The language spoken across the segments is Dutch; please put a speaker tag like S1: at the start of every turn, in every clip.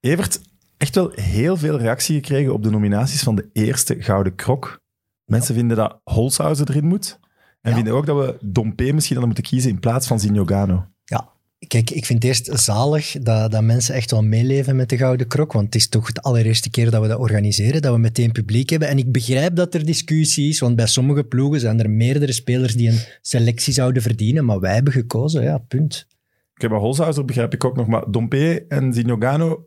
S1: Evert, echt wel heel veel reactie gekregen op de nominaties van de eerste Gouden Krok. Mensen vinden dat Holshouser erin moet. En
S2: Ja.
S1: vinden ook dat we Dompe misschien dan moeten kiezen in plaats van Zinogano.
S2: Kijk, ik vind het eerst zalig dat, dat mensen echt wel meeleven met de Gouden Krok. Want het is toch de allereerste keer dat we dat organiseren, dat we meteen publiek hebben. En ik begrijp dat er discussie is, want bij sommige ploegen zijn er meerdere spelers die een selectie zouden verdienen. Maar wij hebben gekozen, ja, punt.
S1: Oké, maar Holshouser begrijp ik ook nog, maar Dompe en Zinogano...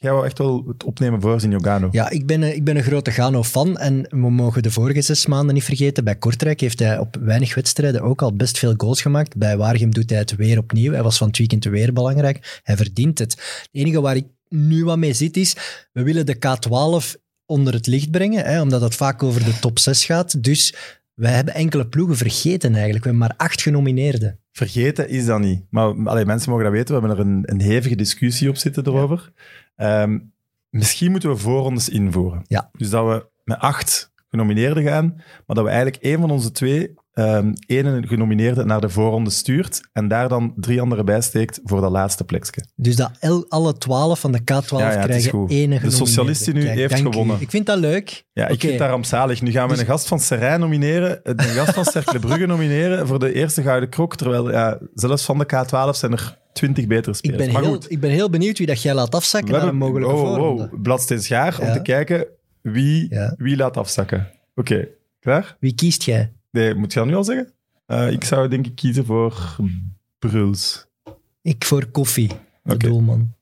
S1: Jij wou echt wel het opnemen voor Zinogano.
S2: Ja, ik ben, een- ik ben een grote Gano-fan en we mogen de vorige zes maanden niet vergeten. Bij Kortrijk heeft hij op weinig wedstrijden ook al best veel goals gemaakt. Bij Waregem doet hij het weer opnieuw. Hij was van het weekend weer belangrijk. Hij verdient het. Het enige waar ik nu wat mee zit is, we willen de K12 onder het licht brengen, hè, omdat het vaak over de top 6 gaat. Dus wij hebben enkele ploegen vergeten eigenlijk. We hebben maar acht genomineerden.
S1: Vergeten is dat niet. Maar allee, mensen mogen dat weten. We hebben er een, een hevige discussie op zitten erover. Ehm, misschien moeten we voorrondes invoeren.
S2: Ja.
S1: Dus dat we met acht genomineerden gaan, maar dat we eigenlijk één van onze twee, ehm één genomineerde naar de voorronde stuurt en daar dan drie anderen bij steekt voor dat laatste plekje.
S2: Dus dat el- alle 12 van de K12
S1: Ja, ja, het is
S2: krijgen
S1: goed.
S2: enige
S1: De socialisten nu heeft gewonnen.
S2: Ik vind dat leuk.
S1: Ja, ik
S2: Oké.
S1: vind dat rampzalig. Nu gaan we
S2: Dus-
S1: een gast van Serijn nomineren, eh, een gast van Cercle Brugge nomineren voor de eerste Gouden Krok, terwijl ja, zelfs van de K12 zijn er twintig betere
S2: Ik
S1: spelers.
S2: ben,
S1: maar
S2: heel,
S1: goed.
S2: ik ben heel benieuwd wie dat jij laat afzakken
S1: We
S2: naar
S1: hebben
S2: een mogelijke
S1: oh,
S2: voorronde.
S1: oh, bladsteen schaar om
S2: Ja.
S1: te kijken wie,
S2: Ja.
S1: wie laat afzakken. Oké, klaar?
S2: Wie kiest jij?
S1: Nee, moet je dat nu al zeggen? Eh, ik zou denk ik kiezen voor Bruls.
S2: Ik voor koffie, de
S1: Oké.
S2: doelman.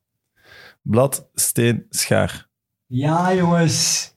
S1: Blad, steen, schaar.
S2: Ja, jongens.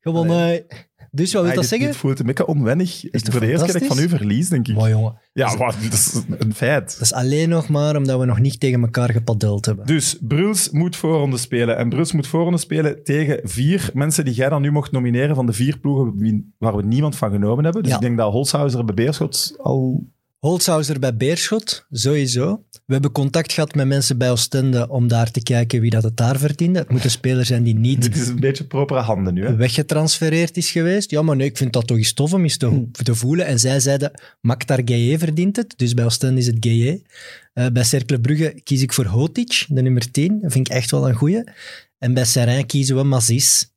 S2: Gewonnen. Dus wat wil
S1: Ah,
S2: dat
S1: dit-
S2: zeggen?
S1: Dit voelt een beetje onwennig.
S2: toch
S1: voor de eerste keer dat ik van u
S2: fantastisch?
S1: verlies, denk ik.
S2: Mooi, jongen.
S1: Ja, wat, dat is een feit.
S2: Dat is alleen nog maar omdat we nog niet tegen elkaar gepadeld hebben.
S1: Dus Bruls moet voorronde spelen. En Bruls moet voorronde spelen tegen vier mensen die jij dan nu mocht nomineren van de vier ploegen wie- waar we niemand van genomen hebben. Dus
S2: Ja.
S1: ik denk dat Holshouser en Bebeerschot al
S2: Holshouser bij Beerschot, sowieso. We hebben contact gehad met mensen bij Oostende om daar te kijken wie dat het daar verdiende. Het moet een speler zijn die niet
S1: Dit is een beetje propere handen nu. Hè?
S2: weggetransfereerd is geweest. Ja, maar nee, ik vind dat toch eens tof om eens te, te voelen. En zij zeiden, Maktar Gaye verdient het. Dus bij Oostende is het Gaye. Eh, bij Cercle Brugge kies ik voor Hotic, de nummer 10. Dat vind ik echt wel een goeie. En bij Serrain kiezen we Mazis.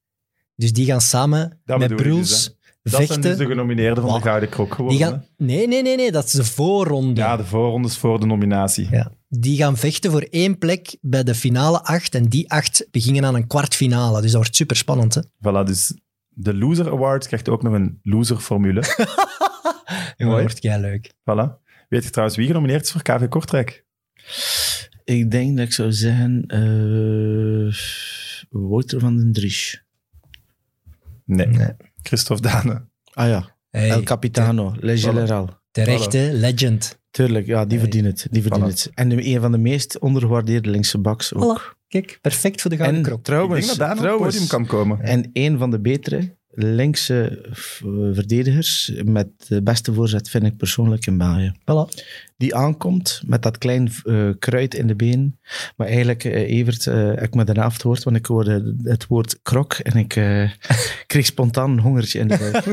S2: Dus die gaan samen
S1: Dat
S2: met
S1: bedoel ik
S2: Bruls
S1: dus, Dat
S2: vechten.
S1: zijn dus de genomineerden van de
S2: Wow.
S1: Gouden Krok geworden.
S2: die gaan... Nee, nee, nee, nee, dat is de voorronde.
S1: hè? Ja, de voorrondes voor de nominatie.
S2: Ja. Die gaan vechten voor één plek bij de finale acht. En die acht begingen aan een kwartfinale. Dus dat wordt super spannend. Hè?
S1: Voilà, dus de Loser Award krijgt ook nog een loser-formule.
S2: Dat
S1: Mooi.
S2: wordt kei leuk.
S1: voilà. Weet je trouwens wie genomineerd is voor KV Kortrijk?
S3: Ik denk dat ik zou zeggen... eh Wouter van den Dries.
S1: Nee.
S2: Nee.
S1: Christophe Dane.
S3: Ah ja,
S2: Hey,
S3: El Capitano, Le General.
S2: terecht,
S1: Voilà.
S2: hè? legend.
S3: Tuurlijk, ja,
S2: Hey.
S3: die verdient het. Die verdient
S1: Voilà.
S3: het. En de, een van de meest ondergewaardeerde linkse backs ook.
S2: Kijk, perfect voor de gouden
S3: En
S2: krok.
S1: Ik denk
S3: trouwens,
S1: dat Dane op het
S3: trouwens,
S1: podium kan komen.
S3: En een van de betere linkse v- verdedigers met de beste voorzet vind ik persoonlijk in België.
S2: Voilà.
S3: Die aankomt met dat klein eh, kruid in de been. Maar eigenlijk, eh, Evert, eh, ik me daarna af het woord, want ik hoorde het woord krok en ik eh, kreeg spontaan een hongertje in de buik.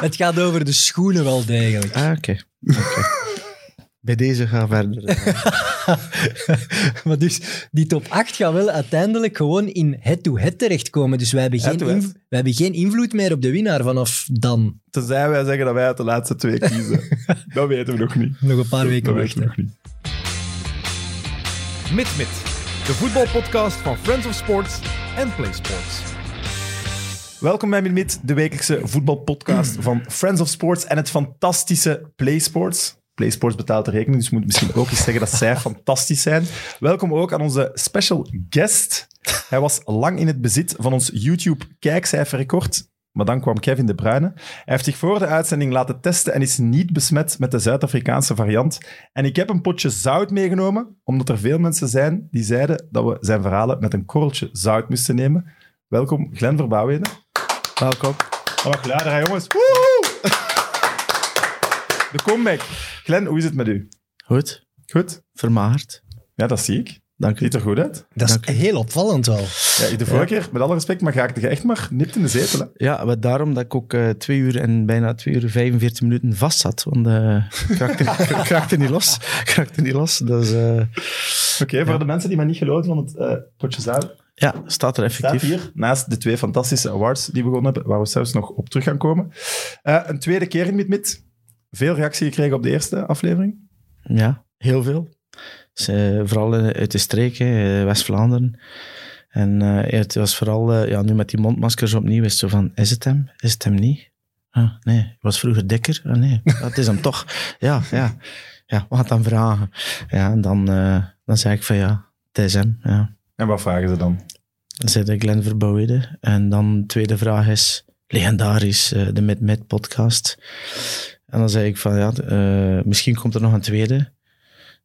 S2: Het gaat over de schoenen wel degelijk.
S3: Ah, oké. Oké. Bij deze ga verder.
S2: maar dus die top 8 gaat wel uiteindelijk gewoon in head-to-head terechtkomen. Dus wij hebben, geen
S1: Head-to-head.
S2: inv- wij hebben geen invloed meer op de winnaar vanaf dan.
S1: Tenzij wij zeggen dat wij uit de laatste twee kiezen. dat weten we nog niet.
S2: Nog een paar weken
S1: Dat weten we
S2: wachten.
S1: nog niet.
S4: MidMid, de voetbalpodcast van Friends of Sports en Play Sports.
S1: Welkom bij Mimit, de wekelijkse voetbalpodcast van Friends of Sports en het fantastische PlaySports. PlaySports betaalt de rekening, dus moet misschien ook eens zeggen dat zij fantastisch zijn. Welkom ook aan onze special guest. Hij was lang in het bezit van ons YouTube-kijkcijferrecord, maar dan kwam Kevin De Bruyne. Hij heeft zich voor de uitzending laten testen en is niet besmet met de Zuid-Afrikaanse variant. En ik heb een potje zout meegenomen, omdat er veel mensen zijn die zeiden dat we zijn verhalen met een korreltje zout moesten nemen. Welkom, Glenn Verbouwen.
S3: Welkom.
S1: Dat mag luider, Oh, hè, jongens. Woehoe! De comeback. Glenn, hoe is het met u?
S3: Goed,
S1: Goed?
S3: vermagerd.
S1: Ja, dat zie ik.
S3: Dank u.
S1: Ziet er goed uit.
S2: Dat is
S3: Dank u.
S2: heel opvallend wel.
S1: Ja, de vorige keer, met alle respect, maar ga ik je echt maar nipt in de zetel. Hè.
S3: Ja, maar daarom dat ik ook eh, twee uur en bijna twee uur 45 minuten vast zat. Want eh ik raakte, ik raakte niet los. Ik raakte niet los. Dus eh,
S1: Oké, voor de mensen die mij niet geloven van het eh potje zaal,
S3: ja, staat er
S1: staat
S3: effectief.
S1: hier naast de twee fantastische awards die we gewonnen hebben, waar we zelfs nog op terug gaan komen. Eh, een tweede keer in Mid-Mid. Veel reactie gekregen op de eerste aflevering.
S3: Ja, heel veel. Dus, eh, vooral eh, uit de streek, hè, eh, West-Vlaanderen. En eh, het was vooral, eh, ja, nu met die mondmaskers opnieuw, is het zo van, is het hem? Is het hem niet? Ah, nee, ik was vroeger dikker. Ah, nee, dat is hem toch. Ja, ja. Ja, we gaan het dan vragen. Ja, en dan, eh, dan zei ik van, ja, het is hem. Ja.
S1: En wat vragen ze dan?
S3: Dan zei de Glenn Verbouwede. En dan de tweede vraag is, legendarisch, eh, de Mid Mid podcast. En dan zei ik van, ja, eh, misschien komt er nog een tweede.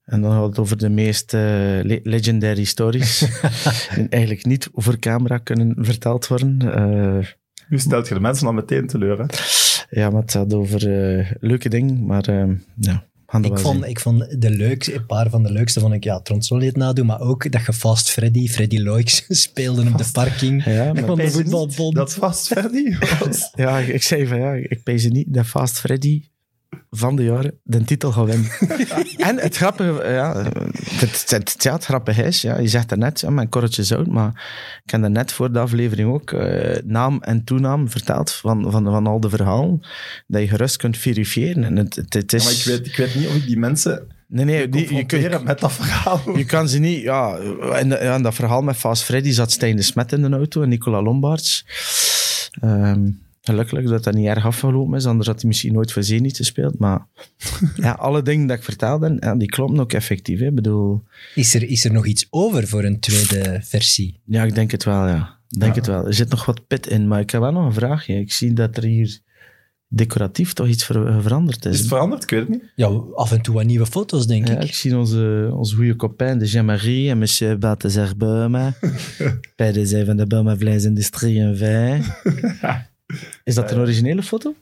S3: En dan hadden we het over de meest eh, le- legendary stories. en eigenlijk niet over camera kunnen verteld worden. Eh,
S1: Nu stelt je de mensen al meteen teleur. Hè?
S3: ja, maar het gaat over eh, leuke dingen, maar eh, ja, gaan dat
S2: Ik
S3: wel
S2: vond,
S3: zien.
S2: ik vond de leukste, een paar van de leukste, vond ik ja, Tronsoli het nadoen, maar ook dat je Fast Freddy, Freddy Loix speelde op de parking.
S3: Ja, maar-
S2: Van de
S1: Pijs je niet
S2: voetbalbond.
S1: Dat was Ferdi. was.
S3: Ja, ik ik zei van ja, ik pees niet dat Fast Freddy van de jaren de titel gaat winnen. En het grappige, eh, ja, het, het, het, ja, het grappige is, ja, je zegt daarnet, ja, mijn korreltje zout, maar ik heb daarnet voor de aflevering ook eh, naam en toenaam verteld van, van, van al de verhalen, dat je gerust kunt verifiëren. En het, het, het
S1: Ja,
S3: is...
S1: maar ik weet, ik weet niet of ik die mensen
S3: nee, nee, die, je,
S1: confronteren
S3: kunt,
S1: met dat verhaal.
S3: je kan ze niet... Ja, en, dat- ja, en dat verhaal met Fast Freddy zat Stijn de Smet in de auto en Nicola Lombaerts. Ehm, gelukkig dat dat niet erg afgelopen is, anders had hij misschien nooit voor niet gespeeld. Maar ja, alle dingen dat ik vertelde, ja, die kloppen ook effectief. Hè. Ik bedoel,
S2: Is er, is er nog iets over voor een tweede versie?
S3: ja, ik denk het wel, ja. Ik denk het wel. Er zit nog wat pit in, maar ik heb wel nog een vraagje. Ik zie dat er hier decoratief toch iets ver- veranderd
S1: Is
S3: is.
S1: het veranderd? Ik weet het niet.
S2: Ja, af en toe wat nieuwe foto's, denk
S3: Ja,
S2: ik.
S3: ik zie onze, onze goede copain de Jean-Marie en monsieur Balthazar Beuma. Bij de zij van de Beuma Vleesindustrie en Wijn. Is dat een originele foto? Oh.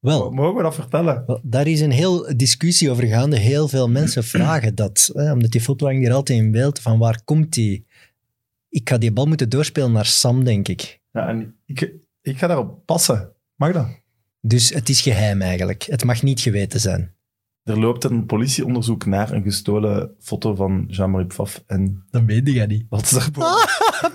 S2: Wel,
S1: Mogen we dat vertellen?
S2: Wel, Daar is een heel discussie over gaande. Heel veel mensen vragen dat. Hè, omdat die foto hangt hier altijd in beeld. Van waar komt die? Ik ga die bal moeten doorspelen naar Sam, denk ik.
S1: Ja, en ik, ik ga daarop passen. Mag dat?
S2: Dus het is geheim eigenlijk. Het mag niet geweten zijn.
S1: Er loopt een politieonderzoek naar een gestolen foto van Jean-Marie Pfaff en
S2: Dat weet je niet.
S1: wat is daarboven?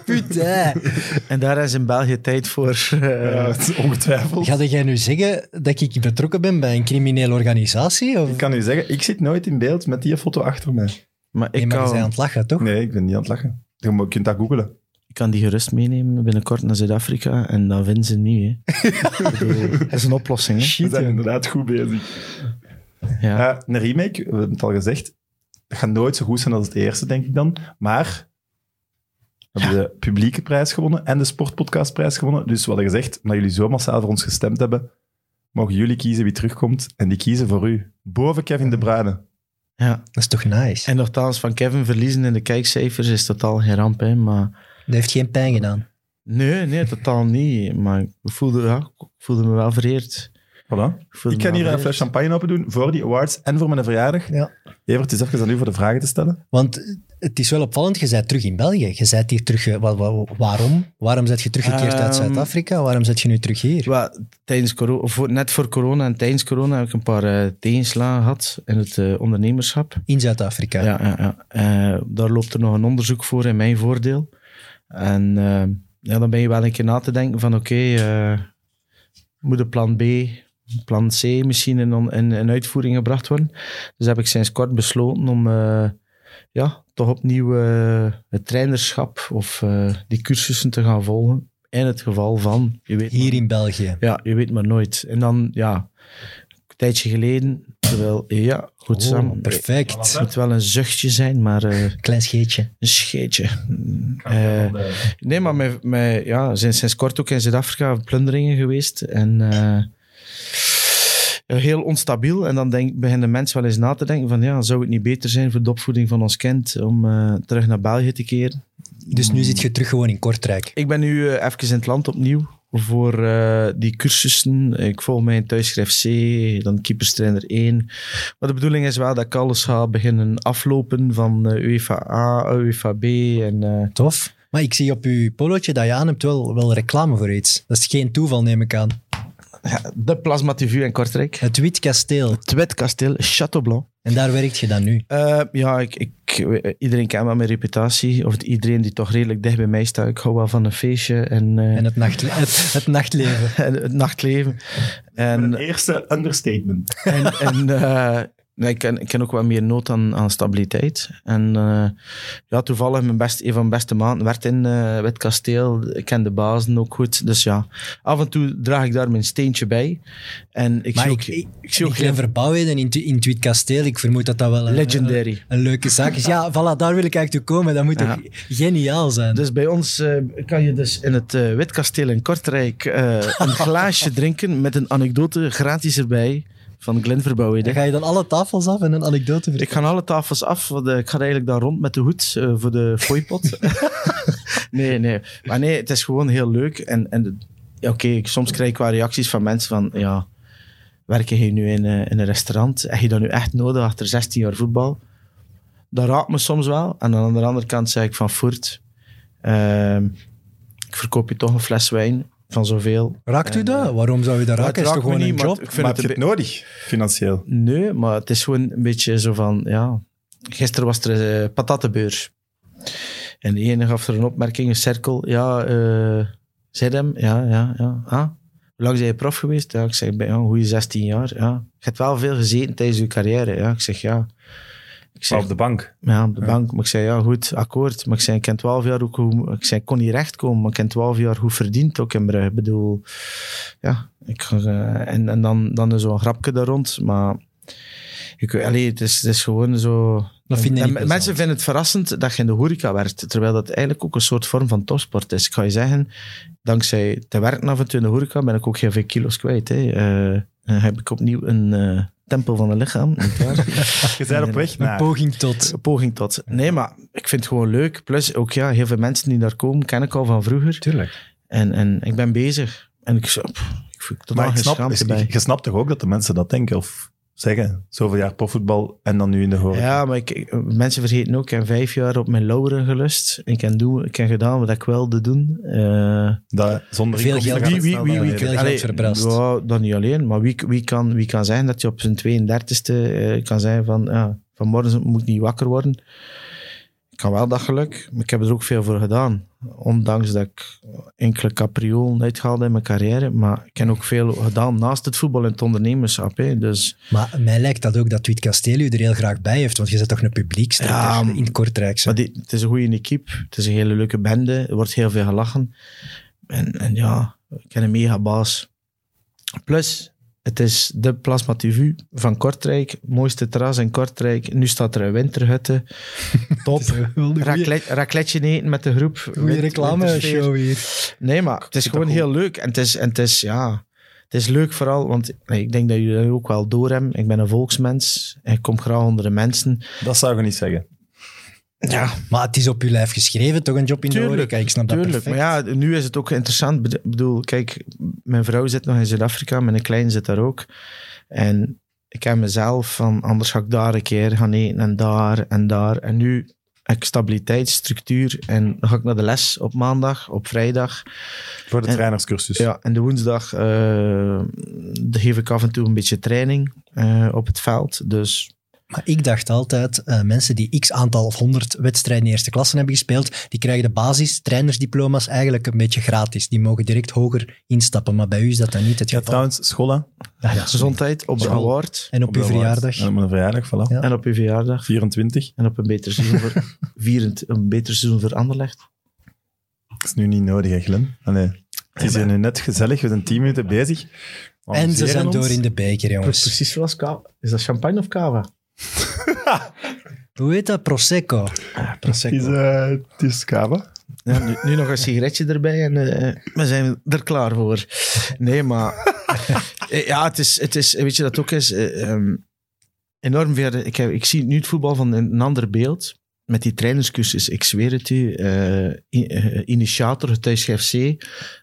S2: Putain.
S3: En daar is in België tijd voor. eh,
S1: Ja, het is ongetwijfeld.
S2: Ga jij nu zeggen dat ik betrokken ben bij een criminele organisatie? Of?
S1: Ik kan u zeggen, ik zit nooit in beeld met die foto achter mij.
S3: Maar ik
S2: nee, maar je bent aan
S3: kan,
S2: het lachen, toch?
S1: Nee, ik ben niet aan het lachen. Je mo- kunt dat googelen.
S3: ik kan die gerust meenemen binnenkort naar Zuid-Afrika en dan winnen ze niet. Hè. Ik bedoel, dat is een oplossing. Hè.
S1: We zijn inderdaad goed bezig.
S3: Ja.
S1: Eh, een remake, we hebben het al gezegd, dat gaat nooit zo goed zijn als het eerste, denk ik dan. Maar we hebben de publieke prijs gewonnen en de sportpodcastprijs gewonnen. Dus we hadden gezegd, omdat jullie zo massaal voor ons gestemd hebben, mogen jullie kiezen wie terugkomt. En die kiezen voor u. Boven Kevin De Bruyne.
S3: Ja.
S2: Dat is toch nice?
S3: Eh, En nogthans, van Kevin verliezen in de kijkcijfers is totaal geen ramp. Hè, maar
S2: Dat heeft geen pijn gedaan.
S3: Nee, nee, totaal niet. Maar ik voelde, ja, ik voelde me wel vereerd.
S1: Voilà.
S3: voelde
S1: Ik
S3: me
S1: kan hier
S3: wel
S1: een
S3: vereerd.
S1: fles champagne open doen voor die awards en voor mijn verjaardag.
S2: Ja.
S1: Evert, het is even aan u voor de vragen te stellen.
S2: Want het is wel opvallend, je bent terug in België. Je bent hier terug... eh, wa- wa- waarom? Waarom bent je teruggekeerd uit
S3: Ehm,
S2: Zuid-Afrika? Waarom zit je nu terug hier?
S3: Wel, tijdens corona, of voor, net voor corona en tijdens corona heb ik een paar eh, tegenslagen gehad in het eh, ondernemerschap.
S2: In Zuid-Afrika.
S3: Ja, ja, ja. Eh, daar loopt er nog een onderzoek voor in mijn voordeel. En eh, ja, dan ben je wel een keer na te denken van oké, eh, moet een plan B, plan C misschien in, on- in, in uitvoering gebracht worden. Dus heb ik sinds kort besloten om eh, ja, toch opnieuw eh, het trainerschap of eh, die cursussen te gaan volgen. In het geval van, je weet
S2: Hier in België.
S3: ja, je weet maar nooit. En dan, ja, een tijdje geleden, terwijl, ja, goed
S2: Oh,
S3: Sam.
S2: perfect.
S3: Het moet wel een zuchtje zijn, maar eh,
S2: Klein scheetje.
S3: een scheetje. Eh, nee, maar mijn, mijn, ja, zijn sinds kort ook in Zuid-Afrika plunderingen geweest. En eh, heel onstabiel. En dan denk, beginnen mensen wel eens na te denken van, ja, zou het niet beter zijn voor de opvoeding van ons kind om eh, terug naar België te keren?
S2: Dus nu zit je terug gewoon in Kortrijk.
S3: Ik ben nu eh, even in het land opnieuw. voor eh, die cursussen. Ik volg mijn thuisschrijf C, dan keeperstrainer 1. Maar de bedoeling is wel dat ik alles ga beginnen aflopen van eh, UEFA A, UEFA B. En, eh,
S2: Tof. Maar ik zie op uw polootje dat je aan hebt wel, wel reclame voor iets. Dat is geen toeval, neem ik aan.
S3: de Plasma TV in Kortrijk.
S2: Het Wit Kasteel.
S3: Het Wit Kasteel, Chateau Blanc.
S2: En daar werkt je dan nu.
S3: Eh, ja, ik, ik, eh, iedereen kent wel mijn reputatie. Of iedereen die toch redelijk dicht bij mij staat. Ik hou wel van een feestje en, eh,
S2: En het, nachtle- het, het nachtleven.
S3: en het nachtleven. En,
S1: Een eerste understatement.
S3: en, en eh, nee, ik, ken, ik ken ook wat meer nood aan, aan stabiliteit. En eh, ja, toevallig, mijn best, een van mijn beste maanden werd in eh Wit Kasteel. Ik ken de bazen ook goed. Dus ja, af en toe draag ik daar mijn steentje bij. En ik
S2: Maar
S3: zie
S2: ik,
S3: ook,
S2: ik,
S3: ik zie ook
S2: ben
S3: geen
S2: verbouwheden in, tu- in het Wit Kasteel. Ik vermoed dat dat wel een, eh,
S3: legendary.
S2: een leuke zaak is. Ja, voilà, daar wil ik eigenlijk toe komen. Dat moet
S3: Ja.
S2: toch geniaal zijn.
S3: Dus bij ons eh, kan je dus in het eh, Wit Kasteel in Kortrijk eh, een glaasje drinken met een anekdote gratis erbij van Glenn
S2: dan
S3: Verbouwheden.
S2: ga je dan alle tafels af en een anekdote
S3: Ik
S2: vertellen.
S3: ga alle tafels af, want eh, ik ga eigenlijk daar rond met de hoed eh, voor de fooipot. nee, nee. Maar nee, het is gewoon heel leuk. En, en de- ja, oké, ik- soms krijg ik wel reacties van mensen van, ja, werk je nu in, eh, in een restaurant? Heb je dat nu echt nodig achter 16 jaar voetbal? Dat raakt me soms wel. En aan de andere kant zeg ik van, voert, ehm, ik verkoop je toch een fles wijn van zoveel.
S2: Raakt u
S3: En,
S2: dat? Waarom zou je dat
S3: Eh, Maar
S2: raken? Is toch
S3: me
S2: gewoon een
S3: niet, maar
S2: job?
S3: ik vind
S1: Maar
S3: het
S1: heb
S3: een
S1: je het nodig, financieel?
S3: Nee, maar het is gewoon een beetje zo van, ja... Gisteren was er eh patattenbeurs. En de ene gaf er een opmerking, een cirkel. Ja, eh zit hem? Ja, ja, ja. Ah, hoe lang ben je prof geweest? Ja, ik zeg, ben, ja, een goede 16 jaar. Ja. Je hebt wel veel gezeten tijdens je carrière. Ja, ik zeg, ja. Ik
S1: Maar
S3: zeg,
S1: op de bank.
S3: ja, op de bank. Maar ik zei, ja goed, akkoord. Maar ik zei, ik ken 12 jaar ook hoe... Ik zei, ik kon niet rechtkomen, maar ik ken 12 jaar hoe verdiend ook in Brugge. Ik bedoel, ja. Ik, ga, eh, en en dan, dan is zo'n grapje daar rond, maar... Ik, allee, het, is, het is gewoon zo...
S2: Dat vinden
S3: En
S2: niet
S3: me-
S2: plezant.
S3: mensen vinden het verrassend dat je in de horeca werkt, terwijl dat eigenlijk ook een soort vorm van topsport is. Ik ga je zeggen, dankzij te werken af en toe in de horeca ben ik ook heel veel kilo's kwijt. Hè. Eh, dan heb ik opnieuw een eh, tempel van een lichaam. niet waar?
S1: Je bent op weg
S2: Een
S1: naar...
S2: poging tot.
S3: Een poging tot. Nee, maar ik vind het gewoon leuk. Plus ook ja, heel veel mensen die daar komen, ken ik al van vroeger.
S1: Tuurlijk. en
S3: En, en ik ben bezig. En ik zo, pff, ik voel totaal
S1: Maar ik
S3: geen
S1: snap,
S3: schaamte bij.
S1: je snapt toch ook dat de mensen dat denken of zeggen? Zoveel jaar profvoetbal en dan nu in de horeca.
S3: Ja, maar ik, ik- mensen vergeten ook, ik heb vijf jaar op mijn lauren gelust. Ik heb, doen, ik heb gedaan wat ik wilde doen. Eh,
S1: Dat, zonder
S2: Veel
S1: inkomsten
S2: geld.
S1: gaat
S3: wie,
S1: het
S3: wie,
S1: snel
S3: wie,
S1: naar
S3: wie,
S1: beneden.
S2: geld
S3: allee,
S2: verbrand.
S3: ja, dat niet alleen, maar wie, wie, kan, wie kan zeggen dat je op zijn 32e eh, kan zeggen van ja, vanmorgen moet ik niet wakker worden. Ik kan wel dat geluk, maar ik heb er ook veel voor gedaan. Ondanks dat ik enkele capriolen uitgehaald in mijn carrière, maar ik heb ook veel gedaan naast het voetbal en het ondernemerschap. Hè. Dus
S2: Maar mij lijkt dat ook dat Wit Kasteel u er heel graag bij heeft, want je zit toch een publiekstrekker
S3: Ja,
S2: in het Kortrijkse.
S3: maar die- het is een goede equipe, het is een hele leuke bende, er wordt heel veel gelachen. En, en ja, ik heb een mega baas. Plus, het is de Plasma TV van Kortrijk. Mooiste terras in Kortrijk. Nu staat er een winterhutte. Top. Raclette, racletje eten met de groep.
S2: Goede
S3: Win-
S2: reclame
S3: wintersfeer.
S2: show hier.
S3: Nee, maar het is
S1: Zit
S3: gewoon
S1: dat
S3: heel leuk. En het is, en het is, ja, het is leuk vooral, want nee, ik denk dat jullie dat ook wel doorhebben. Ik ben een volksmens. En ik kom graag onder de mensen.
S1: Dat zou je niet zeggen.
S3: Ja,
S2: Maar het is op uw lijf geschreven, toch een job in de horeca. Ik snap dat
S3: tuurlijk.
S2: perfect.
S3: Maar ja, nu is het ook interessant. Bed- Ik bedoel, kijk, mijn vrouw zit nog in Zuid-Afrika, mijn klein zit daar ook. En ik heb mezelf van, anders ga ik daar een keer gaan eten en daar en daar. En nu heb ik stabiliteit, structuur en dan ga ik naar de les op maandag, op vrijdag.
S1: Voor de
S3: En-
S1: trainerscursus.
S3: Ja, en de woensdag eh, dan geef ik af en toe een beetje training eh, op het veld. Dus
S2: Maar ik dacht altijd, eh, mensen die x aantal of honderd wedstrijden in eerste klasse hebben gespeeld, die krijgen de basis trainersdiploma's eigenlijk een beetje gratis. Die mogen direct hoger instappen, maar bij u is dat dan niet het
S1: Ja,
S2: geval.
S1: trouwens, scholen.
S2: Ja, ja.
S3: gezondheid op de
S2: School.
S3: award
S2: En op uw verjaardag.
S1: En op mijn verjaardag, voilà.
S2: Ja.
S3: en op je verjaardag.
S1: 24.
S3: En op een beter seizoen voor, vierend, een beter seizoen voor Anderlecht.
S1: Dat is nu niet nodig, hè, Glenn. Allee. Het is hier nu net gezellig. We zijn 10 minuten bezig. We
S2: En ze
S1: amuseren
S2: zijn
S1: ons.
S2: door in de beker, jongens.
S3: zoals kava. Is dat champagne of cava?
S2: Hoe heet dat? Prosecco.
S1: Het is, eh, het is kava.
S3: Ja, nu, nu nog een sigaretje erbij en eh, we zijn er klaar voor. Nee, maar... eh, ja, het is, het is... Weet je dat ook is? eh, ehm, enorm veel... Ik, heb, ik zie nu het voetbal van een, een ander beeld. met die trainerscursus, ik zweer het u, eh, in- eh, initiator thuis GFC,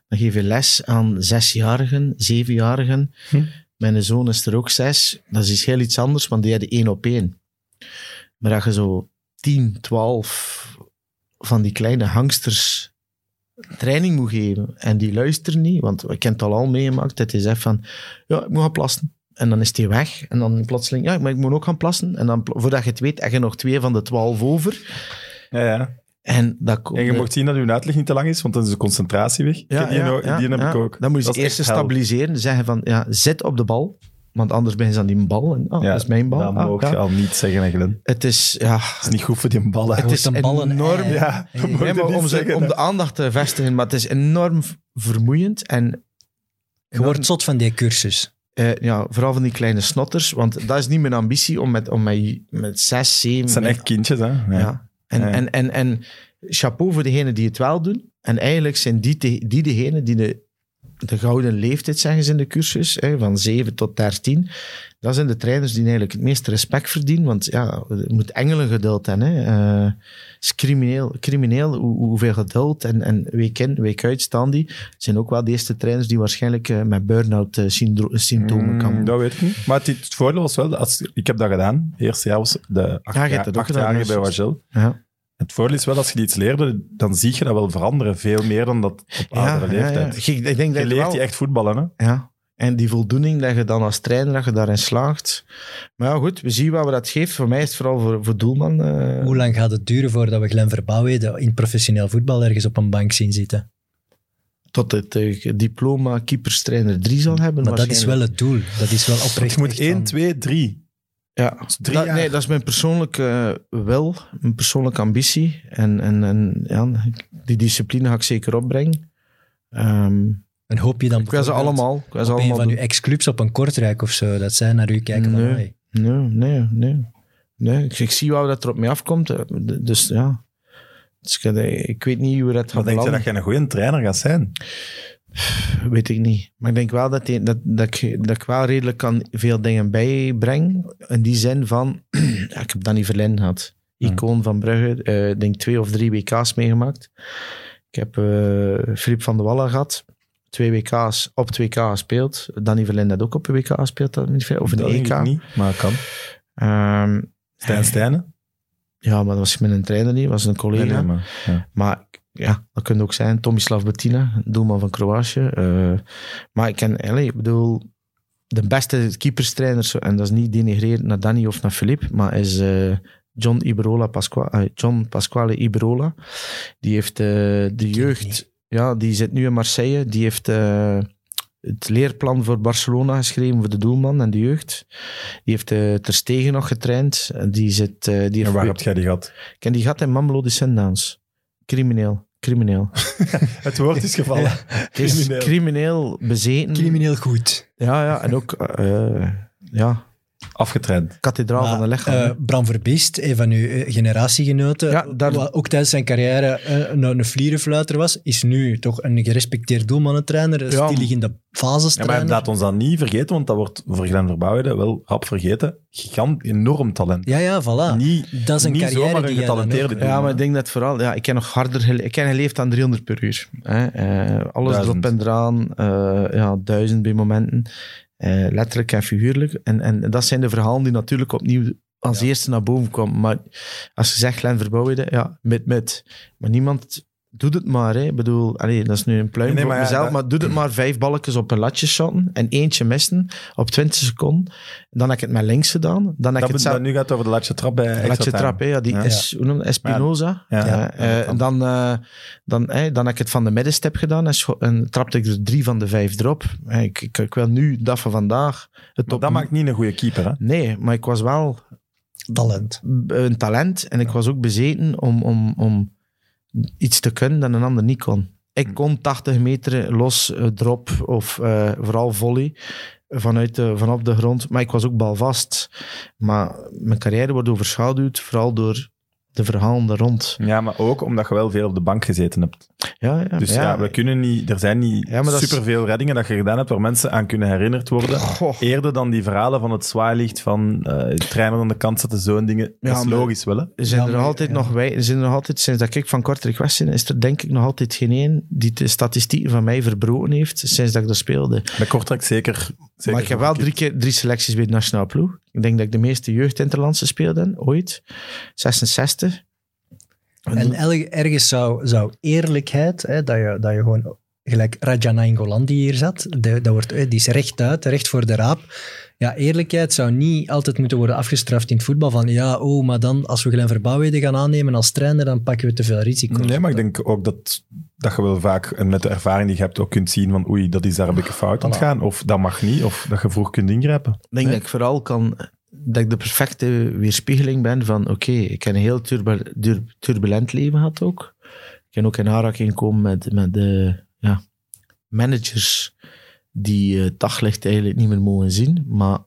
S3: dan geef je les aan zesjarigen, zevenjarigen.
S1: Hm.
S3: Mijn zoon is er ook zes. Dat is heel iets anders, want die hadden één op één. Maar als je zo tien, twaalf van die kleine hangsters training moet geven en die luisteren niet, want ik heb het al al meegemaakt, dat hij zegt van, ja, ik moet gaan plassen. En dan is die weg. En dan plotseling, ja, maar ik moet ook gaan plassen. En dan, pl- voordat je het weet, heb je nog twee van de twaalf over.
S1: Ja, ja.
S3: En, dat komt-
S1: En je mocht zien dat uw uitleg niet te lang is, want dan is de concentratie weg.
S3: Ja,
S1: Ken die,
S3: ja,
S1: nou-
S3: ja,
S1: die heb
S3: ja.
S1: ik ook.
S3: Dan moet je
S1: Dat
S3: ze
S1: is
S3: eerst
S1: echt hel.
S3: stabiliseren. Zeggen van, ja, zet op de bal. Want anders ben je aan die bal. En, ah,
S1: Ja,
S3: dat is mijn bal.
S1: Dat
S3: Ah,
S1: mag
S3: ja.
S1: je al niet zeggen, hè, Glenn.
S3: Het is, ja...
S1: Dat is niet goed voor die bal.
S2: Het
S1: eigenlijk.
S2: is een ballen Eh,
S3: enorm-
S2: ei.
S1: Ja, dat mag
S3: Nee,
S1: je
S3: maar
S1: niet
S3: om, ze-
S1: zeggen,
S3: om
S1: hè.
S3: de aandacht te vestigen. Maar het is enorm v- vermoeiend. En
S2: Je wordt zot van die cursus.
S3: eh, ja, vooral van die kleine snotters. Want dat is niet mijn ambitie om met, om met, met zes, zeven...
S1: Het zijn echt kindjes, hè. Ja.
S3: Ja. En,
S1: Ja.
S3: En, en, en chapeau voor degenen die het wel doen. En eigenlijk zijn die, te- die degenen die de, de gouden leeftijd, zeggen ze in de cursus, hè, van 7 tot 13. Dat zijn de trainers die eigenlijk het meeste respect verdienen. Want ja, je moet engelen geduld hebben. Hè. Eh, het is crimineel, crimineel hoe, hoeveel geduld. En, en week in, week uit staan die. Het zijn ook wel de eerste trainers die waarschijnlijk eh, met burn-out eh, syndro- symptomen
S1: Mm,
S3: kan.
S1: dat weet ik niet. Maar het, het voordeel was wel, dat als, ik heb dat gedaan. Het eerste jaar was de acht,
S3: Ja, je hebt
S1: jaar,
S3: dat ook
S1: acht
S3: gedaan, dus-
S1: jaren
S3: ja,
S1: bij
S3: juist.
S1: Wagel.
S3: Ja.
S1: Het voordeel is wel, als je iets leerde, dan zie je dat wel veranderen. Veel meer dan dat op oudere leeftijd.
S3: Ik- Ik denk dat
S1: Je
S3: het
S1: leert
S3: wel-
S1: je echt voetballen, hè.
S3: Ja. En die voldoening dat je dan als trainer, dat je daarin slaagt. Maar ja, goed, we zien wat we dat geeft. Voor mij is het vooral voor, voor doelman. eh,
S2: Hoe lang gaat het duren voordat we Glenn Verbouwheden in professioneel voetbal ergens op een bank zien zitten?
S3: tot het eh, diploma keeperstrainer 3 zal hebben.
S2: Maar dat is wel
S3: waarschijnlijk.
S2: het doel. Dat is wel oprecht.
S1: Je moet
S2: echt
S1: 1,
S2: van-
S1: 2, 3.
S3: Ja.
S1: drie
S3: Dat-
S1: jaar.
S3: nee, dat is mijn persoonlijke eh, wil, mijn persoonlijke ambitie. En, en, en ja, die discipline ga ik zeker opbrengen. Ehm,
S2: En hoop je dan
S3: ik wil ze
S2: bijvoorbeeld
S3: allemaal. Ik wil ze
S2: op een
S3: allemaal
S2: van
S3: doen.
S2: uw ex-clubs op een kortrijk of zo, dat zij naar u kijken van,
S3: Nee.
S2: hey,
S3: Nee, nee, nee. nee ik, ik zie wel dat er op mij afkomt. eh, d- Dus ja. Dus ik, ik weet niet hoe dat
S1: Dan
S3: gaat
S1: denk je
S3: belanden.
S1: dat je een goede trainer gaat zijn.
S3: Weet ik niet. Maar ik denk wel dat, die- dat, dat, ik, dat ik wel redelijk kan veel dingen bijbreng. In die zin van, ja, ik heb Danny Verlijn gehad.
S1: Hmm.
S3: Icoon van Brugge. eh, Ik denk twee of drie WK's meegemaakt. Ik heb eh Filip van der Wallen gehad. Twee WK's, op 2K gespeeld. Danny Verlijn had ook op een WK gespeeld. dat niet veel- Of een
S1: dat denk
S3: EK.
S1: ik niet, maar kan.
S3: Ehm,
S1: Stijn Stijnen?
S3: ja, maar dat was met een trainer niet. was een collega.
S1: Nee, nee, maar, ja.
S3: Maar ja, dat kan ook zijn. Tomislav Bettina, doelman van Kroatië. Eh, maar ik ken, allee, ik bedoel, de beste keeperstrainers, en dat is niet denigrerend naar Danny of naar Filip, maar is eh, John, Iberola Pasqua, eh, John Pasquale Iberola. Die heeft eh, de jeugd,
S2: niet.
S3: ja, die zit nu in Marseille, die heeft... eh, het leerplan voor Barcelona geschreven voor de doelman en de jeugd. Die heeft eh, Ter Stegen nog getraind. En Die zit, eh, die
S1: En
S3: heeft
S1: waar heb jij die gehad?
S3: Ken die gat in Mamelo de Sundowns? Crimineel. Crimineel.
S1: Het woord is gevallen.
S3: Het is
S1: Crimineel.
S3: crimineel bezeten.
S2: crimineel goed.
S3: Ja, ja. En ook, eh, eh, ja,
S1: Afgetraind.
S3: kathedraal
S2: Maar,
S3: van de lichaam.
S2: eh, Bram Verbiest, een van uw eh, generatiegenoten,
S3: Ja, daar-
S2: wat ook tijdens zijn carrière eh, een, een vlierenfluiter was, is nu toch een gerespecteerd doelmannentrainer, een
S3: Ja.
S2: stilig in de fases
S1: Ja, maar laat ons dat niet vergeten, want dat wordt voor Glenn Verbouwde wel hap vergeten. Gigant, enorm talent.
S2: ja, ja, voilà.
S1: Niet,
S2: dat is een
S1: niet
S2: carrière
S1: zomaar
S2: die
S1: een
S2: jij dan
S1: getalenteerde
S3: ja, maar
S1: doelman,
S3: ik denk dat vooral... Ja, ik heb nog harder... gele- Ik heb geleefd aan 300 per uur. Hè. Eh, alles
S1: Duizend.
S3: erop en eraan. eh, ja, duizend bij momenten. Eh, letterlijk en figuurlijk. En, en dat zijn de verhalen die natuurlijk opnieuw als eerste naar boven komen. Maar als je zegt Glenn Verbouwde, ja, met, met. Maar niemand doet het maar. Hè. Ik bedoel, allee, dat is nu een pluim
S1: Nee, nee,
S3: voor
S1: maar ja,
S3: mezelf.
S1: dat-
S3: Maar doe het maar vijf balkjes op een latje shotten en eentje missen op 20 seconden. Dan heb ik het met links gedaan. Dan heb
S1: Dat,
S3: ik het
S1: moet-
S3: zelf...
S1: dat nu gaat over de laatste trap bij extra
S3: Latje
S1: time.
S3: trap, hè, ja, die
S1: Ja.
S3: is, hoe noem je dat? Espinoza.
S1: Ja. Ja.
S3: Eh, eh, dan, eh, dan, eh, dan heb ik het van de middenstep gedaan en, scho- en trapte ik er drie van de vijf erop. Eh, ik, ik, ik wil nu dat van vandaag. Het
S1: Maar
S3: op...
S1: dat maakt niet een goede keeper, hè?
S3: Nee, maar ik was wel
S2: Talent.
S3: b- een talent en ik was ook bezeten om, om, om iets te kunnen dat een ander niet kon. Ik
S1: Hm.
S3: kon 80 meter los eh, drop of eh, vooral volley vanuit de, vanop de grond, maar ik was ook balvast. Maar mijn carrière wordt overschaduwd vooral door de verhalen daar rond.
S1: Ja, maar ook omdat je wel veel op de bank gezeten hebt.
S3: Ja, ja,
S1: Dus ja, we kunnen niet, er zijn niet
S3: Ja, maar dat is-
S1: superveel reddingen dat je gedaan hebt waar mensen aan kunnen herinnerd worden.
S3: Goh.
S1: Eerder dan die verhalen van het zwaailicht, van eh treinen aan de kant zetten, zo'n dingen.
S3: Ja,
S1: dat is
S3: maar-
S1: logisch wel, hè?
S3: Er zijn
S2: Ja,
S3: er
S2: maar-
S3: altijd
S2: ja.
S3: nog wij, er zijn er nog altijd, sinds dat ik van Kortrijk weg ben, is er denk ik nog altijd geen één die de statistieken van mij verbroken heeft sinds dat ik daar speelde.
S1: Bij Kortrijk zeker. zeker
S3: maar ik heb wel
S1: nog een
S3: drie, keer, drie selecties bij de nationale ploeg. Ik denk dat ik de meeste jeugdinterlandse speelde ooit. 66.
S2: En el- ergens zou, zou eerlijkheid, hè, dat, je, dat je gewoon gelijk Raja Nainggolan die hier zat, de, dat wordt, eh, die is rechtuit, recht voor de raap. Ja, eerlijkheid zou niet altijd moeten worden afgestraft in het voetbal. Van ja, oh, maar dan als we Glenn Verbouwheden gaan aannemen als trainer, dan pakken we te veel risico.
S1: Nee, maar ik denk ook dat, dat je wel vaak en met de ervaring die je hebt ook kunt zien van oei, dat is daar
S3: Ah,
S1: een beetje fout aan het
S2: Voilà.
S1: gaan. Of dat mag niet, of dat je vroeg kunt ingrijpen.
S3: Ik denk dat ik vooral kan, dat ik de perfecte weerspiegeling ben van, oké, ik heb een heel turbu- dur- turbulent leven gehad ook. Ik kan ook in aanraking komen met, met de ja, managers die eh, het daglicht eigenlijk niet meer mogen zien, maar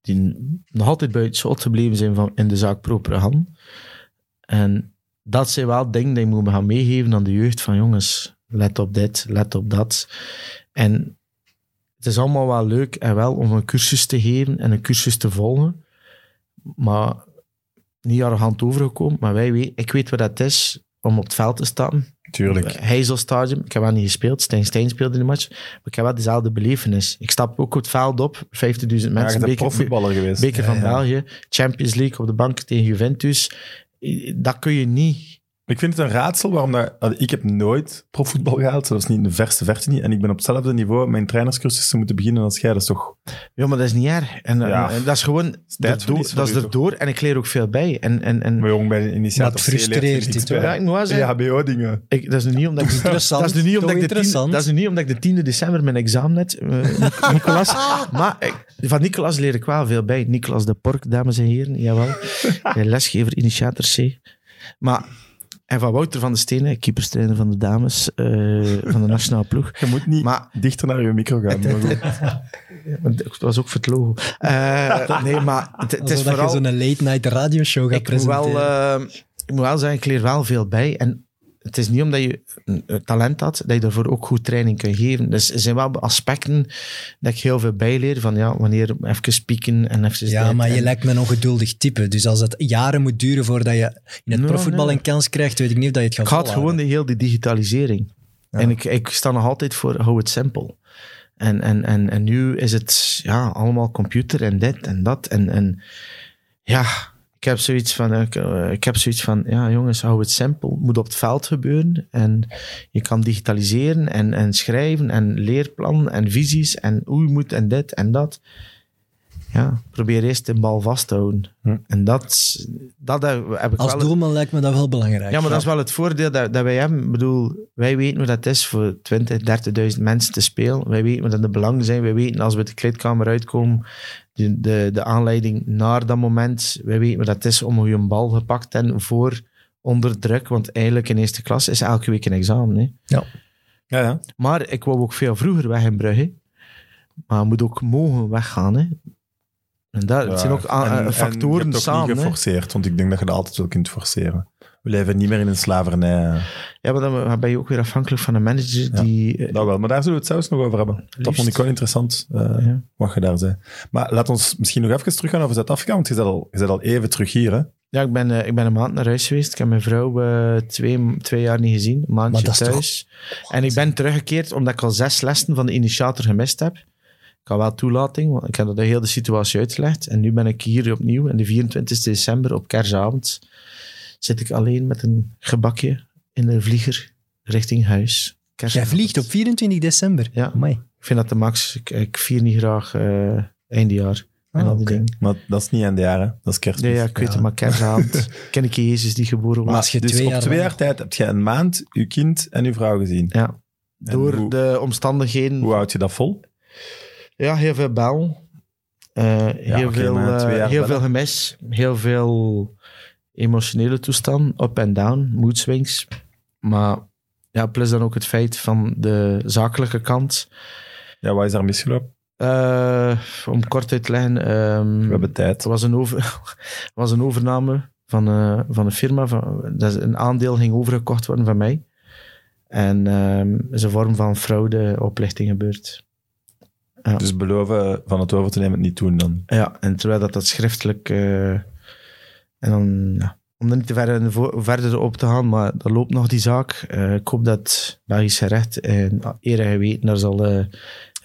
S3: die nog altijd buiten schot gebleven zijn van, in de zaak proper hand. En dat zijn wel dingen die je moet gaan meegeven aan de jeugd van jongens, let op dit, let op dat. En het is allemaal wel leuk en wel om een cursus te geven en een cursus te volgen, maar niet arrogant overgekomen. Maar wij, we- ik weet wat dat is om op het veld te staan.
S1: Tuurlijk.
S3: Heizel Stadium, ik heb wel niet gespeeld. Stijn Stijn speelde in de match. Maar ik heb wel dezelfde belevenis. Ik stap ook op het veld op, 50.000
S1: Maar je
S3: mensen.
S1: bent
S3: beker-
S1: profvoetballer geweest.
S3: Beker van
S1: Ja, ja.
S3: België, Champions League op de bank tegen Juventus. I- Dat kun je niet.
S1: Ik vind het een raadsel waarom dat... Ik heb nooit profvoetbal gehaald, zelfs niet in de verste verte niet. En ik ben op hetzelfde niveau mijn trainerscursussen moeten beginnen als jij. Dat is toch...
S3: Ja, maar dat is niet erg. En,
S1: Ja.
S3: en dat is gewoon
S1: tijdverlies
S3: erdoor,
S1: voor
S3: dat is
S1: u, toch?
S3: erdoor. En ik leer ook veel bij. En, en, en,
S1: Maar jong, bij de initiator
S2: Maar het
S1: C leert je
S2: frustreert
S1: niks
S2: dit
S1: bij. E
S2: wel.
S3: Ja, ik moet wel zeggen,
S1: EHBO-dingen.
S3: Ik, dat is nu niet omdat ik,
S2: Interessant,
S3: dat is nu niet
S2: toch
S3: omdat ik de
S2: interessant.
S3: Tien, dat is nu niet omdat ik de 10 december mijn examen net, eh, Nicolas. maar ik- van Nicolas leer ik wel veel bij. Nicolas de Pork, dames en heren, jawel. Eh, Lesgever, initiator C. Maar, en van Wouter van der Stenen, keeperstrainer van de dames, eh, van de nationale ploeg.
S1: Je moet niet
S3: Maar-
S1: dichter naar je micro gaan. maar goed.
S3: Want Het was ook voor het logo. Eh, nee, maar het, het is
S2: Alsof dat
S3: vooral...
S2: je zo'n late-night radioshow gaat
S3: ik moet,
S2: presenteren.
S3: wel, eh, ik moet wel zeggen, ik leer wel veel bij. En het is niet omdat je een- een talent had, dat je daarvoor ook goed training kunt geven. Dus er zijn wel aspecten dat ik heel veel bijleer. Van ja, wanneer even spieken en even
S2: ja,
S3: dit
S2: maar je
S3: en-
S2: lijkt me een ongeduldig type. Dus als het jaren moet duren voordat je in het
S3: No,
S2: profvoetbal
S3: nee.
S2: een kans krijgt, weet ik niet of dat je het gaat
S3: Ik had
S2: volhouden.
S3: gewoon de, heel die digitalisering. En ik, ik sta nog altijd voor, hou het simpel. En, en, en, en nu is het ja, allemaal computer en dit en dat. En, en ja, ik heb zoiets van, eh, ik, eh, ik heb zoiets van ja jongens, hou het simpel. Het moet op het veld gebeuren. En je kan digitaliseren en, en schrijven en leerplannen en visies en hoe je moet en dit en dat. Ja, probeer eerst de bal vast te houden.
S1: Hm.
S3: En dat, dat heb ik wel...
S2: Als doelman lijkt me dat wel belangrijk.
S3: Ja, maar dat is wel het voordeel dat, dat wij hebben. Ik bedoel, wij weten hoe dat is voor 20, 30.000 mensen te spelen. Wij weten wat de belangen zijn. Wij weten als we de kleedkamer uitkomen, de, de, de aanleiding naar dat moment. Wij weten wat dat is om hoe je een bal gepakt en voor onder druk. Want eigenlijk in eerste klas is elke week een examen. Hè.
S1: Ja, ja.
S3: Maar ik wou ook veel vroeger weg in Brugge. Maar je moet ook mogen weggaan. Hè. En dat het zijn ook aan-
S1: En-
S3: eh,
S1: en je hebt
S3: factoren
S1: ook
S3: samen.
S1: niet
S3: hè.
S1: geforceerd, want ik denk dat je dat altijd wel kunt forceren. We leven niet meer in een slavernij.
S3: Ja, maar dan ben je ook weer afhankelijk van een manager
S1: Ja.
S3: die... eh,
S1: Dat wel, maar daar zullen we het zelfs nog over hebben. Dat
S3: Liefst.
S1: vond ik wel interessant, eh,
S3: Ja.
S1: wat je daar zei. Maar laat ons misschien nog even teruggaan over Zuid-Afrika, want je bent al, je bent al even terug hier. Hè?
S3: Ja, ik ben, eh, ik ben een maand naar huis geweest. Ik heb mijn vrouw eh, twee, twee jaar niet gezien. Een maandje
S2: Maar dat is toch-
S3: thuis. En ik ben teruggekeerd omdat ik al zes lessen van de initiator gemist heb. Ik had wel toelating, want ik heb dat de hele situatie uitgelegd. En nu ben ik hier opnieuw. En de 24 december op kerstavond zit ik alleen met een gebakje in de vlieger richting huis.
S2: Jij
S3: Kerstavond.
S2: vliegt op 24 december.
S3: Ja.
S2: Amai.
S3: Ik vind dat de max. Ik, ik vier niet graag eh eindejaar. en
S2: Ah,
S3: al die
S2: oké.
S3: dingen.
S1: Maar dat is niet aan de jaren, dat is kerstmis.
S3: Nee, ja, ik weet
S2: Ja.
S3: het, maar kerstavond ken ik Jezus die geboren
S1: Maar
S3: was.
S2: als je
S1: dus
S2: twee
S1: op
S2: jaar
S1: twee
S2: lang-
S1: jaar tijd heb je een maand je kind en je vrouw gezien.
S3: Ja.
S1: En
S3: Door
S1: hoe,
S3: de omstandigheden.
S1: hoe houd je dat vol?
S3: Ja, heel veel bel. Eh, heel
S1: oké,
S3: veel,
S1: maar twee
S3: eh,
S1: jaar
S3: heel
S1: bellen.
S3: veel gemis. Heel veel emotionele toestand. Up en down. Mood swings. Maar ja, plus dan ook het feit van de zakelijke kant.
S1: Ja, wat is daar misgelopen?
S3: Eh, om kort uit te leggen. ehm,
S1: We hebben tijd.
S3: het was een, over, was een overname van, eh, van een firma. Van, dat is- een aandeel ging overgekocht worden van mij. En ehm is een vorm van fraude, oplichting gebeurd.
S1: Dus beloven van het over te nemen, het niet doen dan.
S3: Ja, en terwijl dat, dat schriftelijk... eh, en dan, ja, om er niet te ver in vo- verder op te gaan, maar er loopt nog die zaak. Eh, ik hoop dat het Belgische recht in ere geweten daar zal... eh,
S1: Dat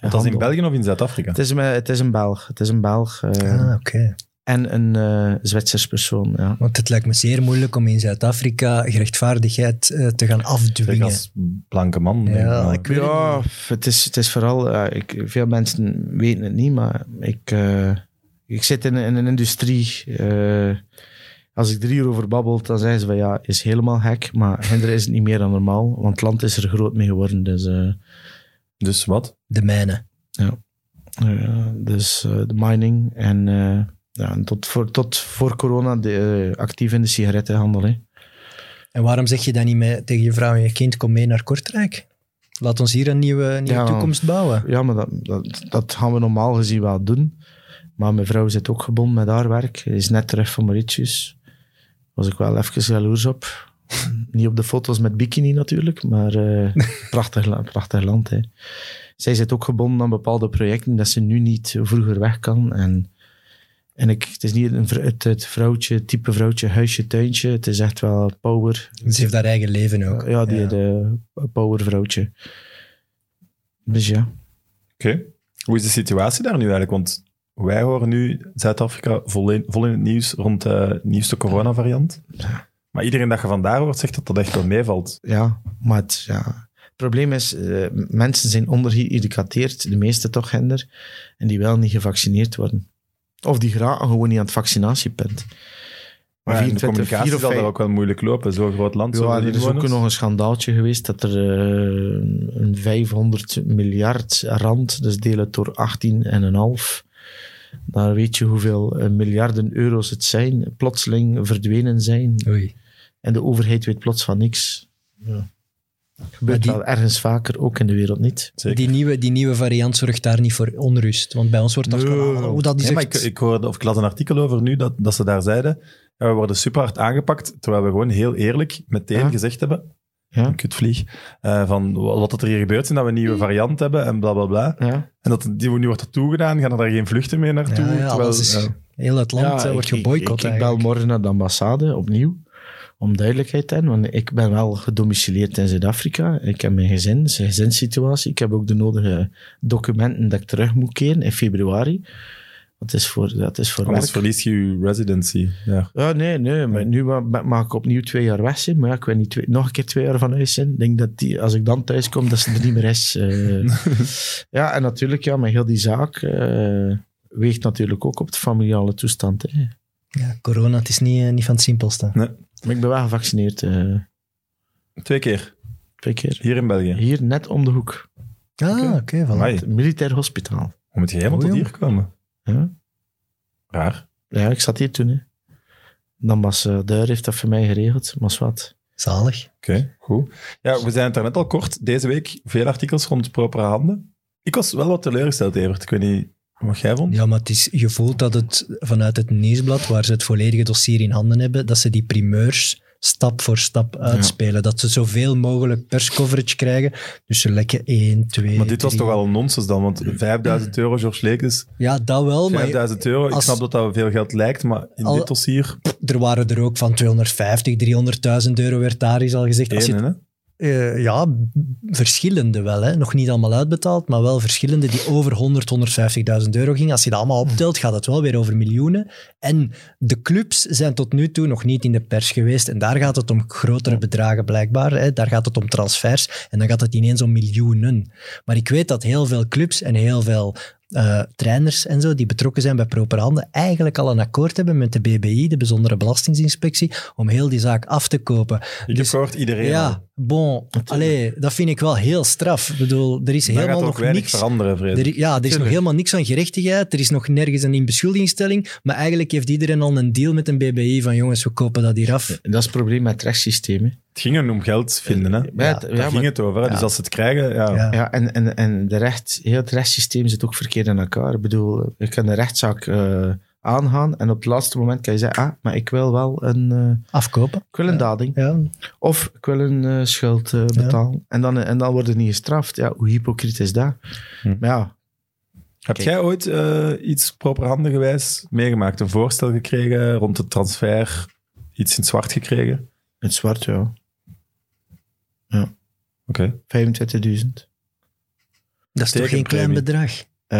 S1: is in
S3: handelen.
S1: België of in Zuid-Afrika?
S3: Het is, een- het is een Belg. Het is een Belg eh,
S2: Ah, oké.
S3: en een eh, Zwitsers persoon. Ja.
S2: Want het lijkt me zeer moeilijk om in Zuid-Afrika gerechtvaardigheid eh, te gaan
S1: Zeker
S2: afdwingen.
S1: als blanke man. denk ik
S2: Ja,
S1: wel.
S2: ik weet het
S3: Ja, het is, het is vooral... eh, ik, veel mensen weten het niet, maar ik, eh, ik zit in, in een industrie... eh, als ik er hierover babbel, dan zeggen ze van ja, is helemaal gek, maar hinder is het niet meer dan normaal, want het land is er groot mee geworden. Dus, eh,
S1: Dus wat?
S2: De mijne.
S3: eh, dus eh, de mining en eh, ja, en tot, voor, tot voor corona de, eh, actief in de sigarettenhandel. Hè.
S2: En waarom zeg je dan niet mee, tegen je vrouw en je kind, kom mee naar Kortrijk? Laat ons hier een nieuwe, nieuwe
S3: Ja.
S2: toekomst bouwen.
S3: Ja, maar dat, dat, dat gaan we normaal gezien wel doen. Maar mijn vrouw zit ook gebonden met haar werk. Ze is net terug van Mauritius. Was ik wel even jaloers op. Niet op de foto's met bikini natuurlijk, maar eh, prachtig, la- prachtig land. Hè. Zij zit ook gebonden aan bepaalde projecten dat ze nu niet vroeger weg kan. En, en ik, het is niet een, vr- het, het vrouwtje, type vrouwtje, huisje, tuintje. Het is echt wel power.
S2: Ze heeft haar eigen leven ook.
S3: Ja, die de power vrouwtje. Dus ja.
S1: Oké. Hoe is de situatie daar nu eigenlijk? Want wij horen nu Zuid-Afrika vol in, vol in het nieuws rond eh, de nieuwste coronavariant. Maar iedereen dat je vandaar hoort, zegt dat dat echt wel meevalt.
S3: ja, maar het, ja. het probleem is, eh, mensen zijn ondergeïndicateerd, de meeste toch, hinder, en die wel niet gevaccineerd worden. Of die geraken gewoon niet aan het vaccinatiepunt.
S1: Maar ja, in de
S3: 24,
S1: communicatie
S3: 4 of
S1: zal dat
S3: vijf-
S1: ook wel moeilijk lopen. Zo'n groot land,
S3: ja,
S1: zoveel
S3: er is ook
S1: inwoners.
S3: nog een schandaaltje geweest dat er eh, een 500 miljard rand, dus deel het door 18,5, dan weet je hoeveel eh, miljarden euro's het zijn, plotseling verdwenen zijn.
S2: Oei.
S3: En de overheid weet plots van niks. Ja. Gebeurt
S2: Maar die-
S3: wel ergens vaker, ook in de wereld niet.
S1: Zeker.
S2: Die nieuwe, die nieuwe variant zorgt daar niet voor onrust. Want bij ons wordt dat
S3: Nee.
S2: gewoon... ah, Hoe dat is
S1: Nee, maar
S2: echt-
S1: ik, ik, hoorde, of ik las een artikel over nu dat, dat ze daar zeiden. ja, we worden super hard aangepakt, terwijl we gewoon heel eerlijk meteen
S3: Ja.
S1: gezegd hebben.
S3: Ja.
S1: Een kutvlieg. eh, van wat dat er hier gebeurt, en dat we een nieuwe variant hebben en bla bla bla.
S3: Ja.
S1: En dat die nu wordt er toegedaan, gaan er daar geen vluchten meer naartoe.
S2: Ja, ja,
S1: terwijl, eh,
S2: alles is-
S1: ja.
S2: Heel het land eh, wordt
S3: ik-
S2: geboycott
S3: Ik, ik, ik bel
S2: eigenlijk.
S3: morgen naar de ambassade opnieuw. Om duidelijkheid te hebben, want ik ben wel gedomicileerd in Zuid-Afrika. Ik heb mijn gezin, zijn gezinssituatie. Ik heb ook de nodige documenten dat ik terug moet keren in februari. Dat is voor, dat is voor
S1: Anders
S3: werk.
S1: verlies je je residency. Ja.
S3: Ja, nee, nee. Maar nu ma- ma- mag ik opnieuw twee jaar weg zijn. Maar ja, ik wil niet twee- nog een keer twee jaar van huis zijn. Ik denk dat die, als ik dan thuis kom, dat ze er niet meer is. Eh, ja, en natuurlijk, ja, maar heel die zaak eh, weegt natuurlijk ook op de familiale toestand. Hè.
S2: Ja, corona, het is niet, eh, niet van het simpelste.
S3: Maar ik ben wel gevaccineerd. eh,
S1: Twee keer,
S3: twee keer.
S1: hier in België.
S3: Hier, net om de hoek.
S2: Ah, oké. voilà.
S1: Amai,
S3: Het militair hospitaal.
S1: hoe moet je helemaal
S2: Oei,
S1: tot hier komen?
S3: Ja.
S1: Raar.
S3: ja, ik zat hier toen. Hè. Dan was eh Duir heeft dat voor mij geregeld. Maar is wat.
S2: Zalig.
S1: Oké, goed. Ja, we zijn het daarnet al kort. Deze week veel artikels rond propere handen. Ik was wel wat teleurgesteld, Evert. Ik weet niet wat jij vond.
S2: Ja, maar het is, je voelt dat het vanuit het nieuwsblad, waar ze het volledige dossier in handen hebben, dat ze die primeurs stap voor stap uitspelen. Dat ze zoveel mogelijk perscoverage krijgen. Dus ze lekken 1, 2,
S1: maar dit was
S2: drie.
S1: toch al nonsens dan, want 5000 euro, George Lekes,
S2: Ja, dat wel, Oh, maar
S1: 5000 euro. Ik
S2: als-
S1: snap dat dat veel geld lijkt, maar in
S2: Al-
S1: dit dossier,
S2: er waren er ook van 250, 300.000 euro werd daar eens al gezegd. Als je
S1: één, hè?
S2: Eh, ja, b- verschillende wel. Hè. Nog niet allemaal uitbetaald, maar wel verschillende die over 100, 150.000 euro gingen. Als je dat allemaal optelt, gaat het wel weer over miljoenen. En de clubs zijn tot nu toe nog niet in de pers geweest. En daar gaat het om grotere bedragen blijkbaar. Hè. Daar gaat het om transfers. En dan gaat het ineens om miljoenen. Maar ik weet dat heel veel clubs en heel veel eh, trainers en zo, die betrokken zijn bij proper handen, eigenlijk al een akkoord hebben met de BBI, de Bijzondere Belastingsinspectie, om heel die zaak af te kopen.
S1: Ik heb
S2: Dus-
S1: gehoord iedereen. al.
S2: ja, bon. Allee, dat vind ik wel heel straf. Ik bedoel, er is
S1: Daar gaat
S2: helemaal
S1: ook
S2: nog
S1: weinig
S2: niks...
S1: veranderen, vrees
S2: Er,
S1: ik.
S2: i- ja, er is nog
S1: Tuurlijk.
S2: helemaal niks aan gerechtigheid. Er is nog nergens een inbeschuldigingsstelling. Maar eigenlijk heeft iedereen al een deal met een BBI van jongens, we kopen dat hier af.
S3: En dat is het probleem met het rechtssysteem. Hè.
S1: Het ging er om geld vinden, hè?
S3: Maar het-
S1: Daar
S3: ja,
S1: ging
S3: maar-
S1: het over. hè. Dus
S3: ja.
S1: als ze het krijgen, ja.
S2: Ja.
S3: Ja, en, en, en de recht, heel het rechtssysteem zit ook verkeerd in elkaar. Ik bedoel, ik kan de rechtszaak eh, aangaan. En op het laatste moment kan je zeggen, ah, maar ik wil wel een, eh,
S2: Afkopen.
S3: ik wil een dading.
S2: Ja,
S3: Of ik wil een eh, schuld eh, betalen. En, dan, en dan wordt het niet gestraft. Ja, hoe hypocriet is dat?
S1: Hm.
S3: Maar ja,
S1: Heb
S3: Kijk.
S1: jij ooit eh, iets properhandengewijs meegemaakt? Een voorstel gekregen rond de transfer? Iets in het zwart gekregen?
S3: het zwart, ja.
S1: Oké.
S3: 25.000.
S2: dat is toch geen
S1: Tekenpremie.
S2: klein bedrag?
S3: Eh,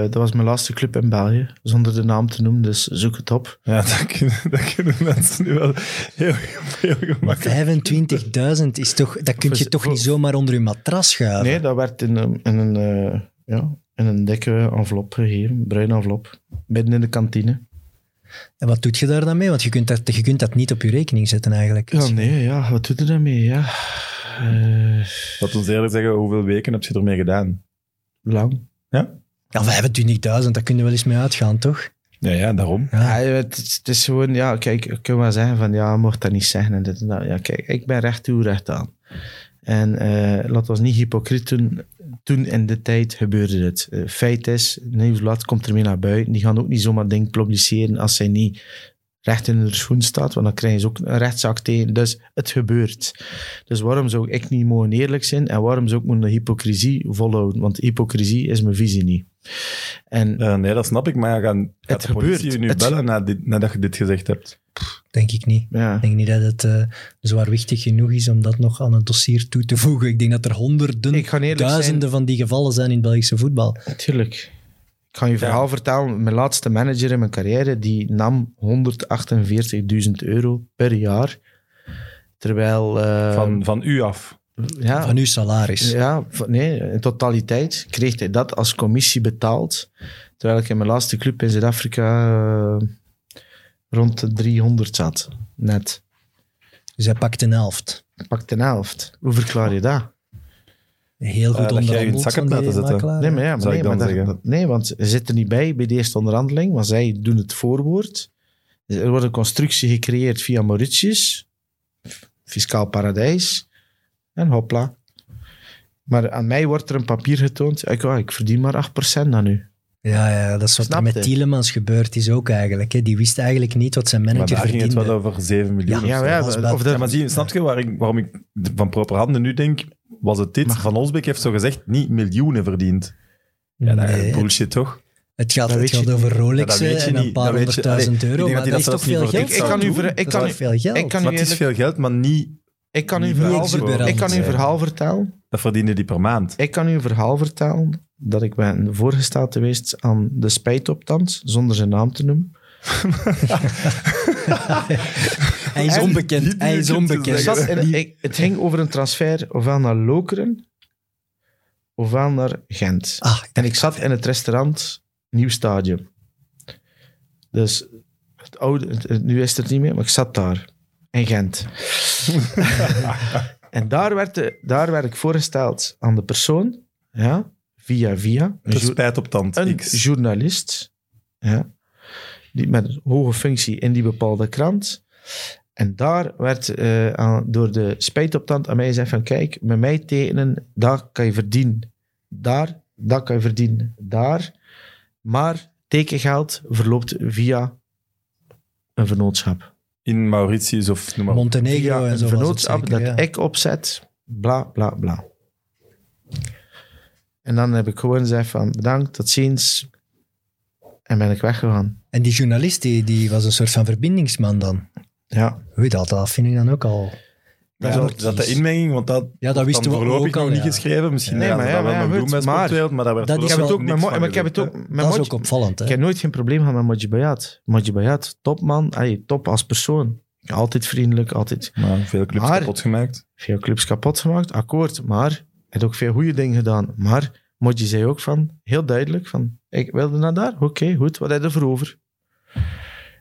S3: dat was mijn laatste club in België, zonder de naam te noemen, dus zoek het op.
S1: Ja, dat kunnen, dat kunnen mensen nu wel heel, heel gemakkelijk.
S2: 25.000 is toch, dat kun je
S3: Voor-
S2: toch
S3: voor-
S2: niet zomaar onder je matras schuiven?
S3: Nee, dat werd in een, in een, eh, ja, in een dikke envelop gegeven, een bruine envelop, midden in de kantine.
S2: En wat doet je daar dan mee? Want je kunt dat, je kunt dat niet op je rekening zetten eigenlijk.
S3: Ja, nee, ja, wat doet er dan mee? Ja. Eh,
S1: Laat ons eerlijk zeggen, hoeveel weken heb je ermee gedaan?
S3: Eh, lang.
S2: Ja, 25.000, daar kun je wel eens mee uitgaan, toch?
S1: Ja, ja, daarom.
S3: Ja, het, is- het is gewoon, ja, kijk, ik kan wel zeggen van, ja, je mocht dat niet zeggen en dit en dat. Ja, kijk, ik ben recht toe, recht aan. En eh laat ons niet hypocriet doen. Toen in de tijd gebeurde het. Eh, feit is, een nieuwsblad komt ermee naar buiten. Die gaan ook niet zomaar ding publiceren als zij niet recht in hun schoen staat, want dan krijgen ze ook een rechtszaak tegen. Dus het gebeurt. Dus waarom zou ik niet mogen eerlijk zijn en waarom zou ik mijn hypocrisie volhouden? Want hypocrisie is mijn visie niet. En
S1: Eh, nee, dat snap ik, maar ja, gaan, gaat de politie
S3: gebeurt.
S1: je nu
S3: Het-
S1: bellen na dit- nadat je dit gezegd hebt?
S2: Denk ik niet.
S3: ja.
S2: Ik denk niet dat het eh, zwaarwichtig genoeg is om dat nog aan het dossier toe te voegen. Ik denk dat er honderden,
S3: Ik ga eerlijk
S2: duizenden van die gevallen zijn in het Belgische voetbal.
S3: Natuurlijk. Ik ga je verhaal vertellen. Mijn laatste manager in mijn carrière die nam 148.000 euro per jaar. Terwijl. eh,
S1: Van, van u af.
S3: ja,
S2: Van uw salaris.
S3: ja, van- nee, in totaliteit kreeg hij dat als commissie betaald. Terwijl ik in mijn laatste club in Zuid-Afrika eh, rond de 300 zat. Net.
S2: Dus hij pakt een helft.
S3: Pak de helft. Hoe verklaar je dat?
S2: Heel
S1: Eh,
S2: goed
S1: dat jij je in het
S2: onderhandeld
S1: zak
S2: van
S1: hebt
S2: die
S1: laten zetten.
S2: makelaar.
S3: Nee, maar ja, maar
S1: zou
S3: nee,
S1: ik dan
S3: maar dat-
S1: zeggen.
S3: dat- nee, want ze zitten niet bij bij de eerste onderhandeling, want zij doen het voorwoord. Dus Er wordt een constructie gecreëerd via Mauritius, f- fiscaal paradijs, en hopla. Maar aan mij wordt er een papier getoond, ik, ah, ik verdien maar 8% dan nu.
S2: Ja, ja, dat is wat er
S3: Snapte.
S2: met Tielemans gebeurd is ook eigenlijk. Hè. Die wist eigenlijk niet wat zijn
S1: Maar
S2: manager
S1: daar ging het
S2: verdiende.
S1: wel over 7 miljoen.
S2: Ja,
S1: of
S3: Ja,
S1: zo.
S3: maar ja,
S2: dat is bad.
S3: of
S1: Ja,
S3: dat,
S1: maar zie, je, snap je waar ik, waarom ik d- van proper handen nu denk? Was het dit?
S3: Maar-
S1: Van Olsbeek heeft zo gezegd niet miljoenen verdiend. Ja, dat
S2: Nee, het,
S1: bullshit toch?
S2: het gaat,
S3: dat
S2: het
S3: weet je
S2: gaat over Rolex
S1: Ja, dat weet je
S2: en een
S1: niet.
S2: paar
S1: Dat weet je-
S2: honderdduizend
S1: Allee, ik
S2: euro.
S1: denk
S2: Maar
S1: dat
S2: dat
S1: hij
S2: is
S1: dat zelfs
S2: toch veel
S1: niet voor
S2: geld?
S1: dik zou
S3: Ik kan
S1: doen.
S3: u ver- ik
S2: Dat
S3: kan
S2: is
S3: u-
S2: veel geld.
S3: ik kan
S1: Maar
S3: u
S1: het is
S3: eerlijk-
S1: veel geld, maar niet.
S3: ik kan u
S1: niet
S3: een verhaal,
S1: exuberant
S3: ver- ik kan u een
S2: zijn.
S3: verhaal vertellen.
S1: Dat verdienen die per maand.
S3: Ik kan u een verhaal vertellen dat ik ben voorgesteld geweest aan de spijtoptans, zonder zijn naam te noemen.
S2: Hij is
S3: En-
S2: onbekend.
S1: Niet
S2: Hij is
S1: moeilijk te
S2: onbekend.
S3: Ik
S1: zeggen.
S3: zat in- ik- het ging over een transfer ofwel naar Lokeren ofwel naar Gent.
S2: Ah,
S3: En ik zat in het restaurant Nieuw Stadium. Dus het oude, het- het- nu is het er niet meer, maar ik zat daar. In Gent. en daar werd, de- daar werd ik voorgesteld aan de persoon, ja, via Dus via. Een
S1: Het
S3: jour-
S1: spijt op tand.
S3: een
S1: X.
S3: journalist ja, die met een hoge functie in die bepaalde krant. En daar werd eh, aan, door de spijtoptant aan mij gezegd van kijk, met mij tekenen, daar kan je verdienen. Daar, dat kan je verdienen. Daar. Maar tekengeld verloopt via een vernootschap.
S1: In Mauritius of noem maar op.
S2: Montenegro en
S3: via
S2: zo
S3: een
S2: was het
S3: vernootschap
S2: zeker,
S3: dat
S2: ja.
S3: ik opzet. Bla, bla, bla. En dan heb ik gewoon gezegd van bedankt, tot ziens. En ben ik weggegaan.
S2: En die journalist die, die was een soort van verbindingsman dan.
S3: Ja.
S2: Hoe dat, dat vind ik dan ook al.
S1: Ja,
S2: Ja,
S1: dat is dat de inmenging, want dat,
S2: Ja, dat wisten
S1: dan
S2: we
S1: voorlopig
S2: ook al.
S1: nog niet
S2: ja.
S1: geschreven. Misschien
S3: Nee,
S1: gaan
S3: maar
S1: ze
S3: ja,
S1: dat wel
S3: maar ja,
S1: nog doen
S3: goed,
S1: bij
S3: maar-
S1: Sportwereld, maar daar werd
S2: Dat is
S3: Ik heb,
S1: voorlopig
S3: het ook
S1: niks
S3: met, Mo-
S1: van
S3: maar ik heb het
S1: gezegd,
S3: ook
S1: hè.
S3: met
S2: Dat is
S3: Moji-
S2: ook opvallend.
S3: Ik
S2: Hè?
S3: heb nooit geen probleem gehad met Moji Bayat. Moji Bayat, topman. Allee, top als persoon. Altijd vriendelijk, altijd
S1: Maar veel clubs
S3: Maar-
S1: kapot gemaakt.
S3: veel clubs kapot gemaakt. Akkoord, maar hij heeft ook veel goede dingen gedaan. Maar Moji zei ook van, heel duidelijk van, ik wilde naar daar. Oké, goed, wat heb je ervoor over?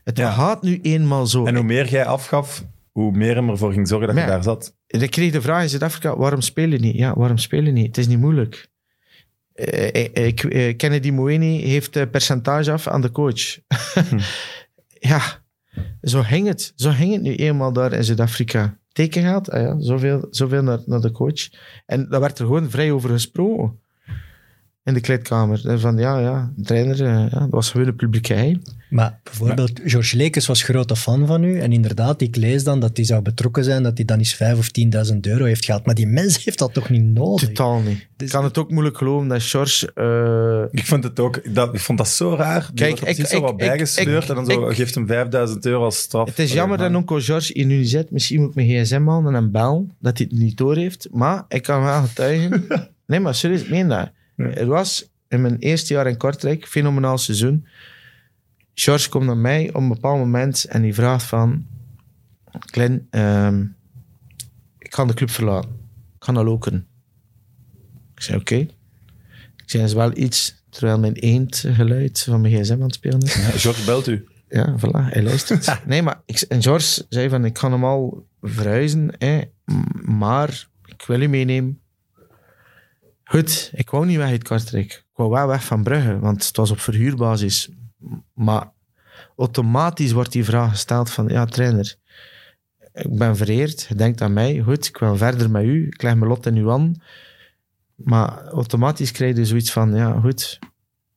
S3: Het
S1: Ja.
S3: gaat nu eenmaal zo.
S1: En hoe meer jij afgaf, hoe meer hem ervoor ging zorgen dat
S3: Ja.
S1: je daar zat.
S3: En ik kreeg de vraag in Zuid-Afrika, waarom speel je niet? Ja, waarom speel je niet? Het is niet moeilijk. Eh, eh, eh, ik- eh, Kennedy Moeni heeft eh, percentage af aan de coach. ja, zo ging het. Zo ging het nu eenmaal daar in Zuid-Afrika. Teken gaat, ah ja, zoveel, zoveel naar, naar de coach. En daar werd er gewoon vrij over gesproken. in de kleedkamer. En Van ja, ja, trainer, eh, ja, dat was gewoon een publieke geheim.
S2: Maar bijvoorbeeld, Georges Lekes was grote fan van u. En inderdaad, ik lees dan dat hij zou betrokken zijn, dat hij dan eens 5 of 10.000 euro heeft gehad. Maar die mens heeft dat toch niet nodig?
S3: Totaal niet.
S2: Dus-
S3: ik kan het ook moeilijk geloven dat George... eh,
S1: Ik vond het ook, dat, ik vond dat zo raar.
S3: Kijk,
S1: Kijk, ik,
S3: ik-
S1: ik, zo
S3: ik-
S1: wat
S3: ik-
S1: bijgesleurd
S3: ik-
S1: en dan zo,
S3: ik-
S1: geeft hem 5000 euro als straf.
S3: het is jammer
S1: Allee,
S3: dat
S1: man.
S3: onkel George hier nu niet zit. Misschien moet ik mijn gsm halen en hem bellen, dat hij het niet door heeft. Maar ik kan wel getuigen... nee, maar serieus, ik meen dat.
S1: Ja.
S3: Het was in mijn eerste jaar in Kortrijk, fenomenaal seizoen. George komt naar mij op een bepaald moment en die vraagt van... Glenn, ehm, ik ga de club verlaten. Ik ga naar Loken. Ik zei, oké. Ik zei, dat is wel iets, terwijl mijn eendgeluid van mijn gsm aan het spelen is.
S1: Ja, George belt u.
S3: Ja, voilà, hij luistert. nee, maar ik, en George zei van, ik kan hem al verhuizen, hè, m- maar ik wil u meenemen. Goed, ik wou niet weg uit Kortrijk. Ik wou wel weg van Brugge, want het was op verhuurbasis. M- Maar automatisch wordt die vraag gesteld van, ja, trainer, ik ben vereerd, je denkt aan mij. Goed, ik wil verder met u, ik leg mijn lot in u aan. Maar automatisch krijg je dus zoiets van, ja, goed.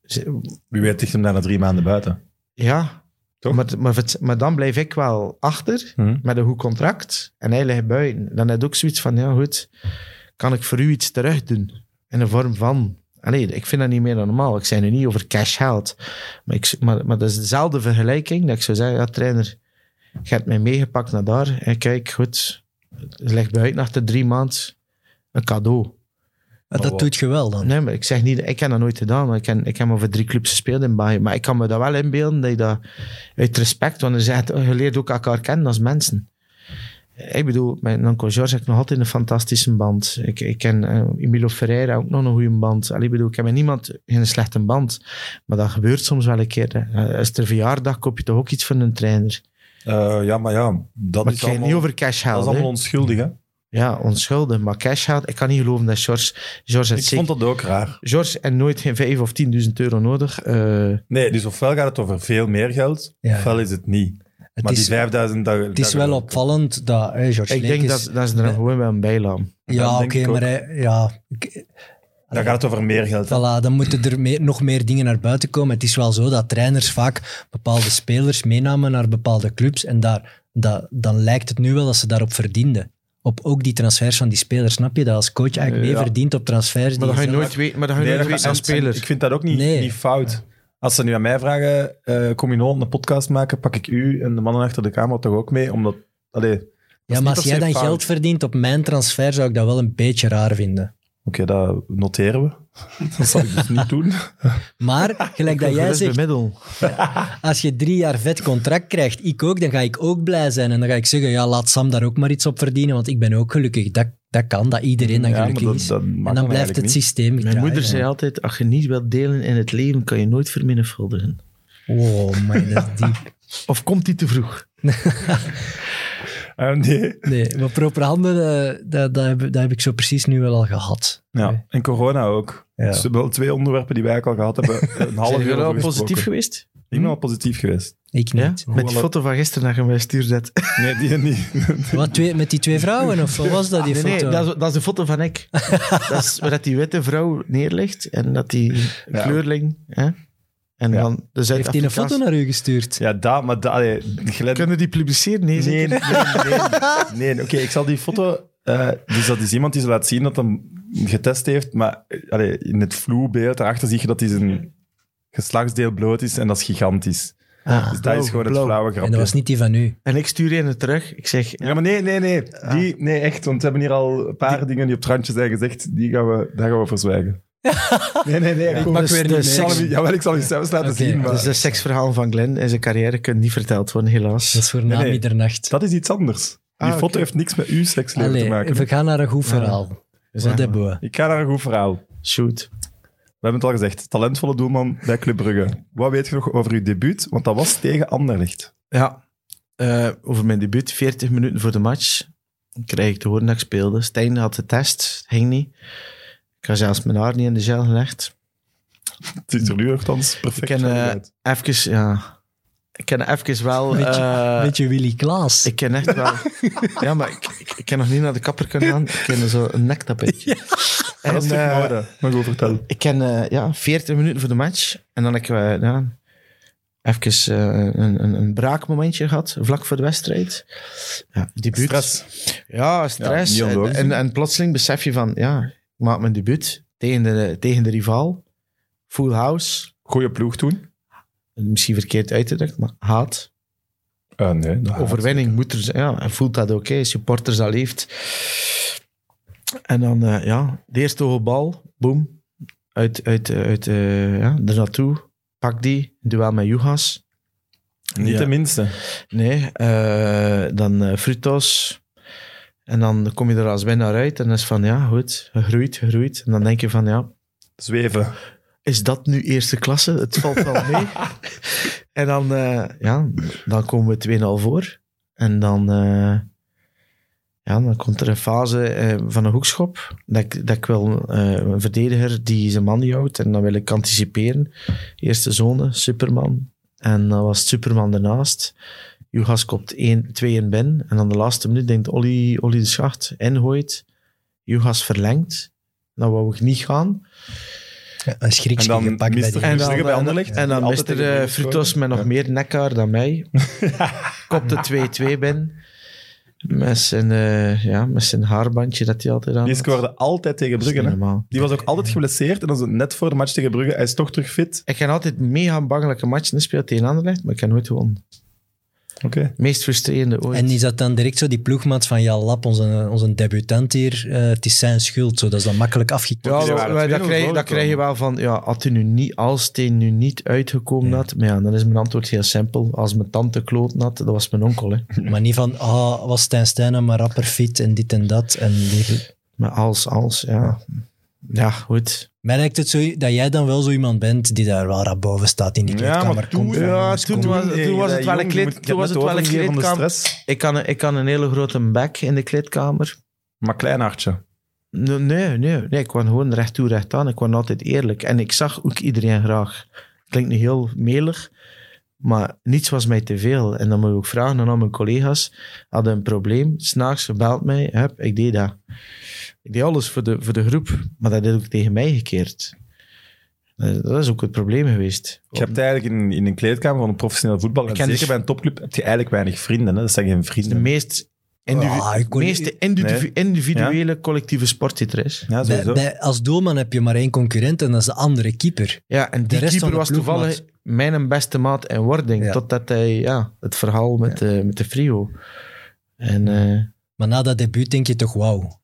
S3: Ze-
S1: Wie weet ligt hem daarna drie maanden buiten.
S3: ja,
S1: Toch?
S3: Maar, maar, het- maar dan blijf ik wel achter met een goed contract en hij ligt buiten. Dan heb je ook zoiets van, ja goed, kan ik voor u iets terug doen? In de vorm van... Allee, ik vind dat niet meer dan normaal. Ik zei nu niet over cash geld. Maar, ik, maar, maar dat is dezelfde vergelijking dat ik zou zeggen, ja trainer, je hebt mij meegepakt naar daar. En kijk, goed, het ligt buiten achter drie maanden. Een cadeau.
S2: Maar
S1: Oh,
S2: dat doet je wel dan.
S3: Nee, maar ik zeg niet, ik heb dat nooit gedaan. maar Ik heb, ik heb maar voor drie clubs gespeeld in Bayern. Maar ik kan me dat wel inbeelden dat je dat uit respect, want je, zegt, je leert ook elkaar kennen als mensen. Ik bedoel, met onkel George heb ik nog altijd een fantastische band. Ik, ik ken eh, Emilio Ferreira ook nog een goede band. Allee, ik bedoel, ik heb met niemand geen slechte band. Maar dat gebeurt soms wel een keer. hè. Eh, Als het er verjaardag koop je toch ook iets van een trainer.
S1: Eh, ja, maar ja, dat
S3: Maar ik
S1: is
S3: ga
S1: allemaal,
S3: niet over cash
S1: dat is
S3: halen.
S1: allemaal
S3: hè.
S1: onschuldig. Hè?
S3: Ja, onschuldig. Maar cash halen, ik kan niet geloven dat George, George het
S1: Ik vond
S3: zeker...
S1: dat ook raar.
S3: George en nooit geen 5 of 10.000 euro nodig. eh,
S1: Nee, dus ofwel gaat het over veel meer geld,
S2: Ja.
S1: ofwel is het niet.
S2: Het
S1: maar
S2: is,
S1: die 5000... Dat,
S2: het is wel opvallend dat hè, Georges
S3: Ik denk
S2: Lekes-
S3: dat, dat ze er
S2: Nee.
S3: gewoon wel een bijlaan.
S1: dat
S2: Ja, oké,
S1: denk ik
S2: maar
S1: ook.
S2: hij, ja, ik-
S1: Dan gaat het over meer geld. hè.
S2: Voilà, dan moeten er meer- nog meer dingen naar buiten komen. Het is wel zo dat trainers vaak bepaalde spelers meenamen naar bepaalde clubs. En daar, dat, dan lijkt het nu wel dat ze daarop verdienden. Op ook die transfers van die spelers. Snap je dat als coach eigenlijk
S1: Ja.
S2: meer verdient op transfers? die
S3: Maar dat ga je
S2: zelf-
S3: nooit weten, maar dat ga je
S1: Nee,
S3: nooit
S1: dat
S3: weten
S1: gaat-
S3: aan
S1: en- en
S3: spelers.
S1: Ik vind dat ook niet,
S2: Nee.
S1: niet fout. Als ze nu aan mij vragen, eh kom je nog een podcast maken, pak ik u en de mannen achter de camera toch ook mee, omdat... Allee, dat is
S2: Ja,
S1: niet
S2: maar als
S1: per
S2: jij
S1: se
S2: dan
S1: fout.
S2: geld verdient op mijn transfer, zou ik dat wel een beetje raar vinden.
S1: Oké, dat noteren we. Dat zal ik dus niet doen.
S2: Maar, gelijk dat jij zegt,
S3: bemiddel.
S2: als je drie jaar vet contract krijgt, ik ook, dan ga ik ook blij zijn. En dan ga ik zeggen, ja, laat Sam daar ook maar iets op verdienen, want ik ben ook gelukkig. Dat, dat kan, dat iedereen dan
S1: Ja, maar
S2: gelukkig
S1: dat-
S2: is.
S1: dat mag
S2: en
S1: dan
S2: dan blijft
S1: eigenlijk
S2: het
S1: niet.
S2: systeem
S3: Mijn
S2: draaien.
S3: moeder zei altijd, als je niet wilt delen in het leven, kan je nooit vermenigvuldigen.
S1: Oh,
S2: Wow, man, dat is diep.
S3: Of komt die te vroeg?
S1: Eh, nee.
S2: Nee, maar proper handen, eh, dat, dat, heb, dat heb ik zo precies nu wel al gehad.
S1: Ja, en corona ook.
S2: Ja.
S1: Dus we hebben wel twee onderwerpen die wij eigenlijk al gehad hebben. Een half
S3: Zijn
S1: uur
S3: jullie
S1: over
S3: al positief
S1: gesproken.
S3: geweest?
S1: Ik ben wel positief geweest.
S2: Ik
S3: Ja?
S2: niet.
S3: Met die foto van gisteren dat je mij stuurde.
S1: Nee, die niet.
S2: Wat, twee, met die twee vrouwen, of wat was dat, die
S3: Ah, Nee, nee,
S2: foto?
S3: dat is, dat is de foto van ik. dat is waar dat die witte vrouw neerligt en dat die
S1: Ja.
S3: kleurling... Hè? En
S1: Ja.
S3: dan de
S2: Heeft hij een
S3: Zuid-Afrikaanse...
S2: foto naar u gestuurd?
S1: Ja, dat, maar dat... allee, Glenn-
S3: Kunnen die publiceren? Nee,
S1: Nee, nee,
S3: zeker?
S1: nee. nee. oké, ik zal die foto... eh, dus dat is iemand die ze laat zien dat hem getest heeft, maar eh, allee, in het vloebeeld daarachter zie je dat hij zijn geslachtsdeel bloot is en dat is gigantisch.
S3: Ah,
S1: Dus dat
S3: blauw,
S1: is gewoon het
S3: blauw.
S1: flauwe
S2: Oh, en dat was
S1: grapje.
S2: niet die van u.
S3: En ik stuur je het terug. Ik zeg,
S1: Ja, maar nee, nee, nee. Die,
S2: Ah.
S1: nee, echt, want we hebben hier al een paar dingen die op het randje zijn gezegd, die gaan we, daar gaan we verzwijgen. Nee, nee, nee.
S2: Ik
S1: kom.
S2: mag
S3: dus
S2: weer
S3: de
S2: niet
S1: Ik zal
S2: mee.
S1: hem- jawel, ik zal u zelfs laten
S2: Oké,
S1: zien, maar...
S3: Dus de seksverhaal van Glenn en zijn carrière kunnen niet verteld worden, helaas.
S2: Dat is voor
S1: Nee,
S2: na
S1: nee.
S2: middernacht.
S1: Dat is iets anders. Die
S3: Ah,
S1: foto
S3: oké.
S1: heeft niks met uw seksleven te
S2: Allee,
S1: maken.
S2: we gaan naar een goed verhaal.
S3: We zijn
S2: Wat
S3: maar-
S2: hebben we?
S1: Ik ga naar een goed verhaal.
S3: Shoot.
S1: We hebben het al gezegd. Talentvolle doelman bij Club Brugge. Wat weet je nog over uw debuut? Want dat was tegen Anderlecht.
S3: Ja, eh, over mijn debuut, 40 minuten voor de match, kreeg ik te horen dat ik speelde. Stijn had de test, ging niet. Ik had zelfs mijn haar niet in de gel gelegd.
S1: Het is er nu althans perfect
S3: Ik ken, eh,
S1: uit.
S3: Even, ja... Ik ken even wel...
S2: Beetje-
S3: eh,
S2: Beetje Willy Klaas.
S3: Ik ken echt wel... ja, maar ik, ik, ik ken nog niet naar de kapper kunnen gaan. Ik ken zo'n nektapetje.
S1: En, dat is
S3: eh,
S1: Mag ik vertellen?
S3: Ik ken eh, ja, 40 minuten voor de match. En dan heb ik eh, ja, even eh, een, een, een braakmomentje gehad, vlak voor de wedstrijd. Ja, debuut. Ja, stress.
S1: Ja, niet
S3: en,
S1: onlogisch.
S3: en, en plotseling besef je van, ja, ik maak mijn debuut tegen de, tegen de rivaal. Full house.
S1: Goeie ploeg toen?
S3: Misschien verkeerd uitgedrukt, maar haat.
S1: Eh, nee. dat-
S3: Overwinning moet er zijn. Ja, en voelt dat oké. Supporters, dat leeft. En dan, eh, ja, de eerste hoge bal. Boom. Uit, uit, eh, uit eh ja, er naartoe. Pak die. Duel met Jugas.
S1: Niet
S3: Ja.
S1: de minste.
S3: Nee. eh, dan eh Frutos. En dan kom je er als winnaar uit. En dan is van, ja, goed. Gegroeid, gegroeid. En dan denk je van, ja,
S1: Zweven.
S3: is dat nu eerste klasse? Het valt wel mee. en dan, eh, ja, dan komen we 2-0 voor. En dan, eh, ja, dan komt er een fase eh, van een hoekschop. Dat, ik- dat ik wil eh, een verdediger die zijn man niet houdt. En dan wil ik anticiperen. Eerste zone, Superman. En dan was het Superman ernaast. Jugas kopt 1 2 in binnen. En dan de laatste minuut denkt Olly, Olly de Schacht ingooit. Jugas verlengt. Dan wou ik niet gaan.
S2: Ja, Een
S1: En
S2: schrikje
S1: dan
S2: gepakt bij
S1: Mister
S2: die...
S1: Gisteren
S3: En dan,
S1: bij
S3: en-
S1: Anderlecht.
S3: En dan
S1: Altijd tegen
S3: Mr.
S1: Anderlecht
S3: Frutos
S1: scoren.
S3: met nog
S1: Ja.
S3: meer nekkaar dan mij. Kopte 2-2 binnen. Met zijn, eh, ja, met zijn haarbandje dat hij altijd aan
S1: Die
S3: had. Dat
S1: scoorde altijd tegen
S3: is
S1: Brugge.
S3: niet
S1: Hè?
S3: normaal.
S1: Die was ook altijd geblesseerd. En dat is net voor de match tegen Brugge. Hij is toch terug fit.
S3: Ik heb altijd mega bangelijke matchen gespeeld tegen Anderlecht, maar ik heb nooit gewonnen.
S1: Oké.
S3: Meest frustrerende ooit.
S2: En die zat dan direct zo die ploegmaat van Jan Lap, onze, onze debutant hier. eh, het is zijn schuld, zo. dat is dan makkelijk afgekeken.
S3: Ja,
S1: Die
S3: maar-
S1: waren
S3: maar
S1: 2-0
S3: dat, krijg, dat
S1: voorgekomen.
S3: krijg je wel van, ja, had hij nu niet, als het hij nu niet uitgekomen had, maar ja, dan is mijn antwoord heel simpel. Als mijn tante kloot had, dat was mijn onkel. Hè.
S2: Maar niet van, ah, was Stijn Stijnen maar rapper fit en dit en dat. En die-
S3: Maar als, als, ja. Ja, goed.
S2: Mij lijkt het zo dat jij dan wel zo iemand bent die daar wel rap boven staat in die
S1: Ja,
S2: kleedkamer.
S1: maar toen-
S2: Komt van,
S3: Ja,
S2: jongens,
S3: toen
S2: kom.
S3: was- het wel een kleed-
S1: kleedkamer.
S3: toen was het wel een
S1: van de
S3: kleedkamer.
S1: stress.
S3: Ik kan, ik kan een hele grote bek in de kleedkamer.
S1: Maar klein hartje.
S3: Nee, nee, nee. nee, ik kwam gewoon recht toe, recht aan. Ik kwam altijd eerlijk. En ik zag ook iedereen graag. Klinkt nu heel melig, maar niets was mij te veel. En dan moet je ook vragen aan al mijn collega's. Hadden een probleem, s'nachts gebeld mij. Hup, ik deed dat. Ik deed alles voor de, voor de groep, maar dat deed ook tegen mij gekeerd. Eh, Dat is ook het probleem geweest.
S1: Je hebt eigenlijk in, in een kleedkamer van een professioneel voetbal, en
S3: Ik ken
S1: zeker
S3: die-
S1: bij een topclub, heb je eigenlijk weinig vrienden. Hè? Dat zijn geen
S3: de
S1: vrienden.
S3: meest individu-
S2: Ah, ik kon-
S3: meeste individu-
S1: Nee.
S3: individuele collectieve sport die er is.
S1: Ja,
S2: Bij-
S1: sowieso.
S2: bij- als doelman heb je maar één concurrent en dat is de andere keeper.
S3: Ja, en die
S2: rest van
S3: keeper
S2: de
S3: was
S2: ploegmaat.
S3: toevallig mijn beste maat en wording.
S2: Ja.
S3: Totdat hij ja, het verhaal met, eh, met de Frio. En, eh,
S2: Maar na dat debuut denk je toch wauw.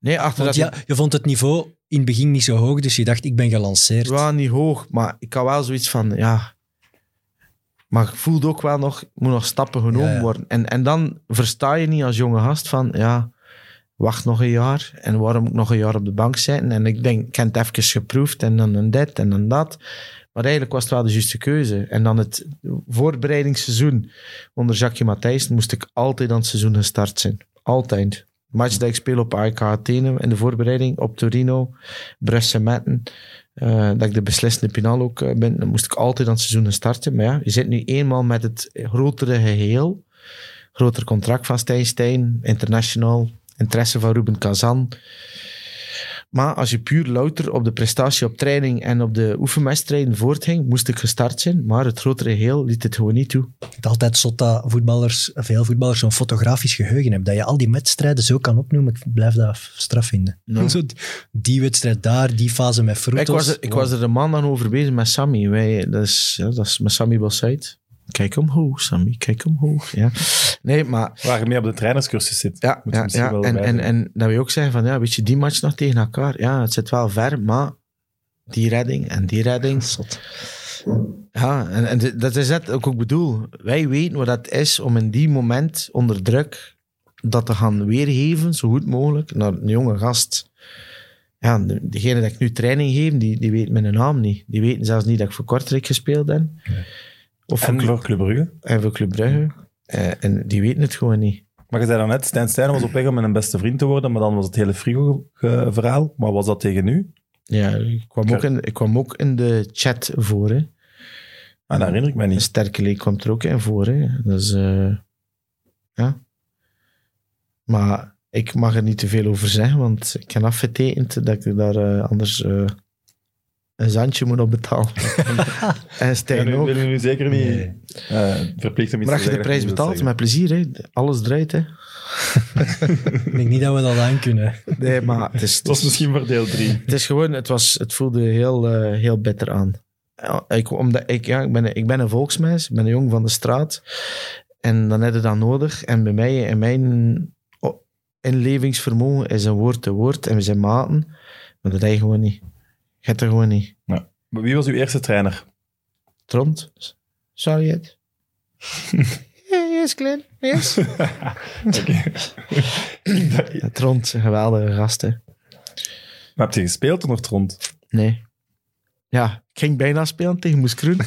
S3: nee, achter
S2: Want
S3: dat
S2: ja, je vond het niveau in het begin niet zo hoog, dus je dacht ik ben gelanceerd.
S3: het wel niet hoog, maar ik had wel zoiets van, ja... Maar ik voelde ook wel nog, ik moet nog stappen genomen
S2: Ja, ja.
S3: worden. En, en dan versta je niet als jonge gast van, ja, wacht nog een jaar. En waarom moet ik nog een jaar op de bank zitten? En ik denk, ik heb het even geproefd en dan en dit en dan dat. Maar eigenlijk was het wel de juiste keuze. En dan het voorbereidingsseizoen onder Jacques Matthijs moest ik altijd aan het seizoen gestart zijn. Altijd. Match dat ik speel op AEK Athene in de voorbereiding, op Torino, Brussel Metten. eh, dat ik de beslissende penal ook eh, ben, dan moest ik altijd aan het seizoen gestart zijn. Maar ja, je zit nu eenmaal met het grotere geheel. Groter contract van Stijn Stijn, international, interesse van Ruben Kazan. Maar als je puur louter op de prestatie op training en op de oefenwedstrijden voortging, moest ik gestart zijn. Maar het grotere geheel liet het gewoon niet toe.
S2: Het is altijd zot dat voetballers, veel voetballers zo'n fotografisch geheugen hebben. Dat je al die wedstrijden zo kan opnoemen, ik blijf dat straf vinden.
S3: Ja.
S2: Zo, die wedstrijd daar, die fase met Frutos.
S3: Ik was, er, ik was er een maandag over bezig met Sammy. Wij, dat, is, ja, dat is met Sammy Bossait. Kijk omhoog, Sammy, kijk omhoog. Ja. Nee, maar...
S1: Waar je mee op de trainerscursus zit.
S3: Ja,
S1: Moet je
S3: ja,
S1: misschien
S3: ja.
S1: wel
S3: En, en,
S1: bijzeggen.
S3: en dat we ook zeggen van, ja, weet je, die match nog tegen elkaar. Ja, het zit wel ver, maar die redding en die redding. Ja, en, en dit- dat is net ook wat ik bedoel. Wij weten wat dat is om in die moment onder druk dat te gaan weergeven, zo goed mogelijk, naar een jonge gast. Ja, de- degene dat ik nu training geef, die, die weet mijn naam niet. Die weten zelfs niet dat ik voor Kortrijk gespeeld heb. Of voor
S1: En
S3: Club,
S1: voor Club Brugge.
S3: en voor Club Brugge. Eh, en die weten het gewoon niet.
S1: Maar je zei daarnet, Stijn Stijn was op weg om mijn beste vriend te worden, maar dan was het hele frigo-verhaal. Maar was dat tegen nu?
S3: Ja, ik kwam,
S1: Ja.
S3: ook in, ik kwam ook in de chat voor. Hè.
S1: Ah, dat herinner ik mij
S3: Een
S1: niet.
S3: sterke leek kwam er ook in voor. Hè. Dus, eh, ja. Maar Ik mag er niet te veel over zeggen, want ik heb afgetekend dat ik daar eh, anders eh, een zandje moet op betalen. en
S1: Ja,
S3: Stijn
S1: nu
S3: ook.
S1: willen we nu zeker niet
S2: Nee.
S1: eh, verplicht om iets
S3: Maar
S1: te
S3: als
S1: zeggen
S3: je de prijs
S1: dat je
S3: betaalt,
S1: wilt
S3: met plezier, hè. alles eruit. Hè.
S2: Ik denk niet dat we dat aan kunnen.
S3: Nee, maar het is,
S1: zeggen. Het was misschien voor deel 3.
S3: Het is gewoon, het, was, het voelde heel, eh, heel bitter aan. Ja, Ik, omdat ik, ja, ik, ben, ik ben een volksmens, ik ben een jong van de straat. En dan heb je dat nodig. En bij mij, in mijn o- inlevingsvermogen, is een woord te woord. En we zijn maten. Maar dat heb je gewoon niet. Je hebt dat gewoon niet.
S1: Maar wie was uw eerste trainer?
S3: Trond, sorry het. Yes, Glenn. Yes.
S1: Oké.
S3: Trond, een geweldige gast, hè.
S1: maar heb je gespeeld onder Trond?
S3: Nee. Ja, ik ging bijna spelen tegen Moes Kroen.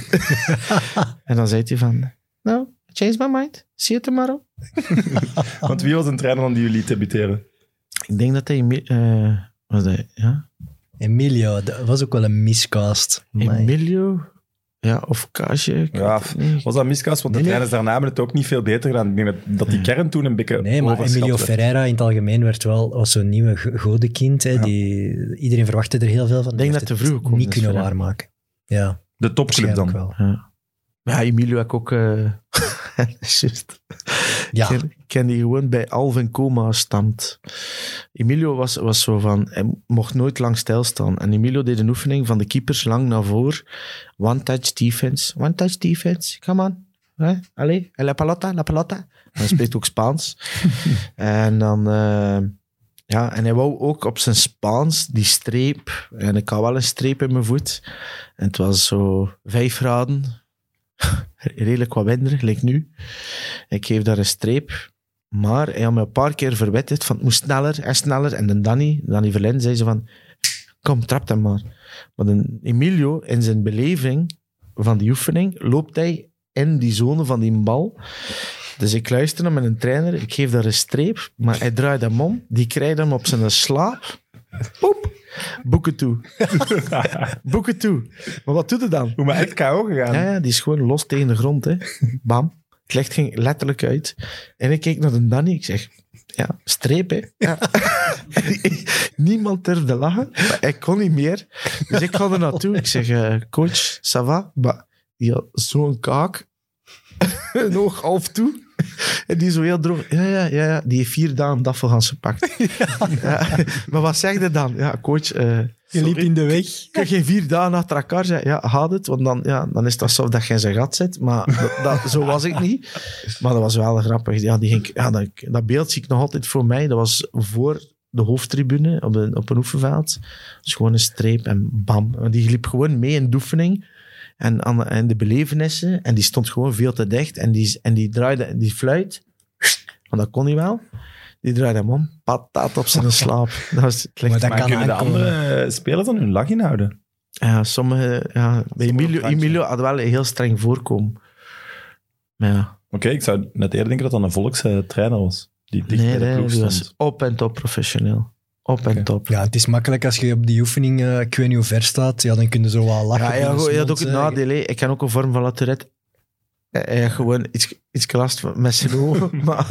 S3: en dan zei hij van... Nou, change my mind. See you tomorrow.
S1: Want wie was een trainer dan die jullie debuteren?
S3: Ik denk dat hij... Emi- eh was hij? Ja?
S2: Emilio, dat was ook wel een miscast. Amai.
S3: Emilio? Ja, of Kaasje. ik
S1: Ja,
S3: weet het niet.
S1: Was dat miscast? Want de
S2: Nee, nee.
S1: trainers daarna hebben het ook niet veel beter gedaan. Ik denk dat, dat die kern toen een beetje
S2: Nee, maar
S1: overschat
S2: Emilio
S1: werd.
S2: Ferreira in het algemeen werd wel als zo'n nieuwe go- godenkind. Hè,
S1: Ja.
S2: die, iedereen verwachtte er heel veel van. Die
S3: denk
S2: heeft
S3: dat
S2: het
S3: te vroeg gekomen
S2: Niet
S3: is,
S2: kunnen
S3: Ferreira.
S2: waarmaken. Ja,
S1: De topclub
S2: waarschijnlijk
S1: dan.
S2: wel.
S3: Ja, Emilio heb ik ook... eh, juist.
S2: Ja,
S3: Ik ken- ik ken die gewoon bij Alvin Coma stamt. Emilio was, was zo van, hij mocht nooit lang stilstaan. En Emilio deed een oefening van de keepers lang naar voren. One touch defense, one touch defense, come on. Hè? Allee, en la pelota, la pelota. En Hij spreekt ook Spaans. en dan... eh, ja, en hij wou ook op zijn Spaans die streep. En ik had wel een streep in mijn voet. En het was zo vijf graden. Redelijk wat winderig, gelijk nu. Ik geef daar een streep. Maar hij had me een paar keer verwittigd van het moest sneller en sneller. En dan Danny, Danny Verlin, zei ze van, kom, trap hem maar. Maar dan Emilio, in zijn beleving van die oefening, loopt hij in die zone van die bal. Dus ik luister naar mijn trainer, ik geef daar een streep, maar hij draait hem om. Die krijgt hem op zijn slaap. Poep! Boeken toe. Boeken toe. Maar wat doet hij dan?
S1: Hoe maar echt KO gegaan.
S3: Ja, ja, die is gewoon los tegen de grond, hè. Bam. Het licht ging letterlijk uit. En ik keek naar de Danny, ik zeg... Ja, streep, hè. Ja. En die- Niemand durfde lachen. Maar ik kon niet meer. Dus ik ga er naartoe. Ik zeg, eh, coach, ça va? Maar die had zo'n kaak. een oog half toe. En die zo heel droog. Ja, ja, ja, ja. Die heeft vier dagen daffelgans gepakt. Ja. Maar wat zeg je dan? Ja, coach... eh,
S2: je liep in de weg.
S3: ik kan geen vier dagen achter elkaar zeggen, ja, haat het, want dan, ja, dan is het alsof dat je in zijn gat zit. Maar dat, dat- zo was ik niet. Maar dat was wel grappig. Ja, die ging, ik- ja, dat, dat beeld zie ik nog altijd voor mij. Dat was voor de hoofdtribune op een, op een oefenveld. Dus gewoon een streep en bam. Want Die liep gewoon mee in de oefening en, aan, en de belevenissen. En die stond gewoon veel te dicht. En die, en die draaide die fluit, want dat kon hij wel. Die draaide hem om, patat op zijn slaap. Dat was het licht.
S2: Maar dat
S1: maar
S2: kan
S1: kunnen de
S2: aankomen.
S1: andere eh, spelers dan hun lach inhouden?
S3: Ja, sommige... Ja, bij Emilio,
S1: plaatje.
S3: Emilio had wel een heel streng voorkomen. Maar ja,
S1: Oké, ik zou net eerder denken dat dat een volkstrainer was. Die dicht
S3: nee,
S1: bij de
S3: nee,
S1: ploeg
S3: die
S1: stond.
S3: was op en top professioneel. Op en top.
S2: Ja, het is makkelijk als je op die oefening, eh, ik weet niet hoe ver staat, ja, dan kun je zo wel lachen.
S3: Ja,
S2: in
S3: ja,
S2: de
S3: goed, je had
S2: mond,
S3: ook het
S2: eh.
S3: nadeel. hè. Ik ken ook een vorm van La Tourette. Hij heeft gewoon iets, iets last van- met zijn ogen. maar,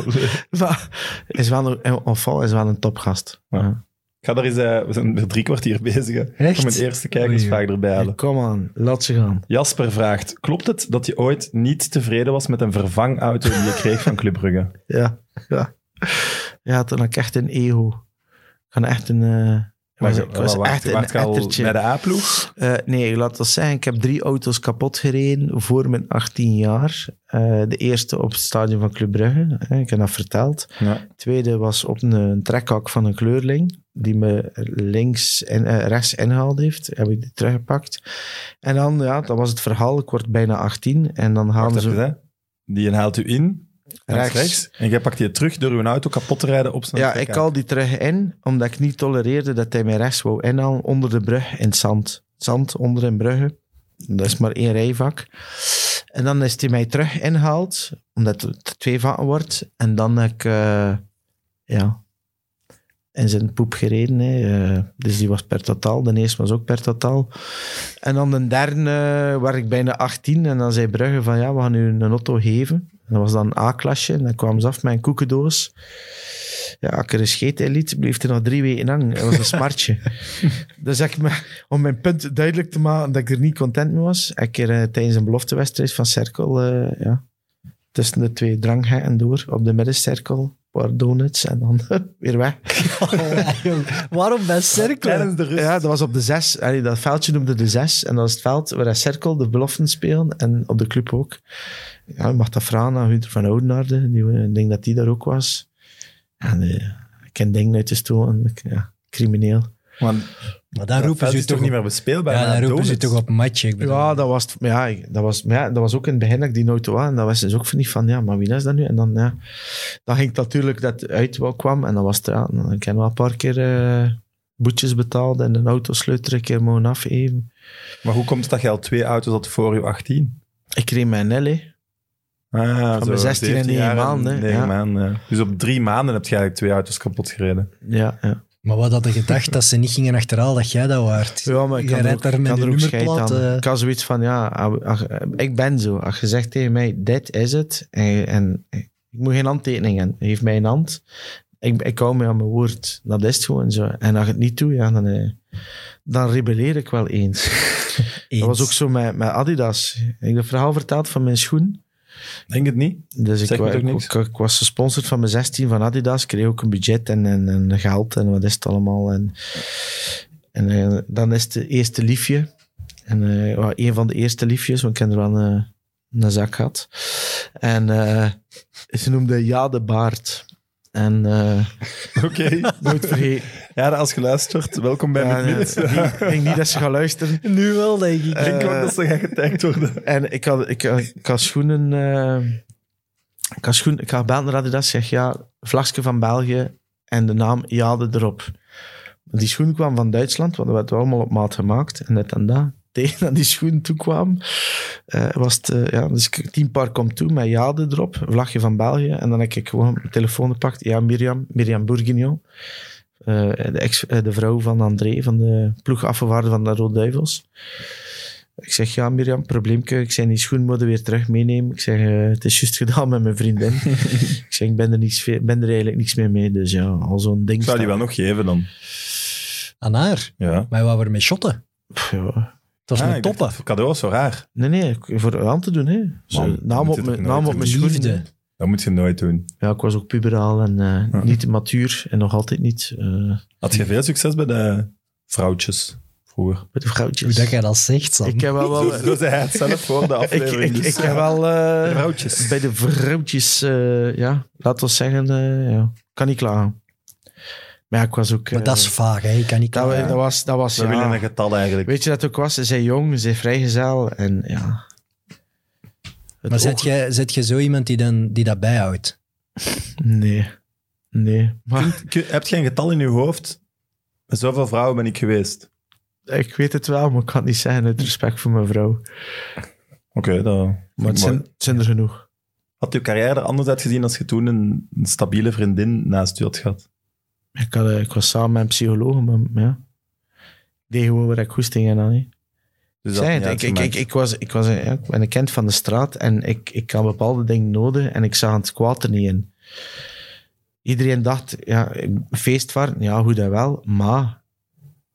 S3: maar is wel een, een enfant is wel een topgast.
S1: Ja.
S3: Ja.
S1: Ik ga daar eens, eh, we zijn er drie kwartier bezig. hè. Ik ga
S2: Echt?
S1: mijn eerste kijkersvraag erbij halen.
S3: Kom aan, laat ze gaan.
S1: Jasper vraagt, klopt het dat je ooit niet tevreden was met een vervangauto die je kreeg van Club Brugge?
S3: Ja, ja. ja toen had ik echt een ego. Ik had echt een... eh, was- ik was
S1: wacht,
S3: echt een
S1: wacht, al
S3: ettertje.
S1: bij de A-ploeg?
S3: Eh, nee, laat dat zeggen. Ik heb drie auto's kapot gereden voor mijn 18 jaar. Eh, de eerste op het stadion van Club Brugge. hè, ik heb dat verteld.
S1: Ja.
S3: De tweede was op een, een trekhak van een kleurling. Die me links en eh, rechts ingehaald heeft. Heb ik die teruggepakt. En dan, ja, dat was het verhaal. Ik word bijna 18. En dan
S1: Wacht
S3: halen
S1: even,
S3: ze...
S1: hè. Die haalt u in, rechts.
S3: Rechts.
S1: rechts. En jij pakt die terug door uw auto kapot te rijden op zijn
S3: Ja,
S1: trekker.
S3: ik haal die terug in. Omdat ik niet tolereerde dat hij mij rechts wou inhalen. Onder de brug in het zand. Zand onder een bruggen. Dat is maar één rijvak. En dan is hij mij terug ingehaald, omdat het twee vatten wordt. En dan heb ik, eh, ja, in zijn poep gereden. Hè. Eh, dus die was per totaal. De eerste was ook per totaal. En dan de derde eh, werd ik bijna 18. En dan zei Brugge van ja, we gaan u een auto geven. En dat was dan een A-klasje. En dan kwam ze af met een koekendoos. Ja, als ik er een scheet in liet, bleef er nog drie weken hangen. Dat was een smartje. dus ik, me- om mijn punt duidelijk te maken dat ik er niet content mee was, heb ik er eh, tijdens een beloftewedstrijd van Cirkel, eh, ja, tussen de twee dranghekken door, op de middencirkel, een paar donuts en dan weer weg.
S2: Waarom bij cirkelen?
S1: Tijdens de rust.
S3: Ja, dat was op de zes. Allee, dat veldje noemde de zes. En dat is het veld waar hij cirkel de beloften spelen. En op de club ook. Ja, je mag dat vragen aan Hunter van Oudenaarde. Die, eh, Ik denk dat die daar ook was. En eh, ik ken dingen uit de stoel. en ik- Ja, crimineel.
S1: Want
S2: Maar daar
S1: dat
S2: roepen
S1: veld
S2: ze
S1: is toch
S2: toch
S1: niet
S2: niet
S1: meer bespeelbaar.
S2: Ja,
S1: na
S2: daar roepen ze
S1: donuts.
S2: toch op matje. Ik bedoel.
S3: Ja, dat was, het- ja, ik- dat was, maar ja, dat was ook in het begin dat ik die nooit wou. En dat was dus ook van, niet van, ja, maar wie is dat nu? En dan, ja, dan ging het natuurlijk dat het uit wel kwam. En dan was het, ja, dan ik heb wel een paar keer eh, boetjes betaald. En een autosleutel een keer mogen afgeven.
S1: Maar hoe komt het dat je al twee auto's had voor je 18?
S3: Ik kreeg mijn Nelly.
S1: Ah,
S3: Van mijn 16 en
S1: 17
S3: negen
S1: jaar
S3: maanden, hè.
S1: negen
S3: Ja.
S1: maanden, ja. Dus op drie maanden heb je eigenlijk twee auto's kapot gereden.
S3: Ja, ja.
S2: Maar wat hadden gedacht dat ze niet gingen achterhaal dat jij dat waard?
S3: ja maar ik
S2: Jij
S3: kan er
S2: rijdt
S3: ook,
S2: daar
S3: ik
S2: met
S3: kan
S2: je
S3: er ook scheid
S2: nummerplaat,
S3: aan.
S2: eh.
S3: Ik had zoiets van, ja, ah, ah, ik ben zo. Als je zegt tegen mij, dit is het, en, en ik moet geen handtekeningen, geef mij een hand. Ik, ik hou me aan mijn woord. Dat is het gewoon zo. En als ik het niet doe, ja, dan, eh, dan rebelleer ik wel eens.
S2: Eens.
S3: Dat was ook zo met, met Adidas. Ik heb het verhaal verteld van mijn schoen.
S1: Denk het niet?
S3: Dus ik,
S1: Zeg me
S3: wa-
S1: toch
S3: ik,
S1: niks?
S3: ik- ik was gesponsord van mijn 16 van Adidas, kreeg ook een budget en, en, en geld en wat is het allemaal. En, en eh, dan is het de eerste liefje. En eh, wel, een van de eerste liefjes, want ik heb er wel een, een zak gehad. En eh, ze noemde Ja de Baard. En eh,
S1: Oké.
S3: nooit vergeten.
S1: Ja, als geluisterd, welkom bij
S3: Ja,
S1: mijn
S3: nee,
S1: Midden.
S3: ik denk- ik denk niet dat ze gaan luisteren.
S2: Nu wel, denk ik.
S1: Ik denk ook
S3: eh,
S1: dat ze gaan getagd worden.
S3: En ik had, ik, eh, ik had schoenen... eh, ik had schoenen... Ik had gebeld naar Adidas, zeg ja, vlagje van België en de naam Jade erop. Die schoen kwam van Duitsland, want dat werd allemaal op maat gemaakt. En net en dat, tegen dat die schoen toekwam, eh, was het... eh, ja, dus ik- tien paar komt toe met Jade erop, vlagje van België. En dan heb ik gewoon mijn telefoon gepakt. Ja, Mirjam, Mirjam Bourguignon. eh, de, ex, eh, de vrouw van André, van de ploegafgewaarde van de Rode Duivels. Ik zeg, ja Mirjam, probleemke. Ik zei, die schoenmode weer terug meenemen. Ik zeg, eh, het is juist gedaan met mijn vriendin. ik zeg, ik ben er, niks, ve- ben er eigenlijk niks meer mee. Dus ja, al zo'n ding.
S1: Ik zou die
S3: staat-
S1: wel nog geven dan.
S2: Aan haar.
S1: Ja.
S2: Maar wat we met shotten?
S3: Pff, ja.
S2: Het was
S1: Ah,
S2: met
S1: ik dacht
S2: toppen.
S1: dat voor Cadeau is zo raar.
S3: Nee, nee, ik- voor aan te doen. Hè. Zo,
S1: Man,
S3: naam
S1: moet
S3: op
S1: je
S3: mijn,
S1: toch
S3: naam
S1: nooit
S3: op mijn
S2: doen.
S3: schoen.
S2: Liefde.
S1: Dat moet je nooit doen.
S3: Ja, ik was ook puberaal en eh,
S1: Ja.
S3: niet matuur. En nog altijd niet. eh,
S1: Had je veel succes bij de vrouwtjes vroeger?
S3: met de
S2: Hoe
S3: vrouwtjes.
S2: dat jij dat zegt, Sam.
S3: ik heb wel... wel eh,
S1: Zo, zo zei hij het zelf voor de
S3: ik,
S1: aflevering.
S3: ik,
S1: dus.
S3: ik heb wel... eh,
S1: De vrouwtjes.
S3: bij de vrouwtjes, eh, ja, laten we zeggen, eh, ja, kan niet klagen. Maar ja, ik was ook...
S2: maar
S3: eh,
S2: dat is vaag, hè. Ik kan niet
S3: Dat, we-
S2: klagen.
S3: dat was, dat was
S1: We
S3: ja.
S1: willen een getal eigenlijk.
S3: Weet je dat ook was? Ze zijn jong, ze zijn vrijgezel en ja. Het
S2: Maar
S3: oog-
S2: zet jij, zet jij zo iemand die, dan, die dat bijhoudt?
S3: Nee. Nee. Maar
S1: Ah, Kun- Heb je een getal in je hoofd? Met Zoveel vrouwen ben ik geweest.
S3: ik weet het wel, maar ik kan het niet zeggen uit respect voor mijn vrouw.
S1: Oké, dat vind ik
S3: Maar het zijn,
S1: mooi.
S3: het zijn er genoeg.
S1: Had je carrière er anders uitgezien als je toen een, een stabiele vriendin naast je had gehad?
S3: Ik, had, eh, ik was samen met een psycholoog, maar maar ja. Ik deed gewoon waar ik goesting in had. hè.
S1: Dus dat
S3: Zei
S1: had
S3: het,
S1: niet
S3: ik, ik, ik,
S1: uitgemaakt.
S3: ik was, ik, was een, ja, ik ben een kind van de straat en ik, ik had bepaalde dingen nodig en ik zag het kwaad er niet in. Iedereen dacht, ja, feestvarten, ja, goed en wel, maar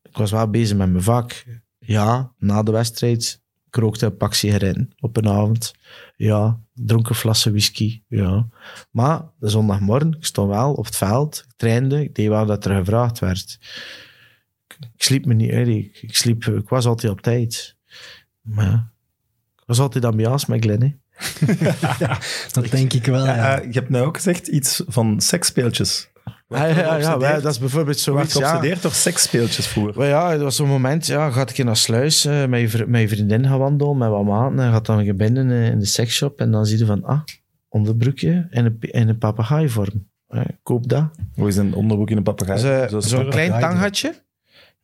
S3: ik was wel bezig met mijn vak. Ja, na de wedstrijd, ik rookte een pak sigaretten op een avond. Ja, dronk een flessen whisky, ja. Maar de zondagmorgen, ik stond wel op het veld, ik trainde, ik deed wel dat er gevraagd werd. Ik, ik sliep me niet, uit, ik, ik, sliep, ik was altijd op tijd. Maar ja, ik was altijd ambiance met Glenn. hè.
S2: Dat denk ik wel, ja.
S1: Ja, eh, je hebt nou ook gezegd iets van seksspeeltjes.
S3: Ah, ja, ja, ja, wij- dat is bijvoorbeeld
S1: Je werd
S3: zoiets. Ja.
S1: geobsedeerd door seksspeeltjes vroeger.
S3: Maar ja, dat was zo'n moment. Ja, gaat ik naar Sluis eh, met, je, vri- met je vriendin gaan wandelen, met wat maten. En gaat dan je binnen eh, in de seksshop en dan zie je van, ah, onderbroekje in een, pi- in een papegaaivorm. Eh, koop dat.
S1: Hoe is een onderbroek in een
S3: Dat
S1: papegaai?
S3: is, eh,
S1: Zo
S3: Zo'n
S1: strak.
S3: klein
S2: Papegaai,
S3: tanghatje.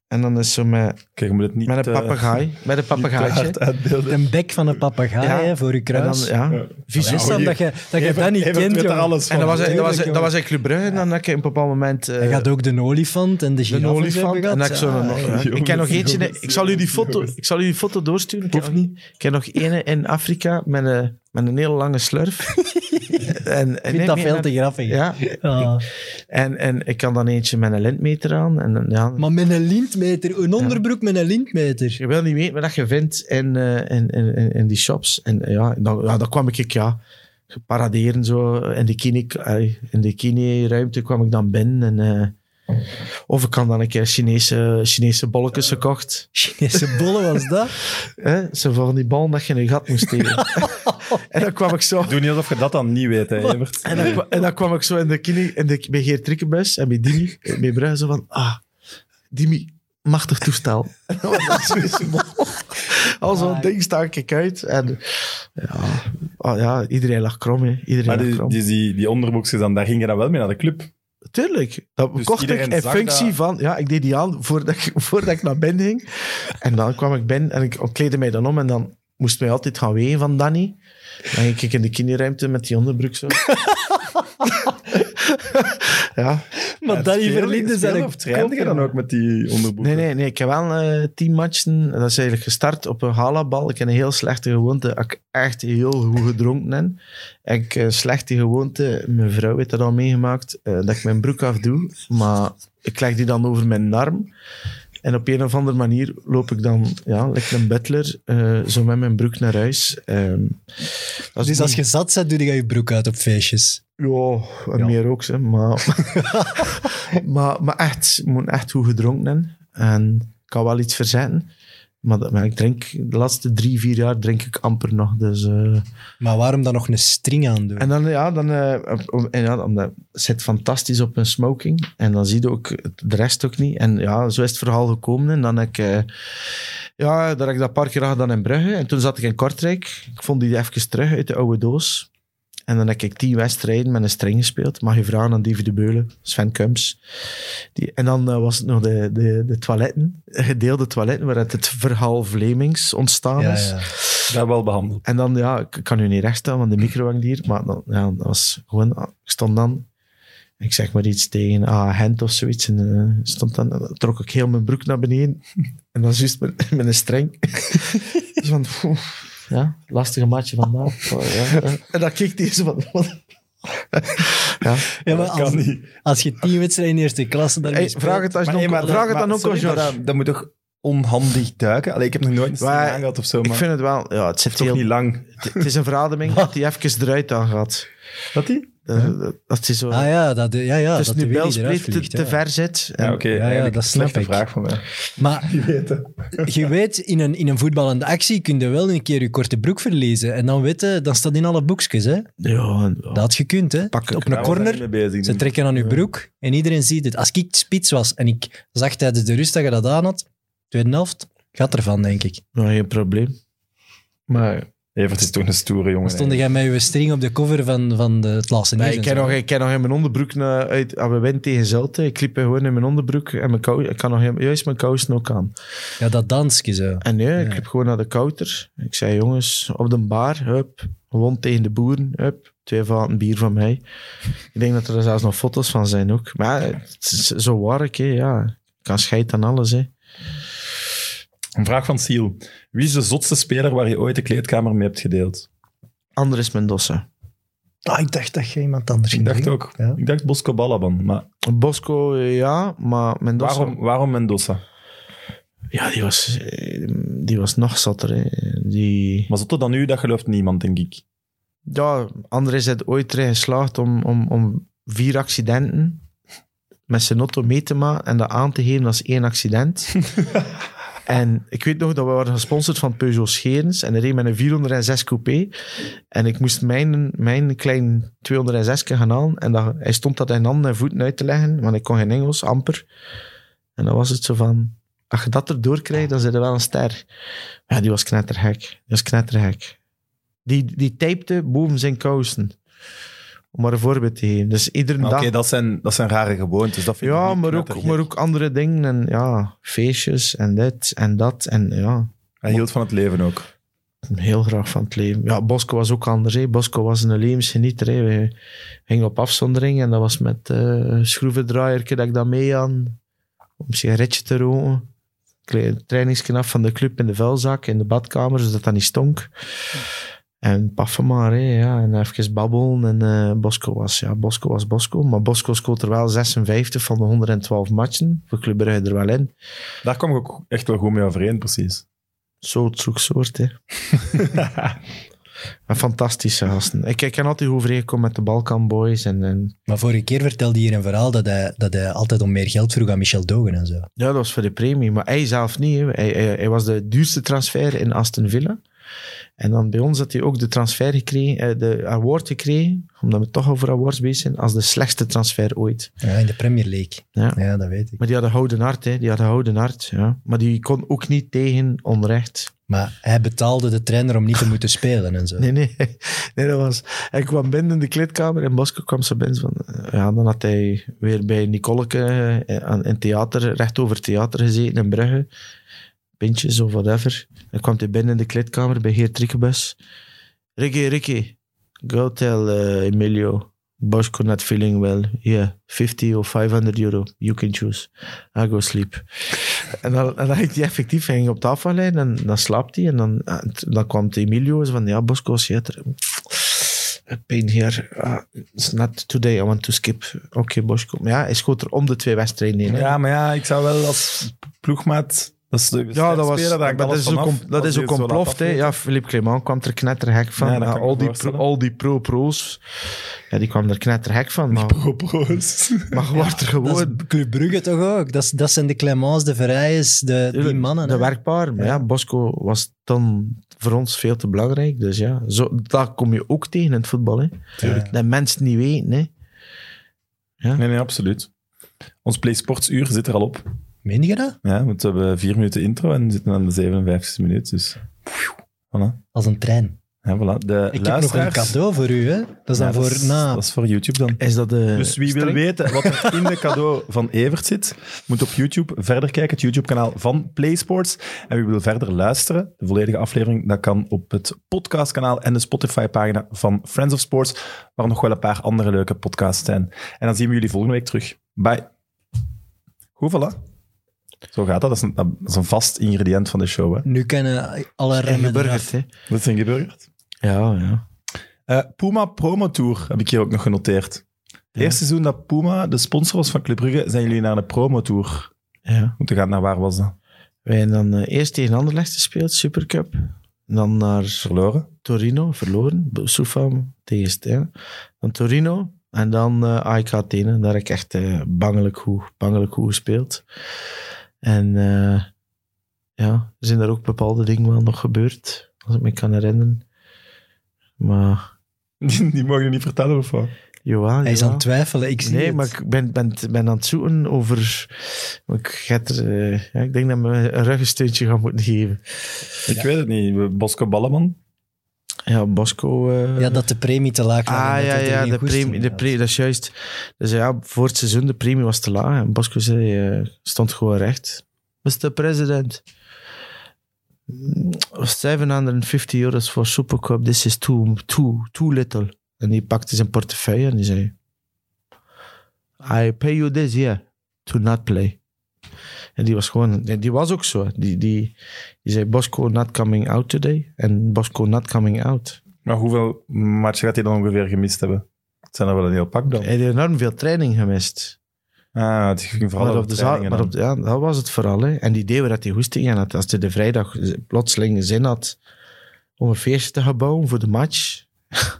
S3: En dan is zo met,
S1: Kijk, je moet het niet...
S3: met een
S1: eh,
S3: papegaai, met een
S1: niet te
S3: papegaaitje.
S1: hard uitbeelden.
S2: Een bek van een papegaai
S3: Ja.
S2: hè, voor je
S3: En dan,
S2: kruis.
S3: ja.
S2: Vies
S1: Ja,
S2: is
S1: maar
S2: dan
S1: je-
S2: dat je dat, je
S1: Evert-
S2: dat niet
S1: Evert
S2: kent,
S1: weet er
S2: joh.
S1: alles van.
S3: En dat was, dat was,
S2: tuurlijk,
S3: dat
S2: jongen.
S3: was in Club Brugge. En dan heb ik op een bepaald moment... eh,
S2: Hij gaat ook de olifant en de
S3: De
S2: giraffe hebben
S3: olifant.
S2: gehad.
S3: En ik, zo
S2: Ah,
S1: jongens,
S3: ik ken nog eentje.
S1: jongens,
S3: ik, zal u die foto,
S1: jongens.
S3: ik zal u die foto doorsturen. Ik ken, nog, ik ken nog ene in Afrika met een, met een hele lange slurf. en,
S2: Ik vind dat veel te grappig.
S3: Ja,
S2: Ah.
S3: en, en ik kan dan eentje met een lintmeter aan. En, dan- ja,
S2: Maar met een lintmeter, een onderbroek met een lintmeter.
S3: je wil niet weten wat je vindt in, eh, in, in, in, in die shops. En eh, ja, dan, ja, dan kwam ik, ja, paraderen zo. In de, kine, eh, in de kine-ruimte kwam ik dan binnen. En, eh, of ik had dan een keer Chinese, Chinese bolletjes gekocht.
S2: Chinese bollen was dat?
S3: Hè? Zo van die bal dat je in een gat moest steken. en dan kwam ik zo...
S1: Doe niet alsof je dat dan niet weet, hè, Evert.
S3: En dan, kwa- en dan kwam ik zo in de kini, in de, bij Geert Rikkenbuis en bij Dimi, bij Brugge, zo van... Ah, Dimi, machtig toestel. En dan was dat zo'n bal. Al zo'n
S2: Ah.
S3: ding stak ik uit. En ja, ah, ja iedereen lag krom, hè. Iedereen
S1: Maar
S3: lag
S1: die,
S3: krom.
S1: die, die, die onderbroekjes dan, daar ging je dan wel mee naar de club.
S3: Tuurlijk. Dat
S1: Dus
S3: kocht ik
S1: iedereen
S3: in
S1: zag
S3: functie
S1: dat.
S3: van... Ja, ik deed die aan voordat ik, voordat ik naar binnen ging. En dan kwam ik binnen en ik kleedde mij dan om. En dan moest mij altijd gaan ween van Danny. Dan ging ik in de kinderruimte met die onderbroek zo. ja.
S2: Maar Danny Verlinde zijn
S1: Of trainde je dan ook met die onderbroeken?
S3: Nee, nee, nee. Ik heb wel eh tien matchen. Dat is eigenlijk gestart op een halabal. Ik heb een heel slechte gewoonte. dat Ik echt heel goed gedronken heb. En Ik eh, slechte gewoonte. Mijn vrouw heeft dat al meegemaakt. eh, dat ik mijn broek afdoe. Maar ik leg die dan over mijn arm. En op een of andere manier loop ik dan, ja, lijkt een butler, eh, zo met mijn broek naar huis. Ehm, dat is
S2: Dus als
S3: niet-
S2: je zat bent, doe je je broek uit op feestjes.
S3: Ja, en
S1: Ja.
S3: meer ook, hè, maar, maar, maar echt, ik moet echt goed gedronken hebben. En ik kan wel iets verzetten. Maar, dat- maar ik drink, de laatste drie, vier jaar drink ik amper nog. Dus, eh,
S2: Maar waarom dan nog een string aan doen?
S3: en dan, ja, dan eh, op- op- en ja, omdat, het zit fantastisch op een smoking. En dan zie je ook het- de rest ook niet. En ja, zo is het verhaal gekomen. En dan heb ik, eh, ja, daar heb ik dat paar keer gedaan in Brugge. En toen zat ik in Kortrijk. Ik vond die even terug uit de oude doos. En dan heb ik tien wedstrijden met een string gespeeld. Mag je vragen aan Davy de Beulen, Sven Kums. Die, en dan eh, was het nog de, de, de toiletten, gedeelde toiletten, waar het, het verhaal Vlemings ontstaan
S2: ja,
S3: is.
S2: ja.
S1: Dat wel behandeld.
S3: En dan, ja, ik ik kan nu niet recht staan, want de micro hangt hier. Maar dan, ja, dat was gewoon, ah, ik stond dan, ik zeg maar iets tegen ah, Hent of zoiets. En eh, stond dan, dan trok ik heel mijn broek naar beneden. En dan juist met, met een streng. dus van, poeh, ja, lastige maatje vandaag. Oh, ja, ja. En dan keek deze van, wat- ja.
S2: Ja, maar
S1: Dat kan
S2: als,
S1: niet.
S2: als je tien wedstrijden in eerste klasse daarmee
S3: Hey,
S2: speelt-
S3: vraag het, als
S1: Maar
S3: nog,
S1: nee, maar-
S3: vraag het
S1: maar-
S3: dan ook
S1: sorry,
S3: aan
S1: maar
S3: George.
S1: dat, dat moet toch onhandig duiken? Allee, ik heb nog nooit een string
S3: Maar-
S1: aangehad of zo,
S3: Ik
S1: maar
S3: vind het wel, ja, het zit
S1: toch
S3: heel,
S1: niet lang.
S3: het- het is een verademing dat hij even eruit aan gaat.
S1: Dat die?
S3: Dat, dat is zo...
S2: Ah ja, dat, ja, ja,
S3: dus
S2: dat
S3: nu
S2: de Willy
S3: Belsplit
S2: eruit
S3: te,
S2: vliegt,
S3: te
S2: ja.
S3: ver zit. En-
S1: Ja, oké.
S2: ja,
S1: eigenlijk
S2: dat
S1: een
S2: snap
S1: slechte
S2: ik.
S1: vraag van mij.
S2: Maar je weet, in een, in een voetballende actie kun je wel een keer je korte broek verliezen. En dan weet je, dan staat in alle boekjes. Hè?
S3: Ja, en- ja.
S2: Dat had gekund, hè?
S3: Pak ik
S2: Op
S3: nou
S2: een
S1: Daar was hij
S2: corner,
S1: niet mee bezig,
S2: ze
S1: denk ik.
S2: trekken aan je broek en iedereen ziet het. Als ik spits was en ik zag tijdens de rust dat je dat aan had, tweede helft, gaat ervan, denk ik.
S3: Ja, geen probleem. Maar
S1: Evert is toch een stoere jongen.
S2: Dan stond jij met je string op de cover van, van de, het laatste nieuws.
S3: nee, ik,
S2: en
S3: ken
S2: zo.
S3: nog, ik ken nog in mijn onderbroek naar- uit. ah, We winnen tegen Zelte. Ik liep gewoon in mijn onderbroek en mijn kous. Ik kan nog helemaal- juist mijn kousen ook aan.
S2: Ja, dat dansje zo.
S3: En nee, ik liep gewoon naar de kouter. Ik zei, jongens, op de bar, hup. Won tegen de boeren, hup. Twee vaten bier van mij. Ik denk dat er zelfs nog foto's van zijn ook. Maar het is zo waar ik, hè, ja. Ik kan scheid aan alles, hè.
S1: Een vraag van Siel. Wie is de zotste speler waar je ooit de kleedkamer mee hebt gedeeld?
S3: Andres Mendoza.
S2: Ah, ik dacht dat je iemand anders
S1: Ik
S2: ging
S1: dacht
S2: brengen.
S1: ook.
S2: Ja.
S1: Ik dacht Bosco Balaban, maar
S3: Bosco, eh, ja, maar Mendoza...
S1: waarom, waarom Mendoza?
S3: Ja, die was, eh, die was nog zatter. hè. Die...
S1: Maar zotter dan nu, dat gelooft niemand, denk ik.
S3: Ja, André is er ooit erin geslaagd om, om, om vier accidenten met zijn auto mee te maken en dat aan te geven als één accident. en ik weet nog dat we waren gesponsord van Peugeot Scherens en er reed met een 406 coupé. En ik moest mijn, mijn klein 206 gaan halen en dat, hij stond dat in handen en voeten uit te leggen, want ik kon geen Engels, amper. En dan was het zo van, als je dat erdoor krijgt, dan zit er wel een ster. Ja, die was knettergek. Die was knettergek. Die, die tapte boven zijn kousen. Om maar een voorbeeld te geven. Dus iedere
S1: Maar Oké,
S3: dag...
S1: dat, zijn, dat zijn rare gewoontes. Dat vind ik
S3: ja,
S1: niet
S3: maar ook,
S1: knettergek.
S3: maar ook andere dingen. En ja, feestjes en dit en dat. En ja,
S1: Hij hield van het leven ook.
S3: heel graag van het leven. Ja, Bosco was ook anders. Hè. Bosco was een levensgenieter. Hè. We gingen op afzondering en dat was met eh schroevendraaierke dat ik dat mee aan. Om een sigaretje te roken. Klein trainingsken af van de club in de vuilzak, in de badkamer, zodat dat niet stonk. En paffen maar, hè, ja. En even babbelen. En eh, Bosco was, ja, Bosco was Bosco. Maar Bosco scoort er wel 56 van de 112 matchen. Voor Club Brugge er wel in.
S1: Daar kwam ik ook echt wel goed mee overeen, precies.
S3: Soort zoek soort, hè. Een fantastische gasten. Ik, ik kan altijd goed overeenkomen met de Balkan Boys. En, en...
S2: Maar vorige keer vertelde hij hier een verhaal dat hij, dat hij altijd om meer geld vroeg aan Michel Dogen en zo.
S3: Ja, dat was voor de premie. Maar hij zelf niet. Hè. Hij, hij, hij was de duurste transfer in Aston Villa. En dan bij ons had hij ook de, transfer gekregen, eh, de award gekregen, omdat we toch over awards bezig zijn, als de slechtste transfer ooit.
S2: Ja, in de Premier League.
S3: Ja.
S2: ja dat weet ik.
S3: Maar die had een houden hart, hè. Die had een houden hart, ja. Maar die kon ook niet tegen onrecht.
S2: Maar hij betaalde de trainer om niet te moeten spelen en zo.
S3: Nee, nee. nee dat was, hij kwam binnen in de kleedkamer en Bosco kwam zo binnen. Van, eh, ja, dan had hij weer bij Nicoleke eh, aan- in theater, recht over het theater gezeten in Brugge. Pintjes of whatever. Dan kwam hij binnen in de kleedkamer bij Geert Rikkebus. Ricky, Ricky, go tell eh, Emilio. Bosco not feeling well. Yeah, 50 of 500 euro. You can choose. I go sleep. En dan, en dan ging hij effectief hij ging op tafel liggen en dan slaapt hij. En dan, en t- dan kwam het Emilio en zei van, ja, Bosco, shit. er- Pain here. Ah, it's not today. I want to skip. Oké, Bosco. Maar ja, hij schoot er om de twee wedstrijden in. hè.
S1: Ja, maar ja, ik zou wel als ploegmaat... Dat is de
S3: Ja, dat,
S1: speler,
S3: was,
S1: Dus daar
S3: dat,
S1: ik alles
S3: is ook,
S1: vanaf,
S3: om- dat
S1: als
S3: is
S1: die
S3: ook
S1: het zo laat
S3: ontploft. Hè.
S1: afweten.
S3: Ja, Philippe Clément kwam er knetterhek van.
S1: Ja, dat
S3: Ja,
S1: kan ik me
S3: al, die pro,
S1: voorstellen.
S3: al die pro-pro's, ja, die kwam er knetterhek van. Maar,
S1: Propo's.
S3: maar je wordt er
S2: Dat
S3: gewoon...
S2: is Club Brugge toch ook? Dat, is- dat zijn de Clemens, de Verrijs, de, die
S3: Tuurlijk,
S2: mannen.
S3: De
S2: hè?
S3: werkpaar. Maar ja, Bosco was dan voor ons veel te belangrijk. Dus ja, zo, dat kom je ook tegen in het voetbal. Hè.
S1: Tuurlijk.
S3: Dat mensen niet weten. Hè.
S1: Nee, nee, absoluut. Ons PlaySportsuur zit er al op.
S2: Meen je dat?
S1: Ja, want we hebben vier minuten intro en we zitten aan de 57 minuut. Dus voilà.
S2: Als een trein.
S1: Ja, voilà. De
S2: Ik heb nog een
S1: luisteraars-
S2: cadeau voor u, hè? Dat is dan
S1: Ja,
S2: voor
S1: dat is-
S2: na.
S1: Dat is voor YouTube dan.
S3: Is dat de
S1: Dus wie wil
S3: streng?
S1: weten wat er in de cadeau van Evert zit, moet op YouTube verder kijken, het YouTube-kanaal van PlaySports. En wie wil verder luisteren, de volledige aflevering, dat kan op het podcastkanaal en de Spotify-pagina van Friends of Sports, waar nog wel een paar andere leuke podcasts zijn. En dan zien we jullie volgende week terug. Bye. Goed, voilà. Zo gaat dat. Dat is een, dat is een vast ingrediënt van de show. Hè?
S2: Nu kennen alle
S3: En
S2: remmen
S3: geburgerd,
S2: eraf.
S3: hè.
S1: Dat is ingeburgerd.
S3: Ja, ja.
S1: Eh, Puma Promo Tour heb ik hier ook nog genoteerd. Het eerste seizoen dat Puma de sponsor was van Club Brugge, zijn jullie naar een Promo Tour
S3: ja.
S1: moeten gaan naar waar was dat?
S3: Wij hebben dan eh, eerst tegen Anderlecht gespeeld, Supercup. Dan naar
S1: Verloren.
S3: Torino, verloren. Soefam tegen Stijn. Dan Torino en dan eh AEK Athene. Daar heb ik echt eh, bangelijk, goed, bangelijk goed gespeeld. En eh, ja, er zijn daar ook bepaalde dingen wel nog gebeurd, als ik me kan herinneren. Maar,
S1: Die, die mogen je niet vertellen of wat?
S3: jawel,
S2: Hij is
S3: jawel.
S2: aan het twijfelen, ik zie
S3: Nee,
S2: het.
S3: maar ik ben, ben, ben aan het zoeken over... maar Ik, heb er, eh, ja, ik denk dat we een ruggensteuntje gaan moeten geven.
S1: Ik weet het niet. Bosco Balleman.
S3: Ja, Bosco... eh,
S2: Ja, dat de premie te laag lag.
S3: Ah
S2: en dat
S3: ja,
S2: hij er
S3: ja,
S2: geen
S3: de
S2: goesting
S3: premie,
S2: in
S3: de
S2: had.
S3: premie, dat is juist. Dus ja, voor het seizoen, de premie was te laag. En Bosco zei, eh, stond gewoon recht. Mr. President, mm, 750 euros voor Supercup, this is too, too, too little. En die pakte zijn portefeuille en die zei, I pay you this year to not play. En die was gewoon, en die was ook zo. Die, die, die zei, Bosco not coming out today. En Bosco not coming out.
S1: Maar hoeveel matchen gaat hij dan ongeveer gemist hebben? Het zijn er wel een heel pak dan.
S3: Hij heeft enorm veel training gemist.
S1: Ah, het ging vooral
S3: Maar,
S1: over
S3: op de zaal,
S1: trainingen
S3: maar
S1: dan.
S3: op de- ja, dat was het vooral. Hè. En die idee waar dat hij goesting in had. Als hij de vrijdag z- plotseling zin had om een feestje te gaan bouwen voor de match.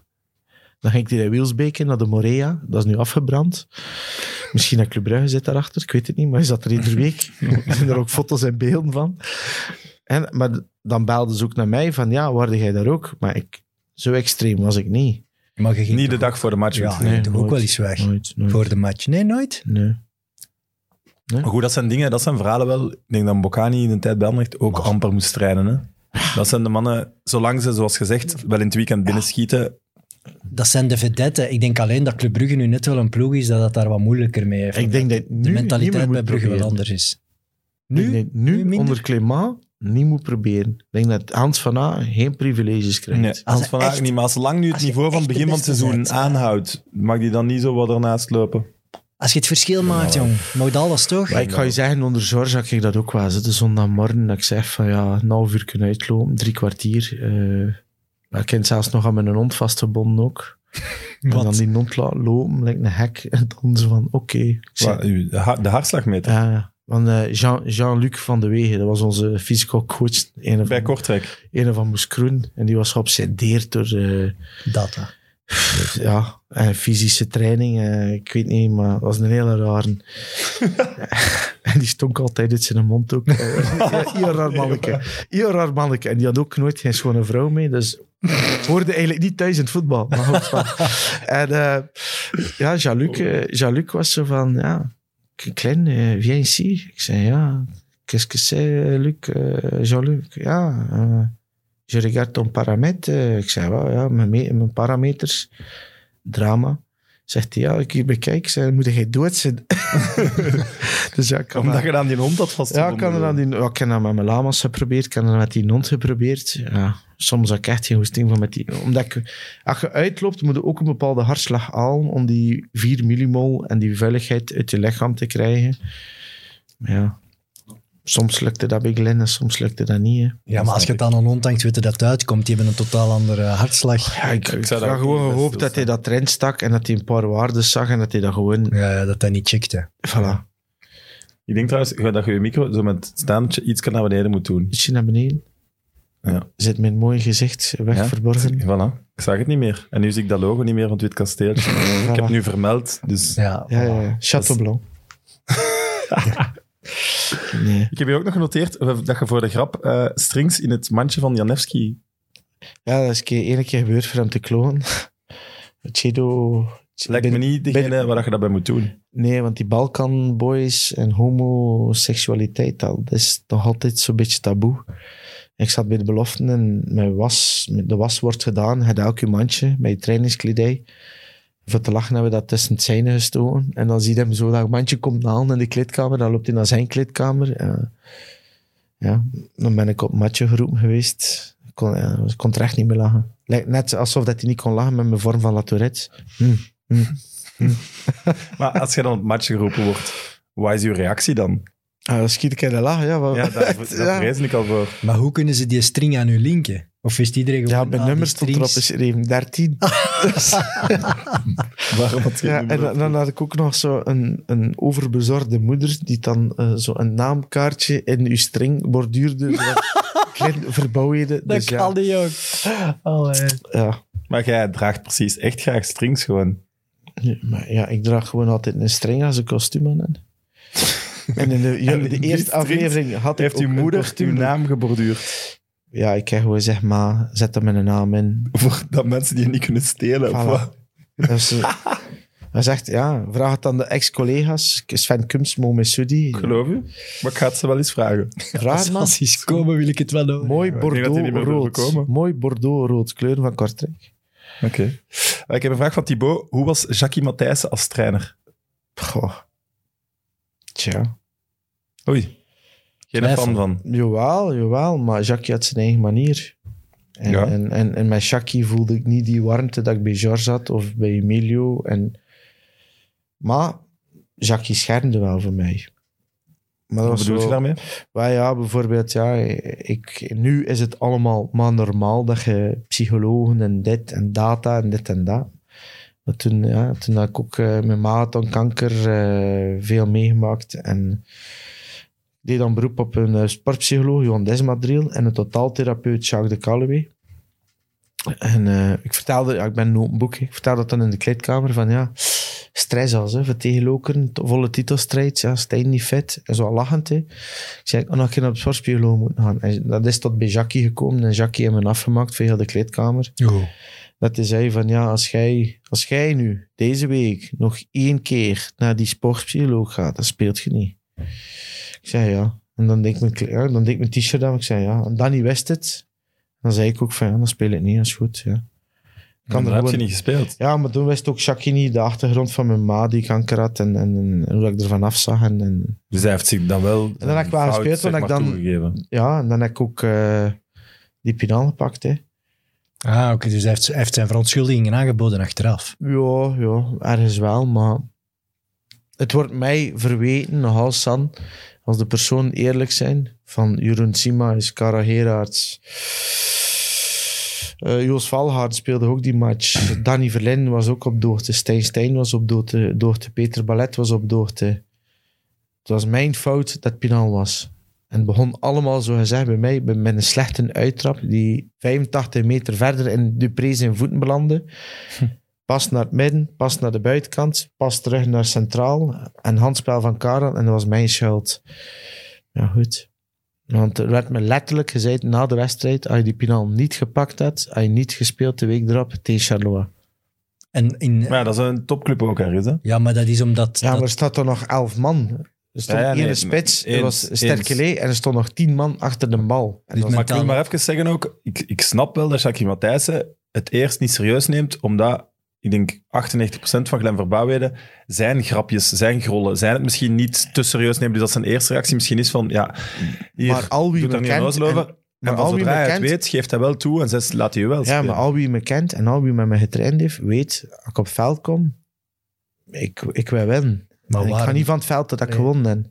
S3: dan ging hij naar Wielsbeke, naar de Morea. Dat is nu afgebrand. Misschien dat Club Brugge zit daarachter, ik weet het niet. Maar hij zat er iedere week. er zijn er ook foto's en beelden van. En, maar dan belden ze ook naar mij van, ja, waarde jij daar ook? Maar ik, zo extreem was ik niet.
S2: Maar je ging
S1: Niet de
S2: toch-
S1: dag voor de match.
S2: Ja,
S1: goed.
S2: je
S3: Nee,
S2: ging toch ook
S3: nooit.
S2: wel eens weg
S3: Nooit, nooit.
S2: voor de match. Nee, nooit.
S3: Nee.
S1: Maar goed, dat zijn dingen, dat zijn verhalen wel. Ik denk dat Bocani in de tijd bij Anderlecht ook amper moest trainen. Hè? Dat zijn de mannen, zolang ze, zoals gezegd, wel in het weekend binnenschieten,
S2: dat zijn de vedetten. Ik denk alleen dat Club Brugge nu net wel een ploeg is dat dat daar wat moeilijker mee heeft.
S3: Ik denk dat nu
S2: de
S3: niet meer
S2: mentaliteit
S3: moet
S2: bij Brugge wel
S3: proberen.
S2: anders is.
S3: Nu,
S1: Nu?
S2: nu
S3: nu,
S2: minder?
S3: onder Clément niet moet proberen. Ik denk dat Hans van A geen privileges krijgt.
S1: Nee, Hans
S2: hij
S1: van Aken
S2: echt-
S1: niet. Maar als lang nu het
S2: als je
S1: niveau van het
S2: echt de
S1: begin van het
S2: beste
S1: seizoen
S2: bent, ja.
S1: aanhoudt, mag die dan niet zo wat ernaast lopen?
S2: Als je het verschil maakt, jong. Modal was toch?
S3: Maar ik ga je zeggen, onder George had ik dat ook wel zitten zondagmorgen. Dat ik zeg van ja, een half uur kunnen uitlopen, drie kwartier. eh maar ik heb zelfs nog aan mijn hond vastgebonden ook. En dan
S2: Wat?
S3: die hond laten lopen, lijkt een hek. En dan zo van, oké. Ik zeg,
S1: Wat, uw- De ha- de hartslagmeter
S3: Ja, ja. Want eh, Jean, Jean-Luc van de Wegen, dat was onze fysico coach. Een
S1: bij
S3: van,
S1: Kortrijk.
S3: een van Moes Kroen. En die was geobsedeerd door eh,
S2: Data.
S3: ja, en fysische training. eh, ik weet niet, maar dat was een hele rare. en die stonk altijd uit zijn mond ook. Eh, Heel raar manneke. Heel raar manneke. En die had ook nooit geen schone vrouw mee. Dus hoorde eigenlijk niet thuis in het voetbal. Maar goed, van. En eh, ja, Jean-Luc, eh, Jean-Luc was zo van, ja, k- klein, eh, viens ici. Ik zei, ja, qu'est-ce que c'est, eh, Luc? Eh, Jean-Luc, ja, eh, je regarde ton paramètre. Eh, Ik zei, wel, ja, mijn, me- mijn parameters. Drama. Zegt hij, ja, ik hier bekijk. Ik zei, moet jij dood zijn? dus ja, ik kan
S1: Omdat
S3: dat-
S1: je aan die hond had
S3: ja,
S1: vastgebonden.
S3: ik kan er aan die, ja, ik heb dat met mijn lama's geprobeerd, ik heb dat met die hond geprobeerd. Ja, soms had ik echt geen goesting van met die... Omdat ik, als je uitloopt, moet je ook een bepaalde hartslag halen om die 4 millimol en die vuiligheid uit je lichaam te krijgen. Maar ja, soms lukte dat bij Glenn en soms lukte dat niet. hè.
S2: Ja, maar als je het aan een onthangt, weet je dat het uitkomt. Die hebben een totaal andere eh, hartslag.
S3: Ja, ik,
S1: Ik
S3: ik
S1: zou daar
S3: had
S1: ook niet
S3: gewoon
S1: bij
S3: gehoopt dat hij
S1: stilstaan.
S3: dat trend stak en dat hij een paar waarden zag en dat hij dat gewoon...
S2: Ja, dat hij niet checkte.
S3: Voilà,
S1: Ik denk trouwens dat je je micro zo met het staandje iets naar beneden moet doen.
S3: ietsje naar beneden. Eh,
S1: Ja.
S3: Zit mijn mooi gezicht weg
S1: Ja?
S3: verborgen.
S1: Voilà, ik zag het niet meer. En nu zie ik dat logo niet meer van het Wit Kasteeltje. ik heb het nu vermeld, dus...
S2: Ja,
S3: Ja, ja, ja. Chateau Blanc. nee.
S1: Ik heb hier ook nog genoteerd eh, dat je voor de grap eh, strings in het mandje van Janewski...
S3: Ja, dat is een keer, ene keer gebeurd voor hem te klonen. Chido...
S1: Lijkt me niet degene
S3: ben-
S1: waar dat je dat bij moet doen.
S3: Nee, want die Balkanboys en homoseksualiteit, dat is nog altijd zo'n beetje taboe. Ik zat bij de beloften en mijn was, de was wordt gedaan. Het elk je mandje met je trainingskledij. Voor te lachen hebben we dat tussen het zijne gestoken. En dan zie je hem zo dat mandje komt aan in de kleedkamer. Dan loopt hij naar zijn kleedkamer. Eh, ja, dan ben ik op matje geroepen geweest. Ik kon, eh, ik kon er echt niet meer lachen. Lijkt net alsof dat hij niet kon lachen met mijn vorm van La Tourette. Hm.
S1: Maar als je dan op het matje geroepen wordt, wat is je reactie dan?
S3: Ah, dan schiet ik in de lach. Ja,
S2: Oh.
S3: wat-
S1: Ja, daar, daar
S3: Ja.
S1: vrees ik al voor.
S2: Maar hoe kunnen ze die string aan hun linken? Of wist iedereen gewoon...
S3: Ja, mijn
S2: ah,
S3: nummer
S2: die
S3: stond erop
S2: strings-
S3: geschreven, 13.
S1: Ah, Waarom had je
S3: ja,
S1: het
S3: en
S1: nummer
S3: dan, dan had ik ook nog zo een, een overbezorgde moeder die dan eh, zo een naamkaartje in uw string borduurde. zodat Klein verbouwheden.
S2: Dat
S3: Dus
S2: kan
S3: ja, Ah,
S2: die ook. Oh, eh.
S3: ja.
S1: Maar jij draagt precies echt graag strings gewoon.
S3: Ja, maar ja, ik draag gewoon altijd een string als een kostuum aan. heb. En in de, ja,
S1: En in die
S3: de eerste
S1: strings
S3: aflevering had ik
S1: Heeft
S3: ook
S1: uw
S3: een
S1: moeder uw
S3: kostuum.
S1: naam geborduurd?
S3: Ja, ik heb gewoon zeg maar, zet er mijn naam in.
S1: Voor dat mensen die je niet kunnen stelen. of
S3: Voilà.
S1: wat?
S3: Dus, eh, hij zegt, ja, vraag het aan de ex-collega's. Sven Kums, Mo Messoudi.
S1: Ik geloof je. Maar ik ga het ze wel eens vragen.
S3: Vraag het maar.
S2: Als ze eens komen, wil ik het wel horen.
S3: Mooi
S1: denk dat die niet meer durven
S3: Bordeaux-rood.
S1: komen.
S3: Mooi Bordeaux-rood kleur van Kortrijk.
S1: Oké. Ik heb een vraag van Thibaut. Hoe was Jackie Matthijssen als trainer?
S3: Goh. Tja.
S1: Oei. Geen
S2: Twijfel.
S1: fan van.
S3: Jawel, jawel. Maar Jackie had zijn eigen manier. En,
S1: Ja.
S3: en, en, en met Jackie voelde ik niet die warmte dat ik bij George had of bij Emilio. En, maar Jackie schermde wel voor mij. Maar
S1: Wat
S3: dat
S1: bedoel
S3: was
S1: je
S3: wel,
S1: daarmee?
S3: Wel ja, bijvoorbeeld, ja, ik, nu is het allemaal maar normaal dat je psychologen en dit en data en dit en dat. Maar toen, ja, toen had ik ook eh, mijn maat aan kanker eh, veel meegemaakt. En ik deed dan beroep op een eh, sportpsycholoog, Johan Desmadriel, en een totaaltherapeut, Jacques de Calloway. En eh, ik vertelde, ja, ik ben een boek, ik vertelde dat dan in de kleedkamer van ja, stress als, hè, vertegenlokeren, volle titelstrijd, ja, Stijn niet fit. En zo lachend, hè. Ik zei, oh, nog een keer naar de sportspiegeloog moeten gaan. En dat is tot bij Jackie gekomen. En Jackie heeft me afgemaakt voor heel de kleedkamer.
S2: Oh.
S3: Dat hij zei van, ja, als jij, als jij nu deze week nog één keer naar die sportspiegeloog gaat, dan speelt je niet. Ik zei, ja. En dan deed ik mijn, kle- ja, dan deed ik mijn t-shirt aan. Ik zei, ja. En Danny wist het. Dan zei ik ook van, ja, dan speel ik niet, dat is goed, ja. Ik kan er
S1: heb je
S3: gewoon-
S1: niet gespeeld.
S3: Ja, maar toen wist ook Shaki niet de achtergrond van mijn ma die kanker had en, en, en hoe ik ervan afzag. En, en,
S1: Dus hij heeft zich dan wel.
S3: dan heb ik wel
S1: fout,
S3: gespeeld,
S1: zeg
S3: want ik
S1: maar,
S3: dan-
S1: toegegeven.
S3: ja, en dan heb ik ook eh, die pinaal gepakt. Hè.
S2: Ah, oké. dus hij heeft, hij heeft zijn verontschuldigingen aangeboden achteraf.
S3: Ja, ja, ergens wel, maar het wordt mij verweten, nog als San, als de persoon eerlijk zijn, van Jeroen Sima is Kara Heraerts. Eh, Joost Valhaard speelde ook die match. Danny Verlin was ook op doorte. Stijn Stijn was op doorte. doorte. Peter Ballet was op doorte. Het was mijn fout dat Pinal was. En het begon allemaal, zo gezegd, bij mij bij- met een slechte uittrap die 85 meter verder in Dupré zijn voeten belandde. Pas naar het midden, pas naar de buitenkant, pas terug naar centraal. En handspel van Karel, en dat was mijn schuld. Ja, goed. Want er werd me letterlijk gezegd na de wedstrijd, als je die pinaal niet gepakt had, had je niet gespeeld de week erop tegen Charleroi.
S2: En in,
S1: Maar ja, dat is een topclub ook ergens. Hè?
S2: ja, maar dat is omdat...
S3: Ja, maar
S2: dat-
S3: er staat er nog elf man. Er stond
S1: Ja, ja,
S3: één
S1: nee,
S3: spits,
S1: eens,
S3: er was
S1: eens.
S3: Sterkelee, en er stond nog tien man achter de bal. En
S2: Dus
S3: dat was-
S1: Maar ik wil
S2: Mentaal-
S1: maar even zeggen ook, ik, ik snap wel dat Jackie Matthijssen het eerst niet serieus neemt, omdat ik denk 98% van Glenn Verbouwheden zijn grapjes, zijn grollen, zijn het misschien niet te serieus nemen. Dus dat zijn eerste reactie misschien is van, ja, hier,
S3: Maar al wie
S1: doet
S3: me
S1: er niet een
S3: kent
S1: noos over.
S3: en-
S1: En
S3: maar
S1: van
S3: al wie
S1: zodra
S3: me
S1: hij het
S3: kent-
S1: weet, geeft hij wel toe en zegt, laat hij je wel
S3: Ja,
S1: spelen.
S3: maar al wie me kent en al wie met me getraind heeft, weet, als ik op het veld kom, ik, ik wil winnen.
S2: maar
S3: En ik ga
S2: waarom-
S3: niet van het veld dat ik
S2: Nee.
S3: gewonnen heb.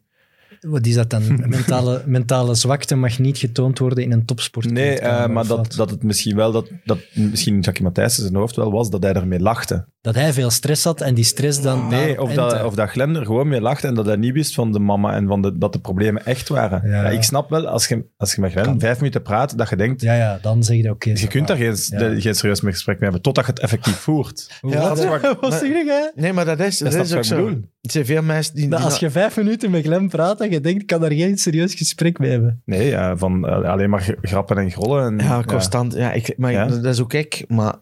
S2: Wat is dat dan? Mentale, mentale zwakte mag niet getoond worden in een topsport.
S1: Nee, eh,
S2: Of
S1: maar dat,
S2: wat?
S1: dat het misschien wel, dat, dat misschien Jackie Matthijssen zijn hoofd wel was, dat hij ermee lachte.
S2: Dat hij veel stress had en die stress dan...
S1: Nee, of
S2: en-
S1: dat, of dat Glenn er gewoon mee lacht en dat hij niet wist van de mama en van de, dat de problemen echt waren.
S2: Ja.
S1: Ja. ik snap wel, als je, als je met Glenn vijf minuten praat, dat je denkt,
S2: Ja, ja, dan zeg je oké.
S1: je kunt daar geen,
S2: Ja.
S1: de- geen serieus meer gesprek mee hebben, totdat je het effectief voert.
S3: Ja,
S1: dat is wat,
S3: wat zeg Nee, maar dat is, dat
S1: snap
S3: is
S1: je
S3: ook
S1: wat ik
S3: zo.
S1: bedoel?
S3: Er zijn veel mensen die... die
S2: als je vijf minuten met Glenn praat en je denkt, ik kan daar geen serieus gesprek mee hebben.
S1: Nee, ja, van eh, alleen maar grappen en grollen. En,
S3: ja, constant. Ja, ik, maar ik-
S1: Ja.
S3: dat is ook ik, maar...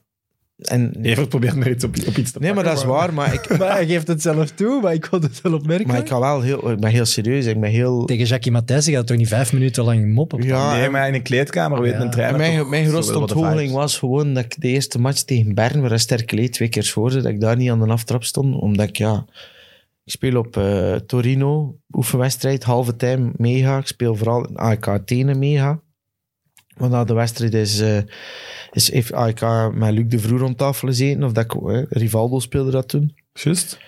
S3: En,
S1: Ja. Evert probeert maar iets op, op iets te
S3: nee, maar
S1: pakken,
S3: dat is waar, maar ik,
S2: Maar hij geeft het zelf toe, maar ik wil het wel opmerken.
S3: maar ik, kan wel heel, ik ben heel serieus. Ik ben heel...
S2: Tegen Jackie Matthijssen gaat toch niet vijf minuten lang moppen?
S3: Ja,
S1: nee,
S3: en-
S1: maar in een kleedkamer weet
S2: Ja.
S1: een trainer
S3: en mijn,
S1: toch
S3: mijn
S1: zo wel
S3: grootste
S1: wat de
S3: ontholing
S1: vibes.
S3: was gewoon dat ik de eerste match tegen Bern, waar een sterke leed twee keer schoorde, dat ik daar niet aan de aftrap stond, omdat ik, ja... Ik speel op eh, Torino, oefenwedstrijd, halve time, mega. Ik speel vooral in AEK Athene, mega. Want na de wedstrijd is, eh is heeft AEK met Luc de Vroer om tafel gezeten. Of dat, ik- eh, Rivaldo speelde dat toen.
S1: Juist.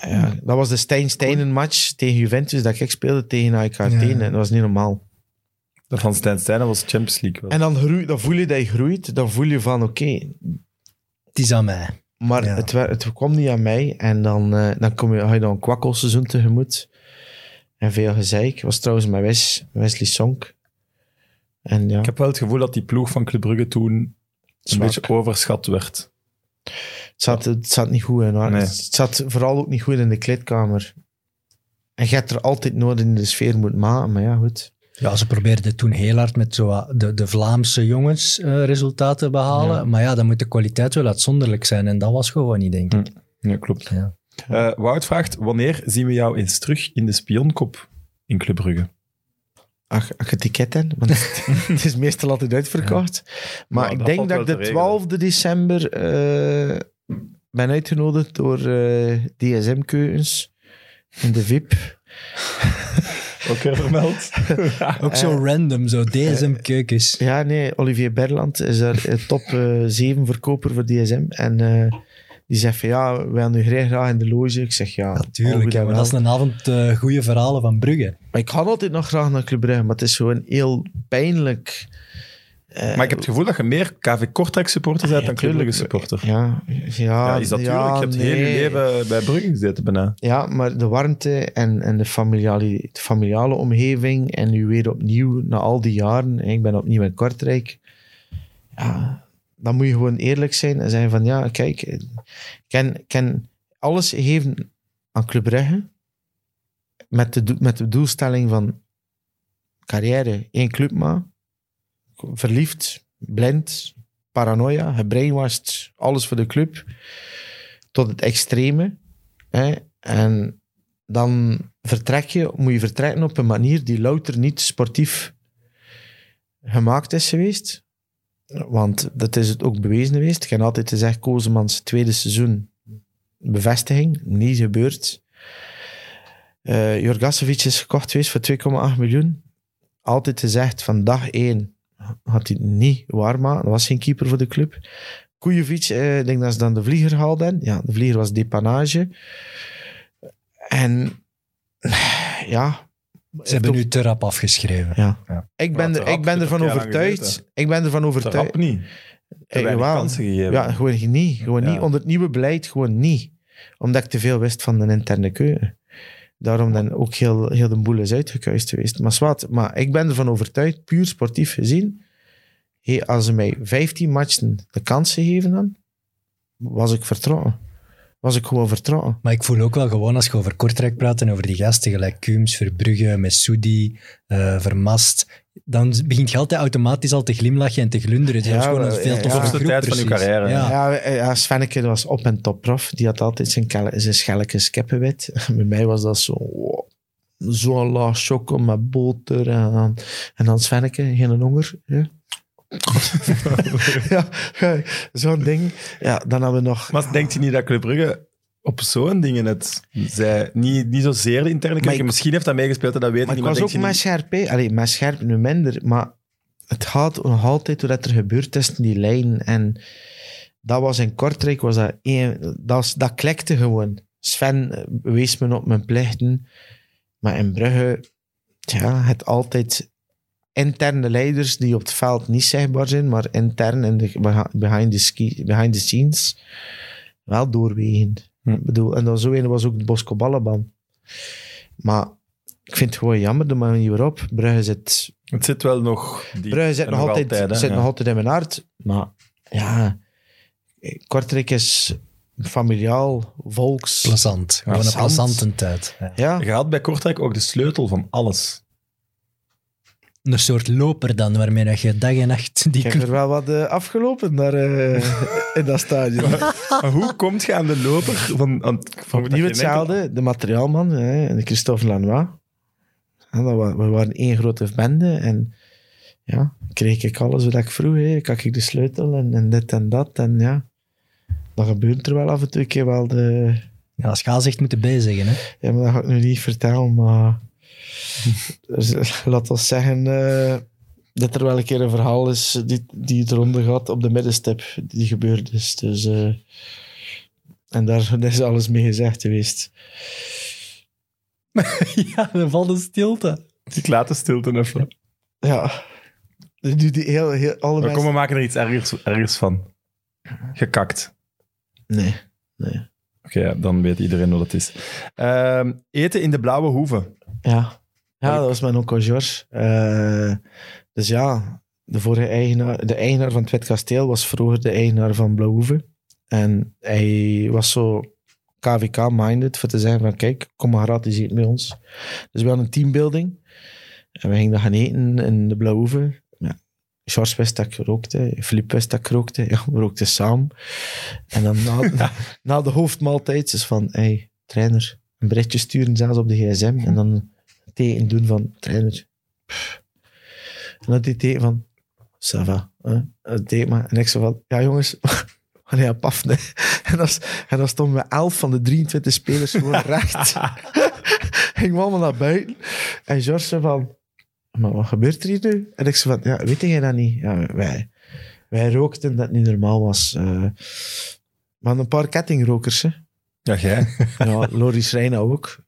S3: Ah, Ja, dat was de Stijn Steinen match tegen Juventus dat ik speelde tegen AEK Athene. Dat was niet normaal.
S1: Dat van Stijn Stijn, dat was Champions League. wel.
S3: En dan, groei, dan voel je dat je groeit. Dan voel je van, oké.
S2: Het is aan mij.
S3: maar
S2: Ja.
S3: het, wer- het kwam niet aan mij. En dan, eh, dan kom je, ga je dan een kwakkelseizoen tegemoet. En veel gezeik. was trouwens met Wes, Wesley Sonk. En ja,
S1: Ik heb wel het gevoel dat die ploeg van Club Brugge toen een
S3: zwak.
S1: beetje overschat werd.
S3: het, zat, het zat niet goed in. hoor.
S1: Nee.
S3: Het zat vooral ook niet goed in de kleedkamer. En je hebt er altijd nodig in de sfeer moet maken. Maar ja, goed.
S2: Ja, ze probeerden toen heel hard met zo wat de, de Vlaamse jongens eh, resultaten te behalen.
S3: Ja.
S2: Maar ja, dan moet de kwaliteit wel uitzonderlijk zijn. En dat was gewoon niet, denk ik.
S1: Ja, klopt.
S2: Ja.
S1: Eh, Wout vraagt, wanneer zien we jou eens terug in de spionkop in Club Brugge?
S3: Ach, ach, het ticket in, want het is meestal altijd uitverkocht. Maar
S1: Nou,
S3: ik
S1: dat
S3: denk
S1: valt
S3: dat
S1: wel
S3: ik de
S1: te regelen.
S3: 12 december eh, ben uitgenodigd door eh, DSM-keukens in de VIP.
S1: Ook
S3: eh,
S1: weer vermeld. Ah,
S2: Ook zo
S1: eh.
S2: random, zo DSM-keukens.
S3: Ja, nee, Olivier Berland is er eh, top eh 7 verkoper voor DSM. En eh, die zegt van ja, we willen nu graag, graag in de loge. Ik zeg ja,
S2: Natuurlijk, ja, maar dat is een avond eh goede verhalen van Brugge.
S3: Maar ik kan altijd nog graag naar Club Brugge, maar het is gewoon heel pijnlijk. eh,
S1: maar ik heb het gevoel dat je meer KV Kortrijk supporter bent dan Club Brugge supporter. Ja,
S3: ja, ja,
S1: is dat
S3: Ah, ja,
S1: tuurlijk? Je hebt heel je
S3: nee.
S1: leven bij Brugge gezeten bijna.
S3: Ja, maar de warmte en, en de, familiale, de familiale omgeving en nu weer opnieuw na al die jaren, hè, ik ben opnieuw in Kortrijk. Ja, dan moet je gewoon eerlijk zijn en zeggen van ja, kijk, ik kan, kan alles geven aan Club Brugge met de, doel- met de doelstelling van carrière, één club maar, verliefd, blind, paranoia, gebrainwashed, alles voor de club, tot het extreme. Hè? En dan vertrek je, moet je vertrekken op een manier die louter niet sportief gemaakt is geweest. Want dat is het ook bewezen geweest. Ik heb altijd gezegd, Kozemans tweede seizoen bevestiging, niet gebeurd. Eh Jorgasevic is gekocht geweest voor 2,8 miljoen. Altijd gezegd, van dag één had hij het niet waarmaken. Dat was geen keeper voor de club. Kujovic, eh, ik denk dat ze dan de vlieger haalden. Ja, de vlieger was depanage. En ja...
S2: Ze hebben nu te rap afgeschreven.
S3: Ja.
S1: Ja.
S3: Ik
S1: Maar
S3: ben,
S1: te
S3: er,
S1: rap,
S3: ik ben
S1: dat
S3: ervan
S1: heb jij lang
S3: overtuigd.
S1: geweten.
S3: Ik ben ervan
S1: Te
S3: overtuigd.
S1: rap niet. Te
S3: Eh,
S1: weinig
S3: jawel.
S1: kansen gegeven.
S3: Ja, gewoon niet. Gewoon
S1: Ja.
S3: niet. Onder het nieuwe beleid gewoon niet. Omdat ik te veel wist van de interne keuken. Daarom dan ook heel, heel de boel is uitgekuist geweest. Maar zwart, maar ik ben ervan overtuigd, puur sportief gezien, hé, als ze mij 15 matchen de kansen geven dan, was ik vertrouwen. Was ik gewoon vertrouwen.
S2: Maar ik voel ook wel gewoon, als je over Kortrijk praat en over die gasten, gelijk Coombs, Verbrugge, Messoudi, eh, Vermast, dan begint je altijd automatisch al te glimlachen en te glunderen. Het
S3: Ja,
S2: is gewoon een
S3: wel,
S2: veel
S3: ja,
S2: toffere
S3: tofste
S2: groep,
S1: tijd van je
S2: precies.
S1: carrière, hè.
S2: Ja.
S3: Ja, eh, ja Svenneke was op en top prof. Die had altijd zijn, kelle- zijn schelletjes kippenwit. Bij mij was dat zo... wow, Zo'n laag choco met boter. En dan, en dan Svenneke, geen honger. hè. ja, ja, zo'n ding. Ja, dan hebben we nog...
S1: Maar denkt je niet dat Club Brugge op zo'n dingen het zij niet, niet zozeer de interne keuken.
S3: ik-
S1: Misschien heeft dat meegespeeld, dat weet ik niet.
S3: Maar ik
S1: Maar
S3: was
S1: denkt
S3: ook
S1: je niet-
S3: met scherp, hè. Allee, met scherp nu minder. Maar het gaat nog altijd hoe dat er gebeurt tussen die lijn. En dat was in Kortrijk, was dat, één, dat, was- dat klikte gewoon. Sven eh, wees me op mijn plichten. Maar in Brugge, ja, het altijd interne leiders die op het veld niet zichtbaar zijn, maar intern in de, beha- behind, the ski, behind the scenes wel doorwegen.
S1: Hm.
S3: Ik bedoel, en dan zo een was ook de Bosco Ballenban. Maar ik vind het gewoon jammer de manier waarop. Brugge zit,
S1: Het zit wel nog diep.
S3: Brugge zit,
S1: En
S3: nog, altijd,
S1: hè,
S3: zit
S1: ja.
S3: nog altijd in mijn hart. Maar ja, Kortrijk is familiaal, volks.
S2: Plezant. Gewoon een
S3: Plezant.
S2: plezante tijd. Ja.
S3: ja,
S1: Je had bij Kortrijk ook de sleutel van alles.
S2: Een soort loper dan, waarmee dat je dag en nacht die
S3: ik heb er
S2: club...
S3: wel wat eh, afgelopen daar, eh, in dat stadion.
S1: Maar hoe komt je aan de loper van... aan-
S3: Van
S1: dat
S3: opnieuw
S1: je
S3: hetzelfde, de materiaalman, hè, en de Christophe Lanois. En dat wa- we waren één grote bende en ja, kreeg ik alles wat ik vroeg. Hè. Kak ik de sleutel en, en dit en dat. En ja, dan gebeurt er wel af en toe een keer wel de...
S2: Ja, als gaalzicht moeten bijzeggen. Hè?
S3: Ja, maar dat ga ik nu niet vertellen, maar... Dus, Laat ons zeggen eh, dat er wel een keer een verhaal is die, die het eronder gaat op de middenstip die gebeurd is. Dus, eh, en daar is alles mee gezegd geweest.
S2: Ja, er valt een stilte.
S1: Ik laat de stilte even.
S3: Ja. Dus Nu die heel, heel, alle
S1: Maar kom, we
S3: mensen...
S1: maken er iets ergers, ergers van. Gekakt.
S3: Nee.
S1: Oké, ja, dan weet iedereen wat het is. Ehm, eten in de blauwe hoeve.
S3: Ja. Ja, dat was mijn onkel George. Eh, dus ja, de vorige eigenaar, de eigenaar van het Wit Kasteel was vroeger de eigenaar van Blauwhoeve. En hij was zo KVK-minded voor te zeggen van kijk, kom maar gratis eten bij ons. Dus we hadden een teambuilding. En we gingen dan gaan eten in de Blauwhoeve. Ja. George wist dat ik rookte, Filip wist dat ik rookte. Ja, we rookten samen. En dan na, na de hoofdmaaltijd is van, hey, trainer, een berichtje sturen zelfs op de gsm. En dan het teken doen van trainer. pff. En dat die teken van, ça va. Hè? Het teken maar. En ik zei van, ja jongens, allee, ja, paf. nee. En, dan, en dan stonden we 11 van de 23 spelers gewoon recht. Ging we allemaal naar buiten. En George zei van, maar wat gebeurt er hier nu? En ik zei van, ja, weet jij dat niet? Ja, wij, wij rookten dat het niet normaal was. eh. maar een paar kettingrokers, hè.
S1: Ja, jij.
S3: Ja, Loris Reina ook.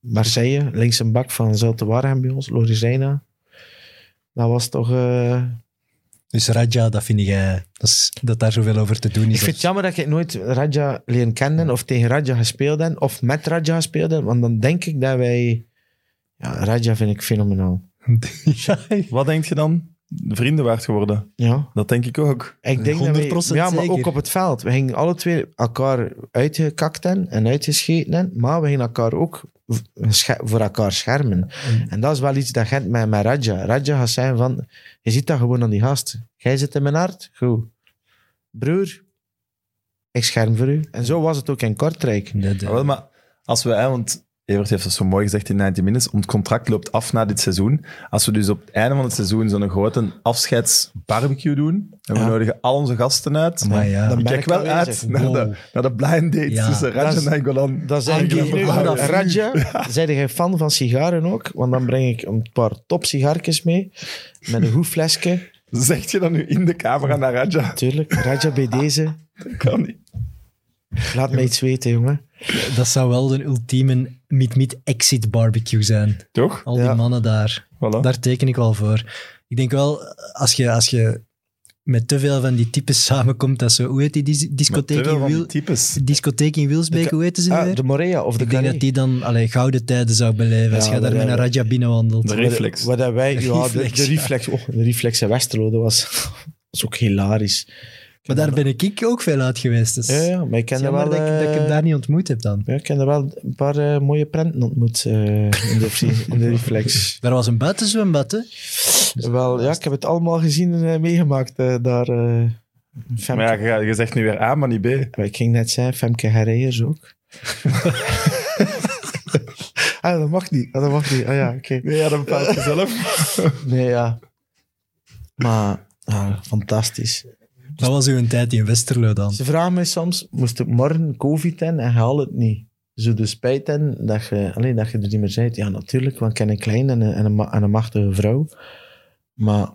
S3: Marseille, links een bak van Zulte Waregem bij ons. Loris Reina. Dat was toch... eh,
S2: Dus Raja, dat vind jij... Dat, is- dat daar zoveel over te doen is.
S3: Ik vind het jammer dat ik nooit Raja leren kennen of tegen Raja gespeeld heb of met Raja gespeeld heb, want dan denk ik dat wij... Ja, Raja vind ik fenomenaal.
S2: Ja,
S1: Wat denk je dan? Vrienden waard geworden.
S3: Ja,
S1: Dat denk ik ook.
S3: ik denk dat
S2: 100%
S3: wij, Ja, maar
S2: zeker.
S3: ook op het veld. We gingen alle twee elkaar uitgekakt hebben en uitgescheten hebben, maar we gingen elkaar ook v- sche- voor elkaar schermen. En dat is wel iets dat Gent met, met Raja. Raja gaat zijn van, je ziet dat gewoon aan die gast. Jij zit in mijn hart, goed. Broer, ik scherm voor u. En zo was het ook in Kortrijk.
S2: De- de-
S1: Maar, wel, maar als we, hè, want Evert heeft dat zo mooi gezegd in 90 Minutes, ons contract loopt af na dit seizoen. Als we dus op het einde van het seizoen zo'n grote afscheidsbarbecue doen, en we
S3: Ja.
S1: nodigen al onze gasten uit,
S2: Maar ja.
S1: ik
S3: Dan ben
S1: kijk
S3: ik
S1: wel
S3: aanwezig.
S1: uit naar, de,
S2: Wow.
S1: naar de blind dates
S2: Ja.
S1: tussen
S3: Dat is-
S1: Rajan en Golan.
S3: Dan zeg ik
S2: Angie,
S3: nu,
S2: nu
S3: aan
S2: dat
S3: Raja, zijn jij fan van sigaren ook? Want dan breng ik een paar top sigaartjes mee. Met een goed flesje.
S1: Zegt je dan nu in de camera naar Raja?
S3: Tuurlijk, Raja bij deze.
S1: Dat kan niet.
S3: Laat mij iets weten, jongen.
S2: Dat zou wel een ultieme meet-meet-exit barbecue zijn.
S1: Toch?
S2: Al die
S3: Ja.
S2: mannen daar.
S1: Voilà.
S2: Daar teken ik wel voor. Ik denk wel, als je, als je met te veel van die types samenkomt, dat zo, hoe heet die dis-
S1: Maar te
S2: discotheek
S1: veel
S2: in,
S1: van die
S2: Wiel,
S1: types.
S2: discotheek in Wilsbeek, hoe heette ze
S3: Ah,
S2: weer?
S3: de Morea of de
S2: ik denk dat
S3: Carré.
S2: die dan allee, gouden tijden zou beleven als
S3: Ja,
S2: je daar
S3: maar
S2: met een
S3: ja,
S2: Raja binnenwandelt.
S1: De reflex.
S3: Wat, dat wij, ja, de,
S2: Reflex,
S3: de
S2: ja.
S3: reflex. Oh, de reflex in Westerlo, dat was, was ook hilarisch.
S2: Maar daar ben ik ook veel uit geweest. Dus
S3: Ja, ja, maar ik ken
S2: het
S3: er
S2: is jammer
S3: wel...
S2: dat, ik, dat ik hem
S3: eh,
S2: daar niet ontmoet heb dan.
S3: Ja, ik heb er wel een paar eh, mooie prenten ontmoet eh, in, de, in de reflex.
S2: Daar was een buitenzwembad, hè?
S3: Wel, ja, ik heb het allemaal gezien en eh, meegemaakt eh, daar. eh, Femke.
S1: Maar ja, je- je zegt nu weer A, maar niet B.
S3: Maar ik ging net zeggen, Femke Herreijers ook. ah, dat mag niet. Ah, dat mag niet. Ah ja, oké.
S1: Nee, ja, dat bepaalt je zelf.
S3: Nee, ja. Maar, ah, fantastisch.
S2: Dat was uw tijd in Westerlo dan.
S3: Ze vragen mij soms, moest ik morgen COVID hebben en haal het niet? Zo de spijt hebben dat je, alleen dat je er niet meer bent. Ja, natuurlijk, want ik ken een klein en een, en een, ma- en een machtige vrouw. Maar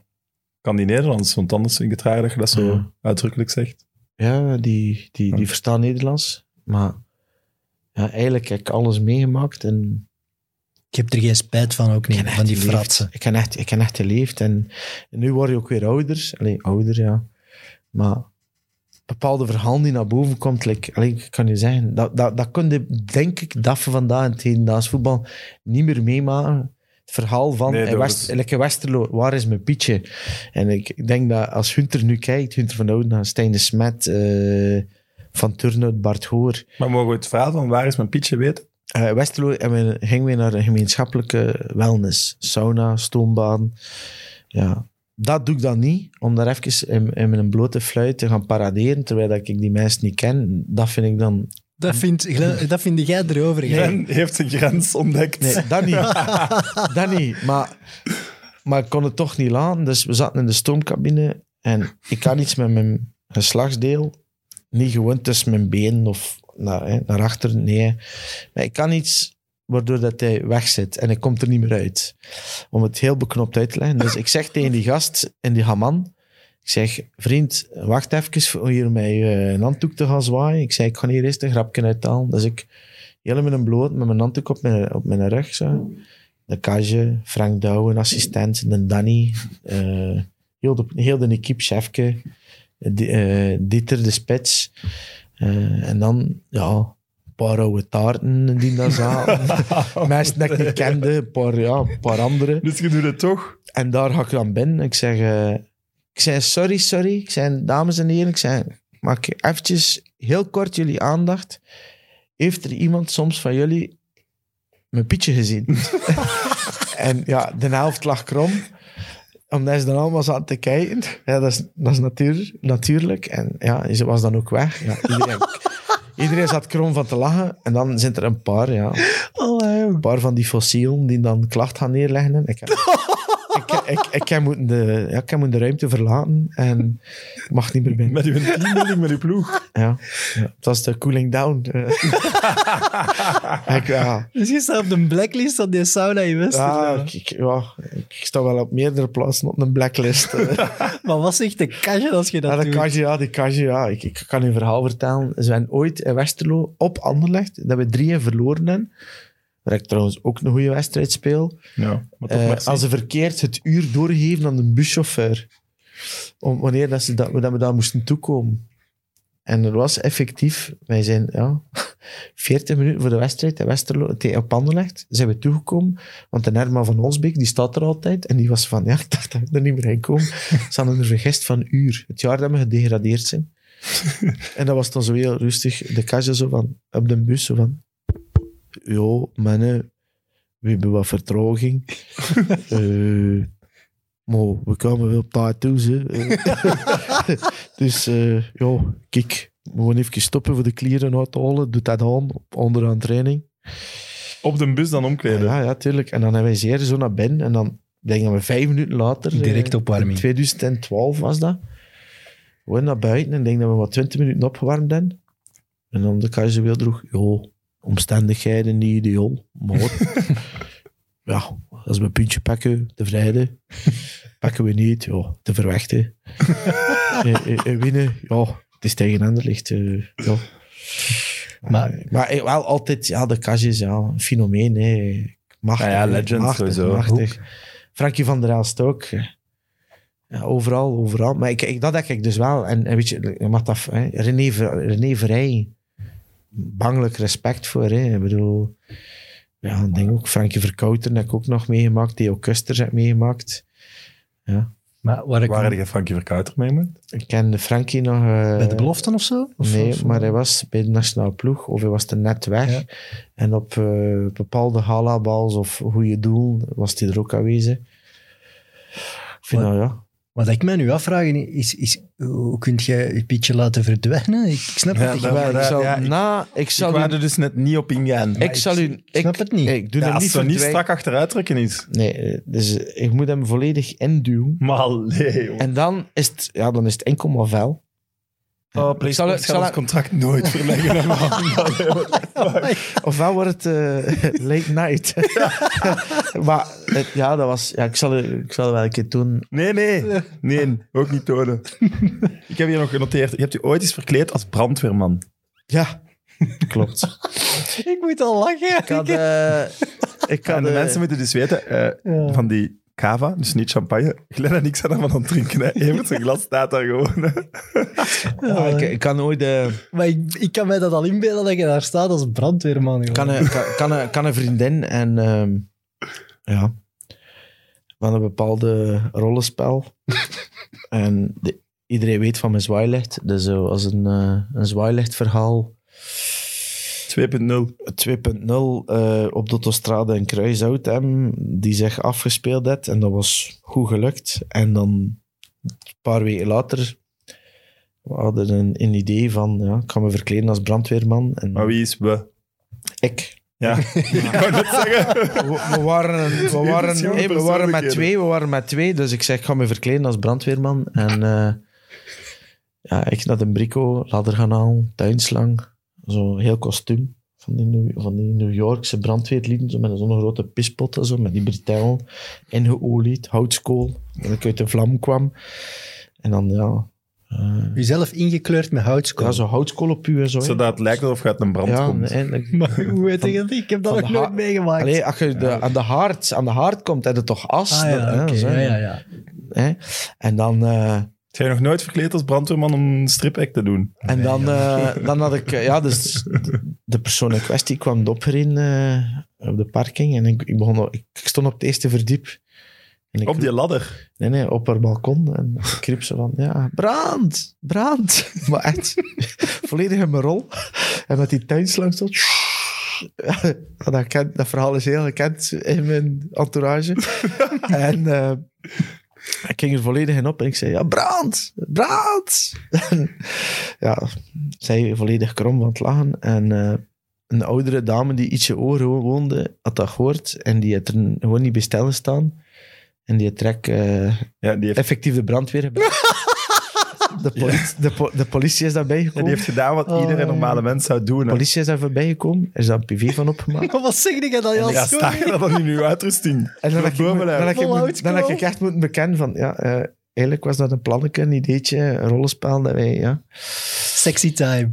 S1: Kan die Nederlands, want anders vind ik het raar dat je dat zo
S3: Ja.
S1: uitdrukkelijk zegt.
S3: Ja, die, die,
S1: Ja.
S3: die verstaan Nederlands. Maar ja, eigenlijk heb ik alles meegemaakt. En
S2: Ik heb er geen spijt van ook
S3: ik
S2: niet,
S3: heb echt
S2: van die
S3: geleefd.
S2: fratsen.
S3: Ik heb echt, ik heb echt geleefd. En, en nu word je ook weer ouder. Allee, ouder, ja. Maar bepaalde verhalen die naar boven komt, like, allee, ik kan je zeggen, dat, dat, dat kun je, denk ik, dat van vandaag in het hedendaags voetbal niet meer meemaken. Het verhaal van
S1: Nee,
S3: in
S1: dat
S3: West,
S1: is-
S3: like in Westerlo, waar is mijn Pietje? En ik, ik denk dat als Hunter nu kijkt, Hunter van Ouden, Stijn de Smet, eh, Van Turnhout, Bart Hoor,
S1: Maar mogen we het verhaal van waar is mijn pietje weten?
S3: eh Westerlo en we gingen weer naar een gemeenschappelijke wellness. Sauna, stoombaan. Ja. Dat doe ik dan niet, om daar even in, in mijn blote fluit te gaan paraderen, terwijl dat ik die mensen niet ken. Dat vind ik dan...
S2: Dat vind, dat vind jij erover. Glenn.
S1: Glenn heeft zijn grens ontdekt.
S3: Nee, dat niet. dat niet. Maar, maar ik kon het toch niet laten, dus we zaten in de stoomcabine en ik had iets met mijn geslachtsdeel. Niet gewoon tussen mijn benen of naar, hè, naar achter, nee. Maar ik kan iets waardoor dat hij weg zit en hij komt er niet meer uit. Om het heel beknopt uit te leggen. Dus ik zeg tegen die gast en die haman, ik zeg, vriend, wacht even om hier mij eh, een handdoek te gaan zwaaien. Ik zei, ik ga hier eerst een grapje uithalen. Dus ik, helemaal met een bloot, met mijn handdoek op mijn, op mijn rug, zo. De Kage, Frank Douwen, assistent, de Danny, eh, heel, de, heel de equipe, chefke, Di- eh, Dieter, de spits. Eh, en dan, ja, een paar oude taarten die daar zaten. Mensen die ik niet kende, een paar, ja, een paar anderen.
S1: Dus je doet het toch?
S3: En daar ga ik dan binnen. Ik zeg, eh, ik zei sorry, sorry. Ik zei, dames en heren, ik zei, mag ik eventjes heel kort jullie aandacht. Heeft er iemand soms van jullie mijn pietje gezien? en ja, de helft lag krom. Omdat ze dan allemaal zaten te kijken. Ja, dat is, dat is natuur, natuurlijk. En ja, ze was dan ook weg. Ja, iedereen, iedereen zat krom van te lachen. En dan zijn er een paar, ja. Een paar van die fossielen die dan klacht gaan neerleggen. Ik heb, ik, ik, ik, heb moeten de, ja, ik heb moeten de ruimte verlaten en ik mag niet meer binnen.
S1: Met uw teambuilding, met uw ploeg.
S3: Ja, ja. Het was de cooling down. Eh, ik, ja,
S2: Dus je staat op de blacklist van die sauna in Westerlo.
S3: ja, ik, ik- ja, ik sta wel op meerdere plaatsen op een blacklist. eh.
S2: Maar wat zegt de kasje als je dat
S3: Ja, de
S2: doet?
S3: Kaji, ja, de Kaji, ja. Ik, ik kan u een verhaal vertellen. Ze zijn ooit in Westerlo op Anderlecht, dat we drieën verloren hebben. Waar ik trouwens ook een goede wedstrijd speel.
S1: Ja, maar toch
S3: Eh,
S1: merci.
S3: als ze verkeerd het uur doorgeven aan de buschauffeur. Om, wanneer dat, ze dat, dat we daar moesten toekomen. En er was effectief, wij zijn ja, 40 minuten voor de wedstrijd in Westerlo, tegen op Anderlecht, zijn we toegekomen. Want de Herman van Olsbeek, die staat er altijd. En die was van, ja, ik dacht dat we er niet meer heen komen. Ze hadden er vergist van een uur. Het jaar dat we gedegradeerd zijn. en dat was dan zo heel rustig. De kastje zo van, op de bus zo van... Jo, mannen, we hebben wat vertraging. Eh, maar we kwamen wel op tijd toe, hè. Eh, dus eh, ja, kijk, we gaan even stoppen voor de klieren uit te halen. Doe dat aan, onderaan training.
S1: op de bus dan omkleden.
S3: Ja, ja, tuurlijk. En dan hebben wij zeer zo naar binnen. En dan denk ik dat we vijf minuten later...
S2: Direct
S3: eh,
S2: opwarming.
S3: in 2012 was dat. Gewoon naar buiten en denk dat we wat twintig minuten opgewarmd zijn. En dan de casueel droeg, joh, omstandigheden niet ideaal, maar... ja, als we een puntje pakken, de vrijdag, pakken we niet, ja, te verwachten. en, en- en winnen, ja, het is tegen Anderlecht, eh, ja.
S2: Maar-
S3: maar eh, wel altijd, ja, de cash is ja, een fenomeen, hè. Machtig,
S1: Ja, ja, legend
S3: machtig,
S1: sowieso.
S3: machtig. Frankie van der Elst ook. Ja, overal, overal. Maar ik, ik, dat denk ik dus wel. En, en weet je, je mag dat, hè, René, Ver- René Verrij, bangelijk respect voor. Hè. Ik bedoel, ja, ik denk ook Frankie Verkouter heb ik ook nog meegemaakt. Theo Kusters heb ik meegemaakt.
S2: Maar waar ik
S1: Waar had je Frankie Verkouter mee gemaakt?
S3: Ik kende Frankie nog... eh,
S2: bij de beloften of zo? Of-
S3: nee,
S2: of-
S3: maar hij was bij de nationale ploeg of hij was er net weg.
S2: Ja.
S3: En op eh, bepaalde galabals of goede doel was hij er ook aanwezig. Ik vind
S2: Maar-
S3: dat, ja.
S2: Wat ik mij nu afvraag is, is hoe kun jij je Pietje laten verdwijnen? Ik, ik snap
S1: Ja,
S2: het niet.
S1: dat-
S2: Maar
S3: Wel,
S1: daar-
S3: ik zal,
S1: ja, ik-
S3: na, ik
S1: Ik
S3: zal
S1: wou
S3: u...
S1: er dus net niet op ingaan. Maar
S3: Ik zal u...
S2: Ik snap het niet.
S3: Ik doe
S1: Ja,
S3: hem
S1: als
S3: niet
S1: het niet
S3: verdwijnen.
S1: strak achteruit trekken is.
S3: Nee, eh, dus eh, ik moet hem volledig induwen.
S1: Maar nee, joh.
S3: En dan is het, ja, dan is het enkel maar vel.
S1: Oh,
S3: Ik zal-
S1: PlayStation
S3: ik zal-
S1: zal het contract nooit verlengen.
S3: Ofwel wordt het eh, late night. maar eh, ja, dat was... Ja, ik, zal, u- ik zal het wel een keer doen.
S1: Nee, nee. Nee, ook niet tonen. Ik heb hier nog genoteerd. Je hebt je ooit eens verkleed als brandweerman.
S3: Ja, klopt.
S2: ik moet al lachen.
S3: Ik had... eh, ik had
S1: en de
S3: eh,
S1: mensen moeten dus weten, eh, van die cava, dus niet champagne, Glenn en ik zijn daarvan aan het drinken. Hè. Evert zijn glas staat daar gewoon. hè.
S3: ja, ik, ik kan nooit... eh,
S2: Maar ik, ik kan mij dat al inbeelden dat je daar staat als brandweerman. joh.
S3: Ik kan een, kan, kan een, kan een vriendin en ehm, ja, van een bepaalde rollenspel. en de- iedereen weet van mijn zwaailicht. Dus zo als een, eh een zwaailichtverhaal
S1: 2.0.
S3: 2.0 eh, op de autostrade in Kruisoutem, die zich afgespeeld had. En dat was goed gelukt. En dan een paar weken later, we hadden een, een idee van, ja, ik ga me verkleden als brandweerman. En
S1: Maar wie is we?
S3: ik
S1: Ja, ik wou net zeggen.
S3: We, we waren, we, waren,
S1: verschillende
S3: hey, we waren met
S1: persoonlijkheden.
S3: twee, we waren met twee. Dus ik zeg, ik ga me verkleden als brandweerman. En eh, ja, ik naar de brico, ladder gaan halen, tuinslang. Zo'n heel kostuum van die, New, van die New Yorkse brandweerlieden. Zo met zo'n grote pispot en zo, met die Britel. Ingeolied, houtskool. Dat ik uit de vlam kwam. En dan, ja... eh,
S2: Jezelf ingekleurd met houtskool.
S3: ja, zo'n houtskool op u en zo. hè.
S1: Zodat het lijkt alsof je uit een brand
S3: ja,
S1: komt.
S3: en-
S2: Maar hoe weet ik dat? Ik heb dat
S3: Van
S2: nog
S3: de
S2: nooit
S3: ha-
S2: meegemaakt.
S3: Allee, als je de, aan, de haard, aan de haard komt, heb je toch as?
S2: ah ja,
S3: Dat- hè,
S2: oké.
S3: zo,
S2: ja, ja, ja.
S3: hè. En dan, eh,
S1: Zijn je nog nooit verkleed als brandweerman om een stripact te doen?
S3: en dan, eh, dan had ik... eh, Ja, dus de- de persoon in kwestie kwam de opper in eh, op de parking. En ik, ik, begon, al- ik, ik stond op het eerste verdiep. En ik
S1: Op die ladder.
S3: Nee, nee, op haar balkon. En ik riep ze van, ja, brand, brand. Maar echt, volledig in mijn rol. En met die tuinslang stond... Ja, dat, ken- dat verhaal is heel gekend in mijn entourage. en eh, ik ging er volledig in op en ik zei, ja, brand, brand. En, ja, zij volledig krom van het lachen. En eh, een oudere dame die ietsje oren woonde, had dat gehoord. En die had er gewoon niet bij stellen staan. En die trek eh,
S1: Ja, die heeft,
S3: effectief de brandweer gebeld. De, politie, de, po- de politie is daarbij
S1: ja,
S3: gekomen.
S1: die heeft gedaan wat iedere
S2: Oh.
S1: normale mens zou doen.
S3: De
S1: hè.
S3: politie is daar voorbij gekomen. Er is daar een PV van opgemaakt.
S2: Maar wat zeg je dat je als
S1: Ja,
S2: school-
S1: sta je dat dan in uw uitrusting?
S3: En dan heb ik,
S1: Bomen
S3: moet- dan
S1: uit.
S3: heb ik,
S2: Vol
S3: moet-
S2: houtskool.
S3: dan heb ik echt moeten bekennen van... Ja, eh, eigenlijk was dat een plannetje, een ideetje, een rollenspel. Dat wij, ja. Dus
S2: Sexy time.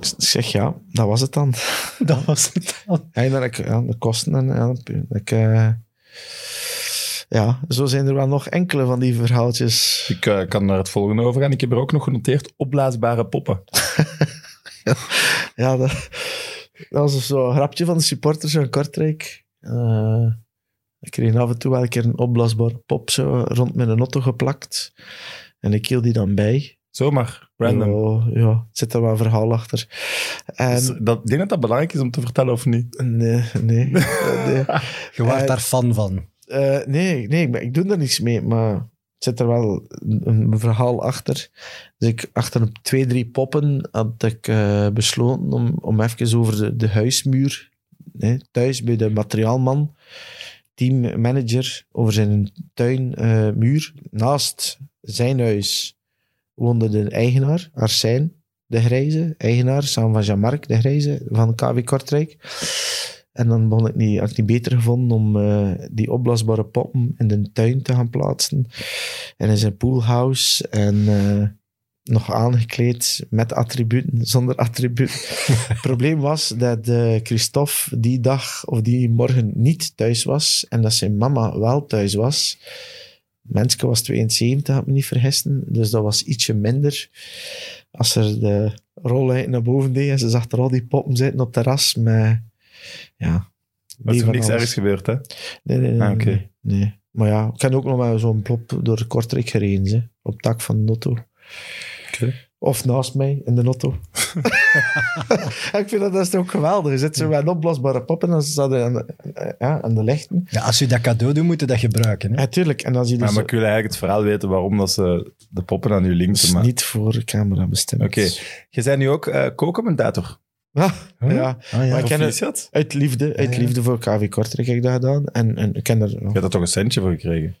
S3: Ik zeg, ja, dat was het dan.
S2: Dat was het dan.
S3: En dan heb ik ja, de kosten en... Ja, dan heb ik, eh, ja, zo zijn er wel nog enkele van die verhaaltjes.
S1: Ik eh, kan naar het volgende over gaan. Ik heb er ook nog genoteerd opblaasbare poppen.
S3: Ja, dat, dat was zo'n grapje van de supporters van Kortrijk. Eh, ik kreeg af en toe wel een keer een opblaasbare pop zo rond met een auto geplakt. En ik hield die dan bij.
S1: Zomaar, random.
S3: Ja, ja, het zit er wel een verhaal achter. En,
S1: Dus dat, ik denk dat dat belangrijk is om te vertellen of niet.
S3: nee, nee. eh, nee.
S2: Je wordt
S3: Eh,
S2: daar fan van.
S3: Eh, nee, nee ik, ben- ik doe daar niks mee, maar het zit er wel een, een verhaal achter. Dus ik, achter een- twee, drie poppen had ik eh, besloten om, om even over de, de huismuur hè, thuis bij de materiaalman, teammanager, over zijn tuinmuur. Naast zijn huis woonde de eigenaar, Arsijn, de Grijze, eigenaar, samen van Jean-Marc, de Grijze, van KW Kortrijk. En dan begon ik niet, had ik niet beter gevonden om eh, die opblaasbare poppen in de tuin te gaan plaatsen. En in zijn poolhouse. En eh, nog aangekleed met attributen, zonder attributen. Het probleem was dat eh, Christophe die dag of die morgen niet thuis was. En dat zijn mama wel thuis was. Menske was 72, had ik me niet vergissen. Dus dat was ietsje minder. Als er de rolluik naar boven deed en ze zag er al die poppen zitten op het terras met... Ja,
S1: Maar het is
S3: die
S1: nog
S3: van
S1: niks
S3: alles. Dus-
S1: ergs gebeurd, hè?
S3: Nee, nee, nee.
S1: Ah, oké.
S3: nee, nee. Maar ja, ik heb ook nog wel zo'n plop door Kortrijk gereden, hè, op het dak van de auto.
S1: Oké.
S3: Of naast mij in de auto. ik vind dat, dat is toch geweldig. Je zit zo met een opblasbare pop en dan staat hij aan de, eh, ja, aan de lichten.
S2: Ja, als u dat cadeau doet, moet u dat gebruiken. Hè?
S3: Ja, tuurlijk. En dan zie je
S1: Ja,
S3: dus
S1: maar ik wil eigenlijk het verhaal weten waarom dat ze de poppen aan u
S3: dat is
S1: linken. Maar...
S3: Dus niet voor de camera bestemd.
S1: Oké. Je bent nu ook eh, co-commentator.
S3: Ah, ja,
S2: Ah, ja.
S3: Maar ik
S1: Of
S3: ken
S1: wie
S3: het-
S1: is dat?
S3: uit liefde, uit
S2: Ja.
S3: liefde voor KV Kortrijk heb ik dat gedaan. En, en ik ken er
S1: Je hebt daar toch een centje voor gekregen?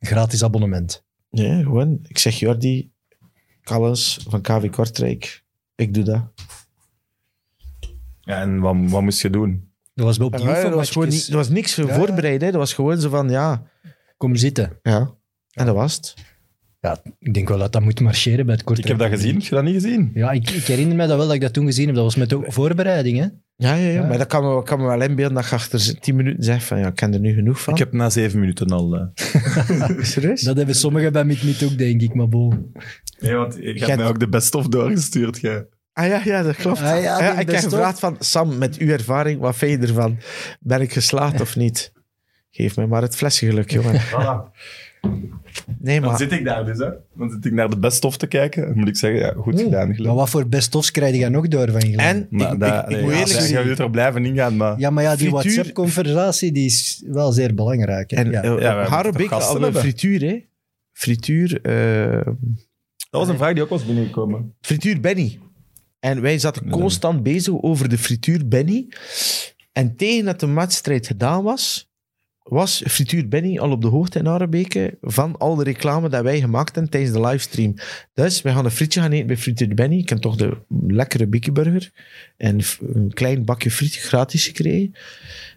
S2: Gratis abonnement.
S3: Nee, gewoon. Ik zeg Jordi, Callens van KV Kortrijk, ik doe dat.
S1: Ja, en wat, wat moest je doen?
S2: Dat was wel op
S3: Ja,
S2: die
S3: dat, was gewoon,
S2: oefenmatchjes.
S3: niet- er was niks voor
S2: Ja.
S3: voorbereid. Hè. Dat was gewoon zo van, ja,
S2: Kom zitten.
S3: ja. En dat was het.
S2: Ja, ik denk wel dat dat moet marcheren bij het korte.
S1: Ik heb dat gezien. Heb je dat niet gezien?
S2: Ja, ik, ik herinner me dat wel dat ik dat toen gezien heb. Dat was met de voorbereiding, hè?
S3: Ja, ja, ja.
S2: Ja.
S3: Maar dat kan me, kan me wel inbeelden dat je achter tien minuten zegt van, ja, ik ken er nu genoeg van.
S1: Ik heb na zeven minuten al... eh,
S3: serieus.
S2: Dat hebben sommigen bij Meet Meet ook, denk ik, maar bol.
S1: Nee, want je hebt
S3: Jij-
S1: mij ook de best of doorgestuurd. jij.
S3: Ah ja, ja, dat klopt.
S2: Ah, ja, die
S3: ik heb
S2: best
S3: gevraagd van, Sam, met uw ervaring, wat vind je ervan? Ben ik geslaagd of niet? Geef mij maar het flesje geluk, jongen. Nee,
S1: Dan
S3: maar...
S1: zit ik daar dus, hè. Dan zit ik naar de best of te kijken. Dan moet ik zeggen, ja, goed gedaan.
S2: Maar
S1: Geluk.
S2: wat voor best-ofs krijg je nog door van Glenn?
S3: En,
S1: Maar
S3: ik,
S1: daar-
S3: ik, ik
S1: nee,
S3: moet
S1: ja,
S3: eerlijk
S1: daar
S3: zijn...
S1: gaan we er blijven ingaan, maar...
S2: Ja, maar ja, die
S3: Frituur-
S2: WhatsApp-conversatie die is wel zeer belangrijk. Hè?
S3: En
S2: ja.
S3: eh, op
S1: wij moeten
S3: Harrobik
S1: gasten
S3: hadden we
S1: hebben.
S3: frituur, hè. Frituur... eh,
S1: Dat was een vraag die ook was binnengekomen.
S3: Frituur Benny. En wij zaten constant bezig over de frituur Benny. En tegen dat de wedstrijd gedaan was, was frituur Benny al op de hoogte in Arebeke van al de reclame dat wij gemaakt hebben tijdens de livestream. Dus wij gaan een frietje gaan eten bij frituur Benny. Ik heb toch de lekkere bikieburger en f- een klein bakje friet gratis gekregen.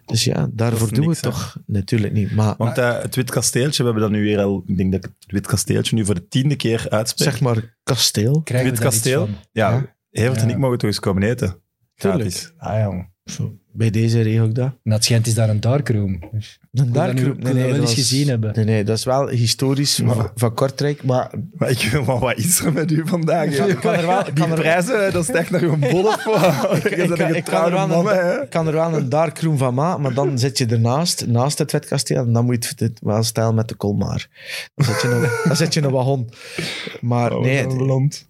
S3: Dus ja, daarvoor
S1: is
S3: doen we
S1: niks,
S3: het toch natuurlijk niet. Maar
S1: Want eh, het Wit Kasteeltje, we hebben dat nu weer al... Ik denk dat ik het Wit Kasteeltje nu voor de tiende keer uitspreek.
S3: zeg maar kasteel.
S2: Krijgen we
S1: Wit
S2: daar iets
S1: Kasteel?
S2: van?
S1: Ja,
S3: Ja.
S1: Evert en
S2: Ja.
S1: ik mogen toch eens komen eten.
S3: Tuurlijk.
S1: Gratis.
S2: Ah, jong.
S3: Zo, Bij deze regel ik dat.
S2: Nou, het schijnt is daar een darkroom. Dus,
S3: Een
S2: wil dat nu-
S3: darkroom.
S2: ik wil dat wel eens
S3: was-
S2: gezien hebben.
S3: Nee, nee, dat is wel historisch van-
S1: Maar-
S3: van Kortrijk. Maar
S1: Maar ik, maar wat is er met u vandaag? hè?
S3: ik kan er wel- ik
S1: Die
S3: kan er-
S1: prijzen, dat stijgt naar uw bolle voor. Je bent een getrouwde
S3: wel
S1: man, hè.
S3: ik kan er wel een darkroom van maken, maar dan zit je ernaast, naast het wetkasteel, en dan moet je het- het wel stijl met de Colmar. Dan zit je in een, dan zit je in een wagon. Maar
S1: Oh,
S3: nee,
S1: dat
S3: het,
S1: land.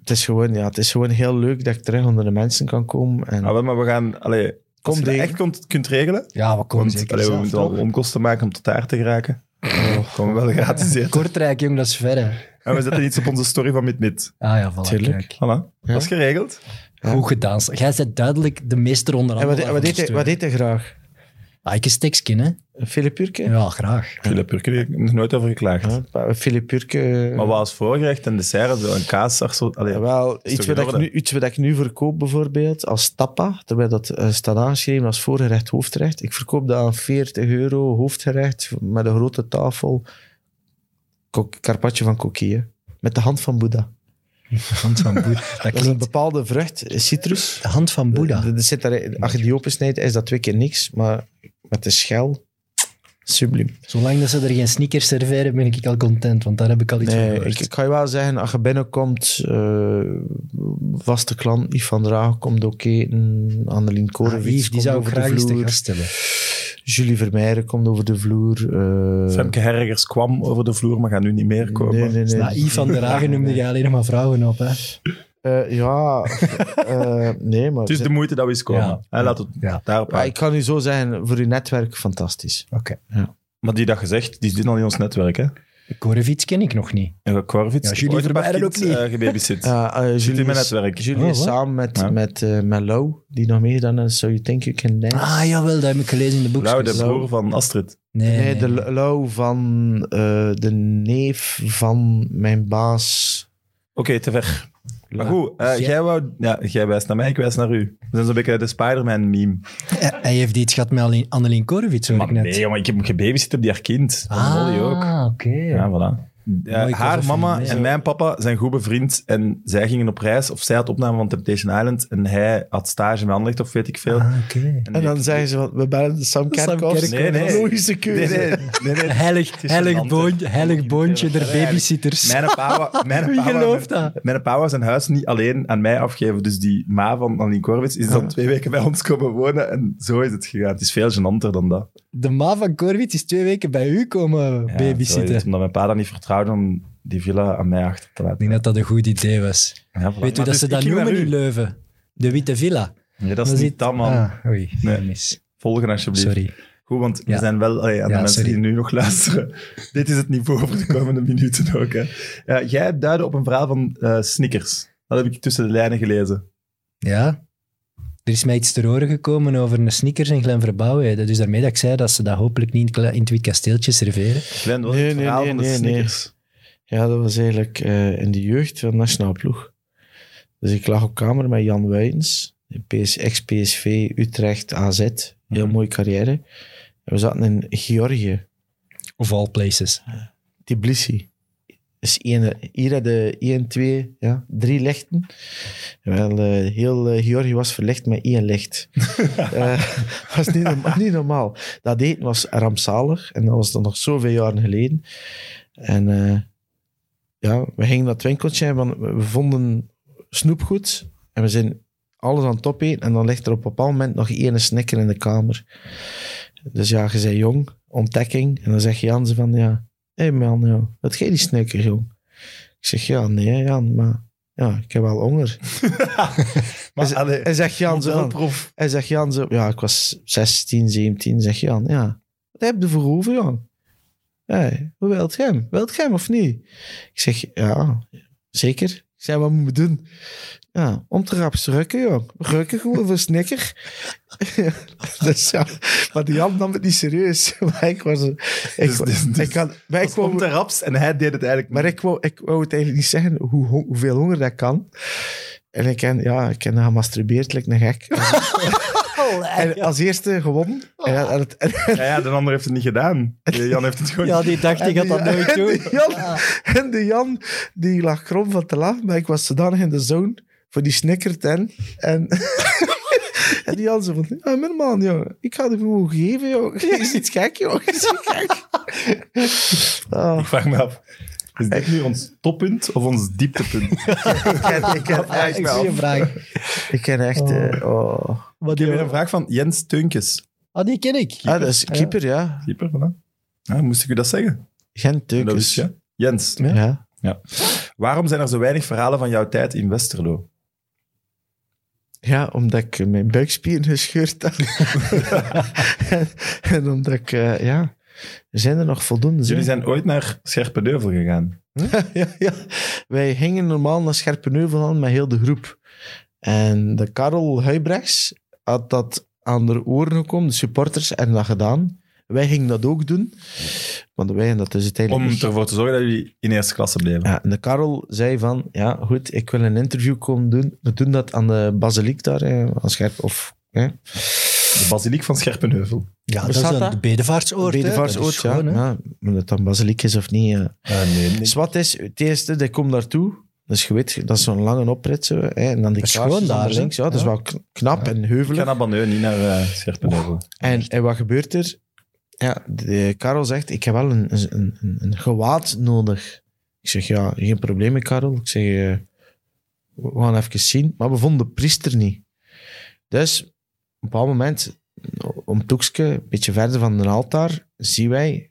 S3: het is gewoon, ja, het is gewoon heel leuk dat ik terug onder de mensen kan komen. En,
S1: Ah, wel, maar we gaan... Allee, als
S3: Kom
S1: je dat
S3: tegen.
S1: echt kunt, kunt regelen...
S2: Ja, we komen
S1: Want
S2: zeker
S1: allee, we
S2: zelf
S1: moeten wel
S2: nog.
S1: onkosten maken om tot daar te geraken. Oh, komen wel gratis eten.
S2: Kortrijk, jong, dat is ver, hè.
S1: En we zetten iets op onze story van MidMid.
S2: Ah ja, voilà,
S3: Tuurlijk.
S2: kijk.
S1: Voilà. Dat is geregeld.
S3: Ja.
S2: Goed gedaan. Jij bent duidelijk de meester
S3: en
S1: oh,
S2: onderhandelaar.
S3: wat, wat, deed je, wat deed je graag?
S2: Ah, ik een stekskin, hè?
S3: Een Filipurke?
S2: Ja, graag.
S1: Philip Purke, die heb ik nog nooit over geklaagd.
S3: Ja, eh, een Filipurke.
S1: Maar wat als voorgerecht en dessert, zo een kaas, zo, allee,
S3: Wel,
S1: toch
S3: iets wat,
S1: in
S3: ik
S1: orde?
S3: nu, iets wat ik nu verkoop bijvoorbeeld als tappa, terwijl dat eh, staat aangeschreven als voorgerecht hoofdgerecht. Ik verkoop dat aan 40 euro hoofdgerecht met een grote tafel. Ko- Carpaccio van coquille. Met de hand van Boeddha.
S2: De hand van Boeddha. Dat
S3: Dat is een
S2: klinkt...
S3: bepaalde vrucht, eh, citrus.
S2: De hand van Boeddha.
S3: Er- er zit daar, als je die opensnijdt, is dat twee keer niks, maar met de schel, subliem.
S2: Zolang dat ze er geen sneakers serveren, ben ik al content, want daar heb ik al iets
S3: Nee,
S2: van gehoord.
S3: ik, ik ga je wel zeggen, als je binnenkomt, eh, vaste klant, Yves van Draag komt ook eten, Annelien
S2: Ah,
S3: Korevits
S2: Yves, die
S3: komt
S2: zou ik
S3: over
S2: graag
S3: de
S2: eens te
S3: vloer,
S2: gast hebben.
S3: Julie Vermeijeren komt over de vloer. eh,
S1: Femke Herregers kwam over de vloer, maar gaat nu niet meer komen.
S3: nee, nee, nee.
S2: Dus Na Yves van der Hagen noemde je alleen nog maar vrouwen op, hè?
S3: Eh, ja, eh, nee, maar...
S1: Het is de moeite dat we eens komen.
S2: Ja.
S1: Hè, laat het
S2: Ja.
S1: daarop
S3: Ja,
S1: houden.
S3: ik kan u zo zeggen, voor uw netwerk fantastisch.
S2: Oké.
S1: Maar die dat gezegd, die zit al in ons netwerk. Hè?
S2: Korevits ken ik nog niet.
S1: En Korvits.
S2: Ja, Julie Vermeijden ook niet.
S1: gebabysit.
S3: eh
S1: Zit in mijn
S3: is-
S1: netwerk.
S3: Julie
S2: Oh,
S3: is
S2: wat?
S3: samen met,
S1: Ja.
S3: met, eh, met Lau, die nog meer dan eh, So You Think You Can Dance.
S2: Ah, jawel, dat heb ik gelezen in de boekjes.
S1: Blauw, de
S3: zo.
S1: broer van Astrid.
S2: Nee,
S1: Eh.
S3: nee, de L- Lau van eh, de neef van mijn baas.
S1: Oké, te ver. Maar
S3: Ja.
S1: goed, eh,
S2: Ja.
S1: jij, wou, ja, jij wijst naar mij, ik wijs naar u. We zijn zo'n beetje de Spider-Man-meme.
S2: Hij- Hij heeft iets gehad met Annelien- Annelien Korevits, hoor ik
S1: Maar
S2: net.
S1: nee, maar ik heb hem gebabysit op die haar kind. Van Molly
S2: ah,
S1: ook.
S2: oké.
S1: Ja, voilà. Eh,
S2: Mooi
S1: haar
S2: cover
S1: mama
S2: van-
S1: en mijn papa zijn goed bevriend en zij gingen op reis, of zij had opname van Temptation Island en hij had stage met Anderlecht of weet ik veel.
S2: Ah, oké.
S3: En dan zeggen ze, van, we bellen Sam Kerkhoff.
S1: Kerkhoff. Nee, nee.
S3: Logische
S1: Nee,
S3: keuze.
S1: nee, nee, nee.
S2: Heilig,
S1: is
S2: heilig,
S1: gênant,
S2: boontje,
S1: hè.
S2: heilig boontje der
S1: Eigenlijk.
S2: babysitters.
S1: Mijn pa, wa- mijn
S2: Wie
S1: pa wou-
S2: gelooft dat?
S1: Mijn pa wou zijn huis niet alleen aan mij afgeven. Dus die ma van Annelien Korwitz is dan twee weken bij ons komen wonen. En zo is het gegaan. Het is veel gênanter dan dat.
S2: De ma van Korwitz is twee weken bij u komen
S1: Ja, zo is het.
S2: babysitten.
S1: Omdat mijn pa dat niet vertrouwde om die villa aan mij achter te
S2: Ik
S1: laten.
S2: denk dat dat een goed idee was.
S1: Ja, voilà.
S2: Weet u
S1: Maar
S2: dat
S1: dus
S2: ze
S1: ik
S2: dat
S1: ging naar
S2: noemen in
S1: u.
S2: Leuven? De Witte Villa.
S1: Nee, dat is
S2: Dan
S1: niet
S2: zit-
S1: dat, man.
S2: Ah, oei,
S1: Nee.
S2: mis.
S1: Volgen alsjeblieft.
S2: Sorry.
S1: Goed, want we
S2: Ja.
S1: zijn wel allee, aan de
S2: Ja,
S1: mensen
S2: sorry.
S1: die nu nog luisteren. Dit is het niveau voor de komende minuten ook. Hè. Ja, jij duidde op een verhaal van eh, Snickers. Dat heb ik tussen de lijnen gelezen.
S2: Ja? Er is mij iets te horen gekomen over een sneakers en Glen Verbouwen. Dus daarmee dat ik zei dat ze dat hopelijk niet in Kle- in het Wit Kasteeltje serveren.
S1: Glenn, wat is
S3: Nee,
S1: het
S3: nee,
S1: verhaal
S3: nee,
S1: van de
S3: nee, nee.
S1: Snickers?
S3: Ja, dat was eigenlijk eh, in de jeugd van de nationale ploeg. Dus ik lag op kamer met Jan Wijns, PS, ex-PSV, Utrecht, AZ. Heel
S1: Mhm.
S3: mooie carrière. En we zaten in Georgië,
S2: Of all places.
S3: Tbilisi. Dus één, hier hadden 1, 2, ja, drie lichten. Wel, eh, heel eh, Georgië was verlicht met één licht. Eh was niet, norma- niet normaal. Dat eten was rampzalig en dat was dan nog zoveel jaren geleden. En eh, ja, we gingen naar het winkeltje en we- we vonden snoepgoed en we zijn alles aan het opeten en dan ligt er op een bepaald moment nog één snikker in de kamer. Dus ja, je bent jong, ontdekking. En dan zeg je Jan van, ja, hé man, ja, wat geeft die snikker, jong? Ik zeg, ja, nee Jan, maar ja, ik heb wel honger.
S1: Maar,
S3: Is-
S1: allee,
S3: En zegt Jan zo van,
S1: modelproef.
S3: hij zegt Jan zo, ja, ik was 16, 17. Zeg Jan, ja, wat heb je voor over, Jan? Hey, hoe wilt je hem? Wilt je hem of niet? Ik zeg, ja, zeker. Ik zei, wat moeten we doen? Ja, om te raps rukken, jong. Rukken gewoon voor snikker. dus ja, maar die Jan nam het niet serieus. maar ik was... Ik,
S1: Dus- dus- dus-
S3: ik had, maar ik
S1: Ik kwam
S3: wou-
S1: te raps en hij deed het eigenlijk
S3: maar ik wou, ik wou het eigenlijk niet zeggen hoe, hon- hoeveel honger dat kan. En ik ken, ja, ik ken dat gemasturbeerd, lijkt een gek.
S2: Oh,
S3: en als eerste gewonnen. En, en het- en-
S1: Ja, ja, de ander heeft het niet gedaan. Jan heeft het gewoon
S2: Ja, die dacht, ik had
S3: en
S2: dat
S3: die-
S2: nooit
S3: en
S2: doen. Ah.
S3: de Jan, en de Jan, die lag krom van te lachen, maar ik was zodanig in de zone voor die snickerten. En, en die Jan zei van, ja, mijn man, jongen, ik ga het gewoon geven, jongen. Is iets gek, jongen. Is iets gek. Ah,
S1: Ik vraag me af, is dit nu ons toppunt of ons dieptepunt?
S3: ik ken, ik ken echt,
S2: Ah, Ik zie een vraag.
S3: ik ken echt eh, oh.
S2: Wat
S1: Ik heb
S2: die,
S1: weer een vraag van Jens Teunkes.
S2: ah, die ken ik.
S3: Ah, dat is keeper, ja.
S1: Keeper, voilà. Ja, moest ik u dat zeggen?
S3: Gent
S1: Dat wist
S3: Teukens.
S1: je. Jens,
S3: Ja. Ja.
S1: waarom zijn er zo weinig verhalen van jouw tijd in Westerlo?
S3: Ja, omdat ik mijn buikspieren gescheurd had. en, en omdat ik, eh, ja, zijn er nog voldoende?
S1: Dus Jullie
S3: hè?
S1: zijn ooit naar Scherpedeuvel gegaan.
S3: ja, ja. Wij gingen normaal naar Scherpenheuvel aan met heel de groep. En de Karel Huibrechts had dat aan de oren gekomen, de supporters, en dat gedaan. Wij gingen dat ook doen. Want wij hebben dat dus uiteindelijk
S1: Om
S3: niet
S1: ervoor te zorgen dat jullie in eerste klasse bleven.
S3: Ja, en de Karel zei van, ja goed, ik wil een interview komen doen. We doen dat aan de basiliek daar, eh, aan Scherp, of hè,
S1: De basiliek van Scherpenheuvel.
S2: Ja, dat is
S3: Bestaat
S2: een
S3: dat?
S2: bedevaartsoord. hè? Dat
S3: Bedevaartsoord,
S2: is
S3: ja.
S2: schoon, hè?
S3: ja. Of dat dan basiliek is of niet. eh.
S1: nee,
S3: Dus wat is, het eerste, die komt daartoe. Dus je weet, dat is zo'n lange oprit zo, hè, en dan die
S2: Dat is
S3: kaarsjes
S2: gewoon daar,
S3: onder
S2: hè?
S3: links. Ja, dat is
S2: Ja.
S3: wel kn- knap en
S1: Ik ga
S3: heuvelig.
S1: naar Baneu, niet naar eh,
S3: Oh,
S1: Scherpenheuvel.
S3: En, en wat gebeurt er? Ja, de Karel zegt, ik heb wel een, een, een, een gewaad nodig. Ik zeg, ja, geen probleem, Karel. Ik zeg, eh, we gaan even zien. Maar we vonden de priester niet. Dus, op een bepaald moment, om het hoekje, een beetje verder van de altaar, zien wij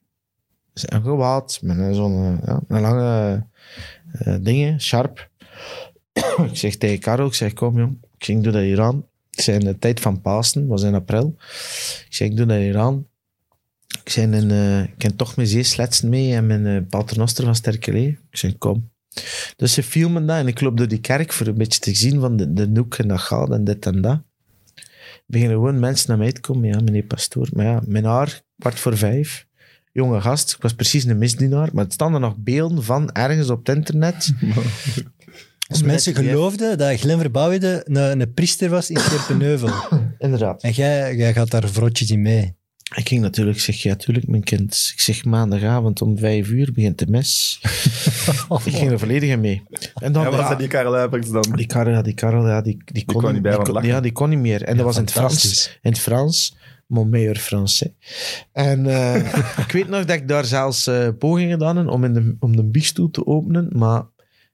S3: een gewaad met een zo'n eh, ja, een lange eh, dingen, sharp. ik zeg tegen Karel, ik zeg, kom jong, ik zeg, doe dat hier aan. Ik zei in de tijd van Pasen, was in april. Ik zei, ik doe dat hier aan. Ik zei, een, eh, ik ken toch mijn zeesletsen mee en mijn eh, paternoster van Sterkelee. Ik zei, kom. Dus ze filmen dat en ik loop door die kerk voor een beetje te zien van de, de noek en dat gaat en dit en dat. Beginnen gewoon mensen naar mij te komen. Ja, meneer pastoor. Maar ja, mijn haar, kwart voor vijf. Jonge gast, ik was precies een misdienaar. Maar het staan er nog beelden van ergens op het internet.
S2: Dus mensen geloofden dat Glenn Verbouwde een, een priester was in Scherpenheuvel.
S3: Inderdaad.
S2: en jij, jij gaat daar vrotjes in mee.
S3: Ik ging natuurlijk, ik zeg, ja, tuurlijk, mijn kind. Ik zeg, maandagavond om vijf uur begint de mes. ik ging er volledig in mee. En dan,
S1: Ja, was
S3: ja,
S1: dat die Karel Huipers dan?
S3: die Karel, ja, die Karel, ja, die, die, kon,
S1: kwam niet bij,
S3: die
S1: want
S3: kon-
S1: lachen.
S3: Ja, die kon niet meer. En dat was in het Frans.
S2: Fantastisch.
S3: In het Frans. Mon meilleur français. En eh, ik weet nog dat ik daar zelfs eh, pogingen gedaan heb om, in de, om de biechtstoel te openen, maar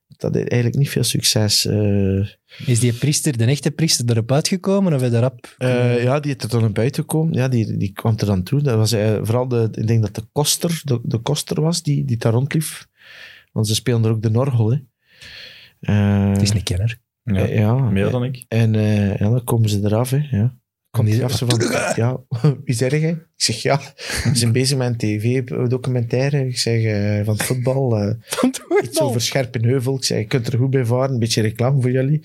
S3: dat deed eigenlijk niet veel succes. eh
S2: Is die priester, de echte priester, erop uitgekomen of heb je daar rap?
S3: eh, ja, die had er dan naar buiten gekomen. Ja, die, die kwam er dan toe. Dat was eh, vooral de, ik denk dat de koster, de, de koster was die, die daar rondliep. Want ze speelden er ook de Norgel, hè. Eh,
S2: Het is een kenner.
S1: Ja.
S3: eh, ja.
S1: Meer dan ik.
S3: En eh, ja, dan komen ze eraf, hè. Ja. Komt
S2: die-
S3: die af, ze van, ja, wie zeg jij? Ik zeg, ja, we zijn bezig met een tv-documentaire. Ik zeg, eh, van het voetbal. eh, iets over Scherpenheuvel. Ik zeg, je kunt er goed bij varen, een beetje reclame voor jullie.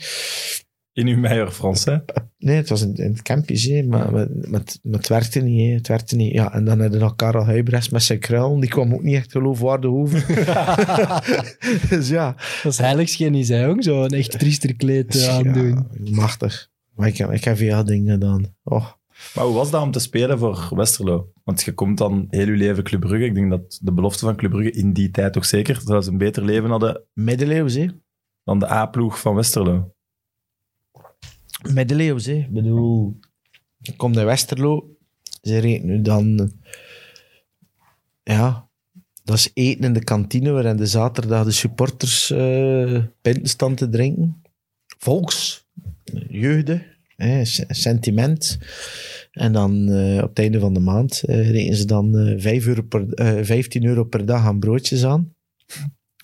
S1: In uw meijer Frans, hè?
S3: Nee, het was in, in het campje, hè, maar, maar, maar, het, maar het werkte niet. Hè, het werkte niet. Ja, en dan hadden we nog Karel Huibrechts met zijn kruil. Die kwam ook niet echt geloofwaardig over. dus ja.
S2: Dat is heiligschennis, is hij ook zo'n echt priesterkleed eh,
S3: Dus
S2: aandoen.
S3: ja, machtig. Maar ik, heb- ik heb veel dingen gedaan. Oh,
S1: Maar hoe was dat om te spelen voor Westerlo? Want je komt dan heel je leven Club Brugge. Ik denk dat de belofte van Club Brugge in die tijd toch zeker, dat ze een beter leven hadden
S3: middeleeuws, hè.
S1: dan de A-ploeg van Westerlo.
S3: Middeleeuws, hè. Ik bedoel, ik kom naar Westerlo. Ze reed nu dan... eh, Ja, dat is eten in de kantine, waarin de zaterdag de supporters eh pinten staan te drinken. Volks, jeugde, hè, se- sentiment. En dan eh, op het einde van de maand eh rekenen ze dan eh, vijf euro per, eh 15 euro per dag aan broodjes aan.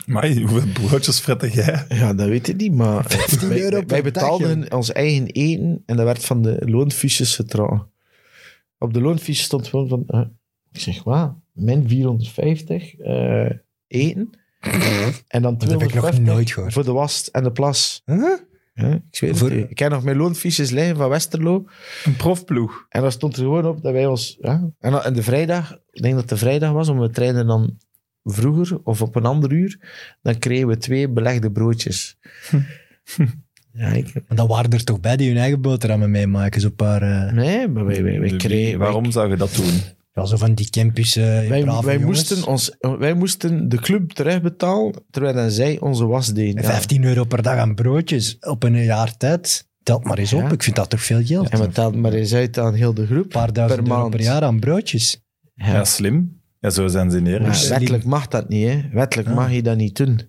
S1: Maar hoeveel broodjes frette jij?
S3: Ja, dat weet ik niet, maar eh,
S2: 15
S3: wij,
S2: euro
S3: wij- wij
S2: per dag,
S3: betaalden ons eigen eten en dat werd van de loonfiches getrokken. Op de loonfiches stond gewoon van, eh, ik zeg, wat? Min 450 eh, eten en dan
S2: Dat heb ik nog
S3: 250
S2: nooit gehoord.
S3: voor de was en de plas. Hè? Ik, weet het
S2: Voor-
S3: niet. ik heb nog mijn loonfiches liggen van Westerlo.
S1: Een profploeg.
S3: En dan stond er gewoon op dat wij ons... Ja, en, dan- en de vrijdag, ik denk dat de vrijdag was, om we trainen dan vroeger of op een ander uur, dan kregen we twee belegde broodjes.
S2: Hm.
S3: ja, ik,
S2: Maar dan waren er toch bij die hun eigen boterhammen meemaken, zo'n paar... eh,
S3: nee, maar wij, wij, wij kregen... Wij,
S1: Waarom zou je dat doen?
S2: ja, zo van die campus, eh,
S3: wij,
S2: brave
S3: wij
S2: jongens.
S3: moesten ons, wij moesten de club terugbetalen, terwijl dan zij onze was deden.
S2: En
S3: Ja.
S2: 15 euro per dag aan broodjes op een jaar tijd. Telt maar eens op,
S3: Ja.
S2: ik vind dat toch veel geld.
S3: En we
S2: Een
S3: taalden maar eens uit aan heel de groep.
S2: paar duizend
S3: per
S2: euro
S3: maand.
S2: per jaar aan broodjes.
S1: Ja, slim. Ja, zo zijn ze neer. Dus-
S3: Maar
S2: Ja.
S3: wettelijk mag dat niet, hè. Wettelijk mag je dat niet doen.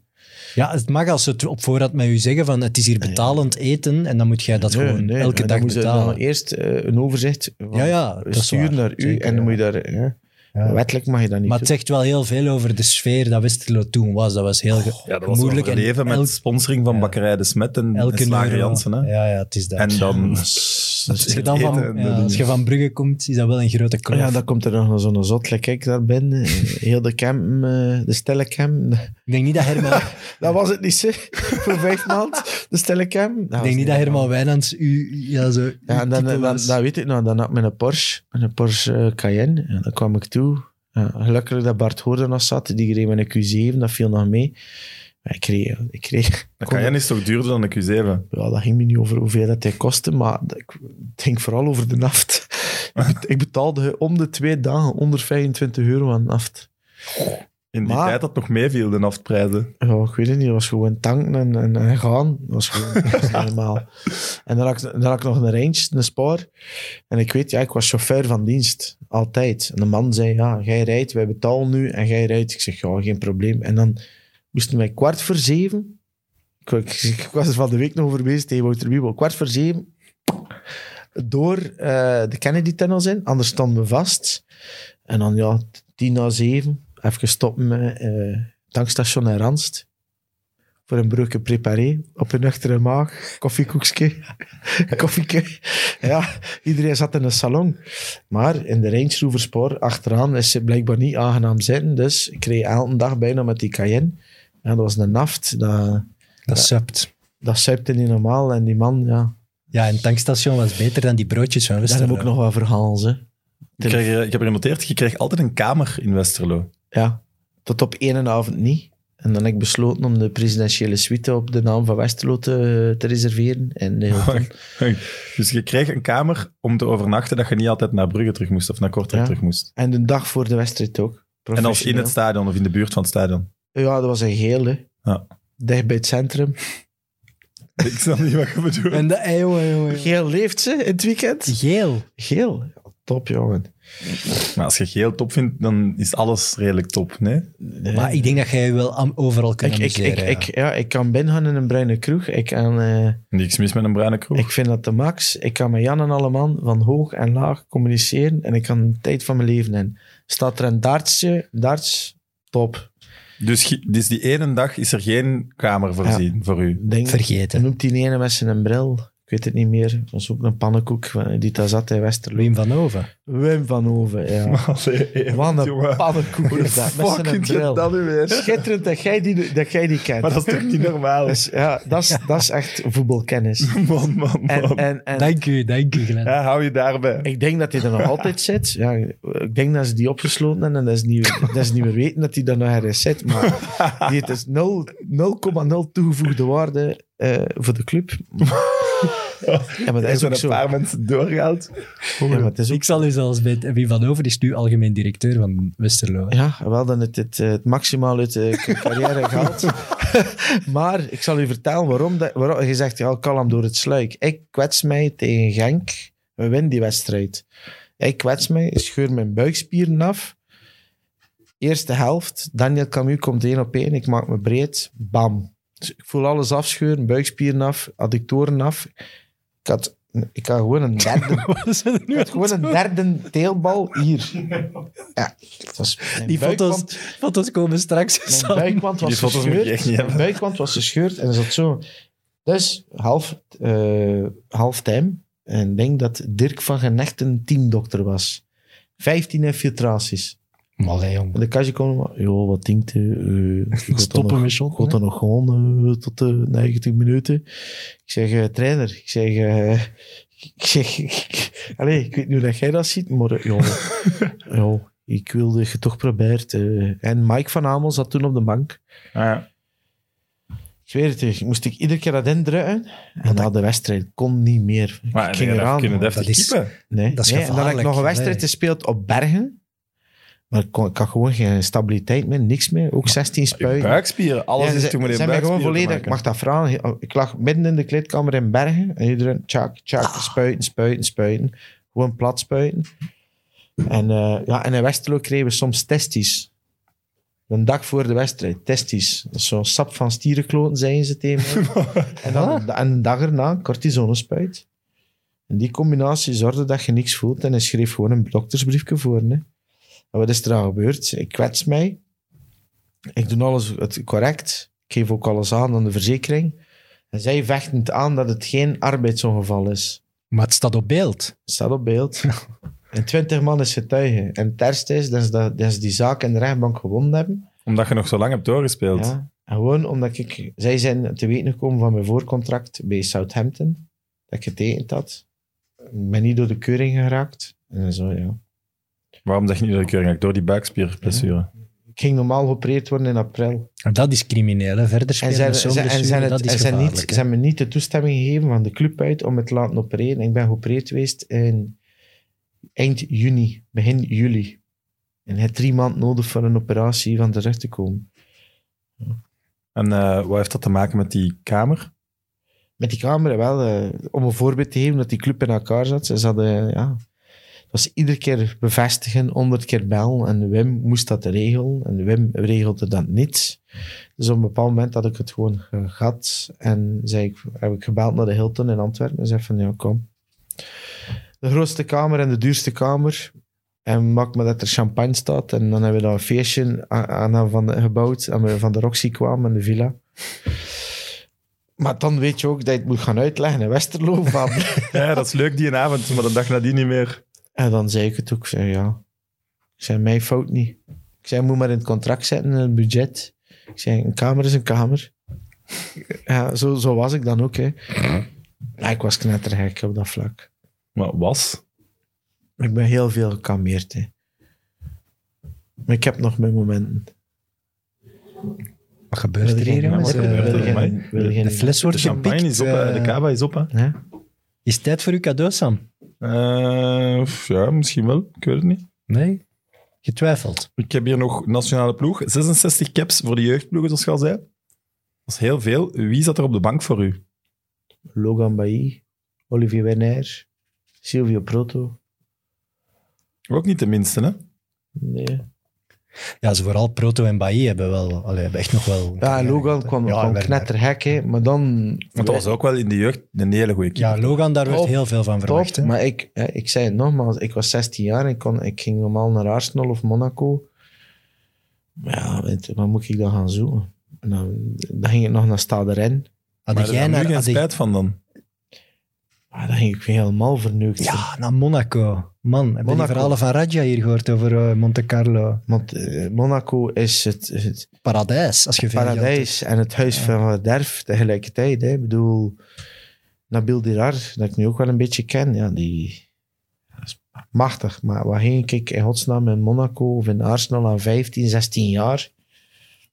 S2: Ja, het mag als ze het op voorhand met u zeggen van het is hier betalend eten en dan moet jij dat
S3: Nee,
S2: gewoon
S3: nee, maar
S2: elke
S3: dan
S2: dag
S3: moet je
S2: betalen.
S3: dan eerst eh, een overzicht van
S2: Ja, ja, dat is
S3: sturen
S2: waar.
S3: naar u
S2: Zeker,
S3: en dan
S2: ja.
S3: moet je daar... ja.
S2: Ja.
S3: Wettelijk mag je dat niet
S2: Maar het
S3: doen.
S2: zegt wel heel veel over de sfeer dat Westerlo toen was. Dat was heel ge-
S1: Oh, Ja, dat was
S2: moeilijk.
S1: een leven met
S2: elk-
S1: sponsoring van Bakkerij de Smet en, en
S2: elke
S1: Slager
S2: euro-
S1: Jansen. Hè?
S2: Ja, ja, het is dat.
S1: En dan...
S2: als, je dan van,
S1: eten,
S2: ja,
S1: dat
S2: als je van Brugge komt, is dat wel een grote kloof.
S3: Oh Ja, dan komt er nog zo'n zot, like ik daar binnen. Heel de camp, eh, de stille camp.
S2: Ik denk niet dat Herman,
S3: Dat was het niet, zeg. Voor vijf maanden, de stille camp. Dat was
S2: ik denk niet dat
S3: normaal.
S2: Herman Wijnands u ja, zo,
S3: Ja, en dan, dan, dan,
S2: dat,
S3: weet ik nog, dan had ik mijn Porsche, een Porsche eh, Cayenne, en dan kwam ik toe. Ja, gelukkig dat Bart Hoorden nog zat, die reed met een Q7, dat viel nog mee. Maar ik kreeg, ik kreeg
S1: De Cayenne is toch duurder dan de Q7?
S3: ja, dat ging me niet over hoeveel dat hij kostte, maar dat- ik- het ging vooral over de naft. ik, bet- ik betaalde om de twee dagen onder 25 euro aan naft.
S1: In die
S3: Maar-
S1: tijd dat nog meeviel, de naftprijzen.
S3: Ja, ik weet het niet, het was gewoon tanken en, en, en gaan. Dat was gewoon dat was niet normaal. En dan had, ik, dan had ik nog een range, een spaar. En ik weet, ja, ik was chauffeur van dienst, altijd. En de man zei, ja, jij rijdt, wij betalen nu en jij rijdt. Ik zeg, ja, geen probleem. En dan moesten wij kwart voor zeven... Ik, ik, ik was er van de week nog over bezig tegen Wouter Wiebel. Kwart voor zeven door eh, de Kennedy-tunnels in, anders stonden we vast. En dan, ja, tien na zeven, even stoppen met eh, tankstation in Ranst. voor een broekje préparé, op een nuchtere maag, koffiekoekje, koffieke. Ja, iedereen zat in een salon. Maar in de Range Rover Sport achteraan is ze blijkbaar niet aangenaam zitten, dus ik reed elke dag bijna met die Cayenne. En dat was een naft, dat,
S2: Dat supt.
S3: dat zuipte niet normaal. En die man, ja,
S2: Ja, en tankstation was beter dan die broodjes van
S3: daar
S2: Westerlo.
S3: hebben we ook nog wel verhalen, hè.
S1: Ik, krijg, eh, ik heb er genoteerd, je kreeg altijd een kamer in Westerlo.
S3: Ja, tot op één avond niet. En dan heb ik besloten om de presidentiële suite op de naam van Westerlo te, te reserveren. En eh,
S1: Dus je kreeg een kamer om te overnachten dat je niet altijd naar Brugge terug moest of naar Kortrijk
S3: Ja.
S1: terug moest.
S3: En de dag voor de wedstrijd ook.
S1: En als in het stadion of in de buurt van het stadion.
S3: Ja, dat was een gele.
S1: Ja.
S3: Dicht bij het centrum.
S1: Ik snap niet wat je bedoelt.
S2: En de ey, jongen, jongen.
S3: Geel leeft ze in het weekend.
S2: Geel.
S3: Geel. Top, jongen.
S1: Maar als je geel top vindt, dan is alles redelijk top, nee?
S3: Nee.
S2: Maar ik denk dat jij je wel am- overal kan
S3: ik, ik, ik,
S2: amuseren, ja.
S3: ik, ja, ik kan binnengaan in een bruine kroeg. Ik, kan, eh,
S1: Niks mis met een bruine kroeg.
S3: ik vind dat de max. Ik kan met Jan en alle man van hoog en laag communiceren. En ik kan de tijd van mijn leven in. Staat er een dartsje, darts, top.
S1: Dus, ge- dus die ene dag is er geen kamer voorzien voor u.
S3: Denk,
S2: Vergeten.
S3: noemt die ene met zijn bril. Ik weet het niet meer. Dat was ook een pannenkoek eh, die daar zat in Westerlo.
S2: Wim van Oven.
S3: Wim van Hoven, ja.
S1: Allee,
S3: Wat een
S1: jongen.
S3: pannenkoek
S1: Hoe de
S3: is dat. Met
S1: fuck
S3: zijn
S1: kunt je
S3: bril.
S1: dat nu weer?
S3: Schitterend dat jij die, dat jij die kent.
S1: Maar dat is toch niet normaal?
S3: Dus ja, dat is, dat is echt voetbalkennis.
S1: Man, man,
S3: En,
S1: man.
S3: en, en
S2: Dank u, dank u, Glenn.
S1: Ja, hou je daarbij.
S3: ik denk dat hij er nog altijd zit. Ja, ik denk dat ze die opgesloten hebben en dat ze niet, dat ze niet meer weten dat hij daar nog ergens zit. Maar die het is nul- 0,0 toegevoegde waarde eh, voor de club. Ja, maar dat
S1: Er
S3: is
S1: zijn
S3: ook
S1: een
S3: zo.
S1: paar mensen doorgehaald.
S3: Ja, maar het is ook
S2: Ik zal u zelfs bij Wim van Oven is nu algemeen directeur van Westerlo. hè.
S3: Ja, wel dan het, het, eh, het maximaal uit de carrière gehaald. maar ik zal u vertellen waarom, dat, waarom. Je zegt, ja, kalm door het sluik. Ik kwets mij tegen Genk. We winnen die wedstrijd. Ik kwets mij, scheur mijn buikspieren af. Eerste helft, Daniel Camus komt één op één. Ik maak me breed. Bam. Dus ik voel alles afscheuren, buikspieren af, addictoren af. Ik had, ik had gewoon een derde,
S2: Wat zijn er nu
S3: ik
S2: aan
S3: had gewoon een derde teelbal hier. Ja, het was, mijn
S2: Die
S3: buikwand-
S2: foto's, foto's komen straks
S3: mijn
S2: samen.
S3: buikwand was
S1: Die foto's moet je
S3: gescheurd.
S1: echt niet
S3: Mijn
S1: hebben.
S3: buikwand was gescheurd en er zat zo. Dus half, eh half time. En ik denk dat Dirk van Genecht een teamdokter was. 15 infiltraties.
S2: Allee, jong.
S3: En de kastje kwam. Joh, wat denkt u? Eh, ik had dan nog-
S2: Stoppen met
S3: ik had
S2: shot.
S3: dan nog gewoon eh, tot de 90 minuten. Ik zeg, eh, trainer, ik zeg... eh, ik zeg... Allee, ik weet niet hoe dat jij dat ziet, maar... eh, joh, joh, ik wilde je toch probeert. eh. en Mike van Amel zat toen op de bank.
S1: Ja.
S3: Ik weet het niet. Moest ik iedere keer dat indrukken. En na de wedstrijd kon niet meer.
S1: Maar
S3: Ik
S1: je
S3: ging eraan,
S1: kunnen
S3: man.
S1: deftig
S2: Dat is-
S1: keepen.
S3: Nee.
S2: Dat is
S3: nee. En dan heb ik
S2: gevaarlijk,
S3: nog een wedstrijd
S2: nee.
S3: gespeeld op Bergen. Maar ik, kon, ik had gewoon geen stabiliteit meer, niks meer. Ook 16
S1: Je
S3: spuien.
S1: buikspieren, alles
S3: Ja,
S1: is
S3: ze-
S1: toen met
S3: ze
S1: je
S3: hebben mij gewoon
S1: buikspieren te
S3: volledig, ik
S1: maken.
S3: mag dat vragen. Ik lag midden in de kleedkamer in Bergen. En iedereen, tjak, tjak, spuiten, spuiten, spuiten. Gewoon plat spuiten. En, eh, ja, en in Westerlo kregen we soms testies. Een dag voor de wedstrijd, testies. Dat is Zo'n sap van stierenkloten, zeiden ze tegen mij. en, dan, en een dag erna, cortisonespuit. En die combinatie zorgde dat je niks voelt. En hij schreef gewoon een doktersbriefje voor. Hè. En wat is er aan gebeurd? Ik kwets mij. Ik doe alles het correct. Ik geef ook alles aan aan de verzekering. En zij vechten het aan dat het geen arbeidsongeval is.
S2: Maar het staat op beeld.
S3: Het staat op beeld. en twintig man is getuige. En het ergste is dat ze, dat, dat ze die zaak in de rechtbank gewonnen hebben.
S1: Omdat je nog zo lang hebt doorgespeeld.
S3: Ja. En gewoon omdat ik... Zij zijn te weten gekomen van mijn voorcontract bij Southampton. Dat ik getekend had. Ik ben niet door de keuring geraakt. En zo, ja.
S1: Waarom zeg je niet dat ik keuring heb? Door die buikspierblessure.
S3: Ik ging normaal geopereerd worden in april.
S2: En dat is crimineel. hè. Verder
S3: En
S2: spelen
S3: zijn,
S2: met zo'n
S3: zijn- en zijn,
S2: blessure, dat
S3: het,
S2: is
S3: en zijn, niet,
S2: gevaarlijk.
S3: ze
S2: hè.
S3: hebben me niet de toestemming gegeven van de club uit om het te laten opereren. Ik ben geopereerd geweest in eind juni, begin juli. En hij had drie maanden nodig voor een operatie van de rug te komen.
S1: En eh, wat heeft dat te maken met die kamer?
S3: Met die camera wel, eh, om een voorbeeld te geven dat die club in elkaar zat. Ze hadden, eh, ja, het was iedere keer bevestigen, honderd keer bellen. En Wim moest dat regelen. En Wim regelde dat niet. Dus op een bepaald moment had ik het gewoon ge- gehad. En zei ik, heb ik gebeld naar de Hilton in Antwerpen. En zei van, ja, kom. De grootste kamer en de duurste kamer. En maak maar dat er champagne staat. En dan hebben we daar een feestje aan, aan van de, gebouwd. En we van de Roxy kwamen, in de villa. Maar dan weet je ook dat je het moet gaan uitleggen in Westerlo. Van.
S1: Ja, dat is leuk die avond, maar de dag nadien niet meer.
S3: en dan zei ik het ook. Ik zei, ja, ik zei, mijn fout niet. Ik zei, moet maar in het contract zetten, in het budget. Ik zei, een kamer is een kamer. Ja, zo, zo was ik dan ook. Hè. Ja, ik was knettergek op dat vlak.
S1: Maar was?
S3: Ik ben heel veel gekameerd. Hè. Maar ik heb nog mijn momenten.
S2: Wat gebeurt er hier,
S3: Ja,
S2: jongens?
S3: wat gebeurt
S2: Eh,
S3: er?
S1: Amai.
S3: Wil je
S2: de
S3: geen-
S2: fles
S1: De
S2: wordt
S1: champagne
S2: gepikt.
S1: is op, hè. de
S2: eh,
S1: kaba is op. Hè.
S3: Hè?
S2: is het tijd voor uw cadeau, Sam?
S1: Eh, pff, ja, misschien wel. Ik weet het niet.
S2: Nee? Getwijfeld.
S1: Ik heb hier nog nationale ploeg. 66 caps voor de jeugdploegen, zoals je al zei. Dat is heel veel. Wie zat er op de bank voor u?
S3: Logan Bailly, Olivier Werner, Silvio Proto.
S1: Ook niet de minste, hè?
S3: Nee.
S2: Ja, ze vooral Proto en Bailly hebben wel allee, hebben echt nog wel...
S3: Ja, Logan kwam,
S2: Ja,
S3: kwam
S2: Werner.
S3: knettergek, hè, maar dan...
S1: Want dat was ook wel in de jeugd een hele goede keeper.
S2: Ja, Logan, daar werd
S3: Top,
S2: heel veel van
S3: Top,
S2: verwacht. hè.
S3: maar ik, hè, ik zei het nogmaals, ik was 16 jaar en ik, kon, ik ging normaal naar Arsenal of Monaco. Maar ja, weet, wat moet ik dan gaan zoeken? En Dan, dan ging ik nog naar Stade Rennes.
S1: Maar
S2: Hadden
S1: er is
S2: jij
S1: daar
S2: naar...
S1: nu geen
S2: had jij-
S1: spijt van dan?
S3: Ah, dan ging ik weer helemaal verneukt.
S2: Ja, naar Monaco. Man, heb je die
S3: Monaco.
S2: verhalen van Radja hier gehoord over eh, Monte Carlo?
S3: Want eh, Monaco is het, het
S2: Paradijs, als je veel geld hebt.
S3: paradijs en het huis van verderf tegelijkertijd. Hè. Ik bedoel, Nabil Dirar, dat ik nu ook wel een beetje ken, ja, die dat is machtig. Maar waar ging ik in godsnaam in Monaco of in Arsenal aan 15, 16 jaar?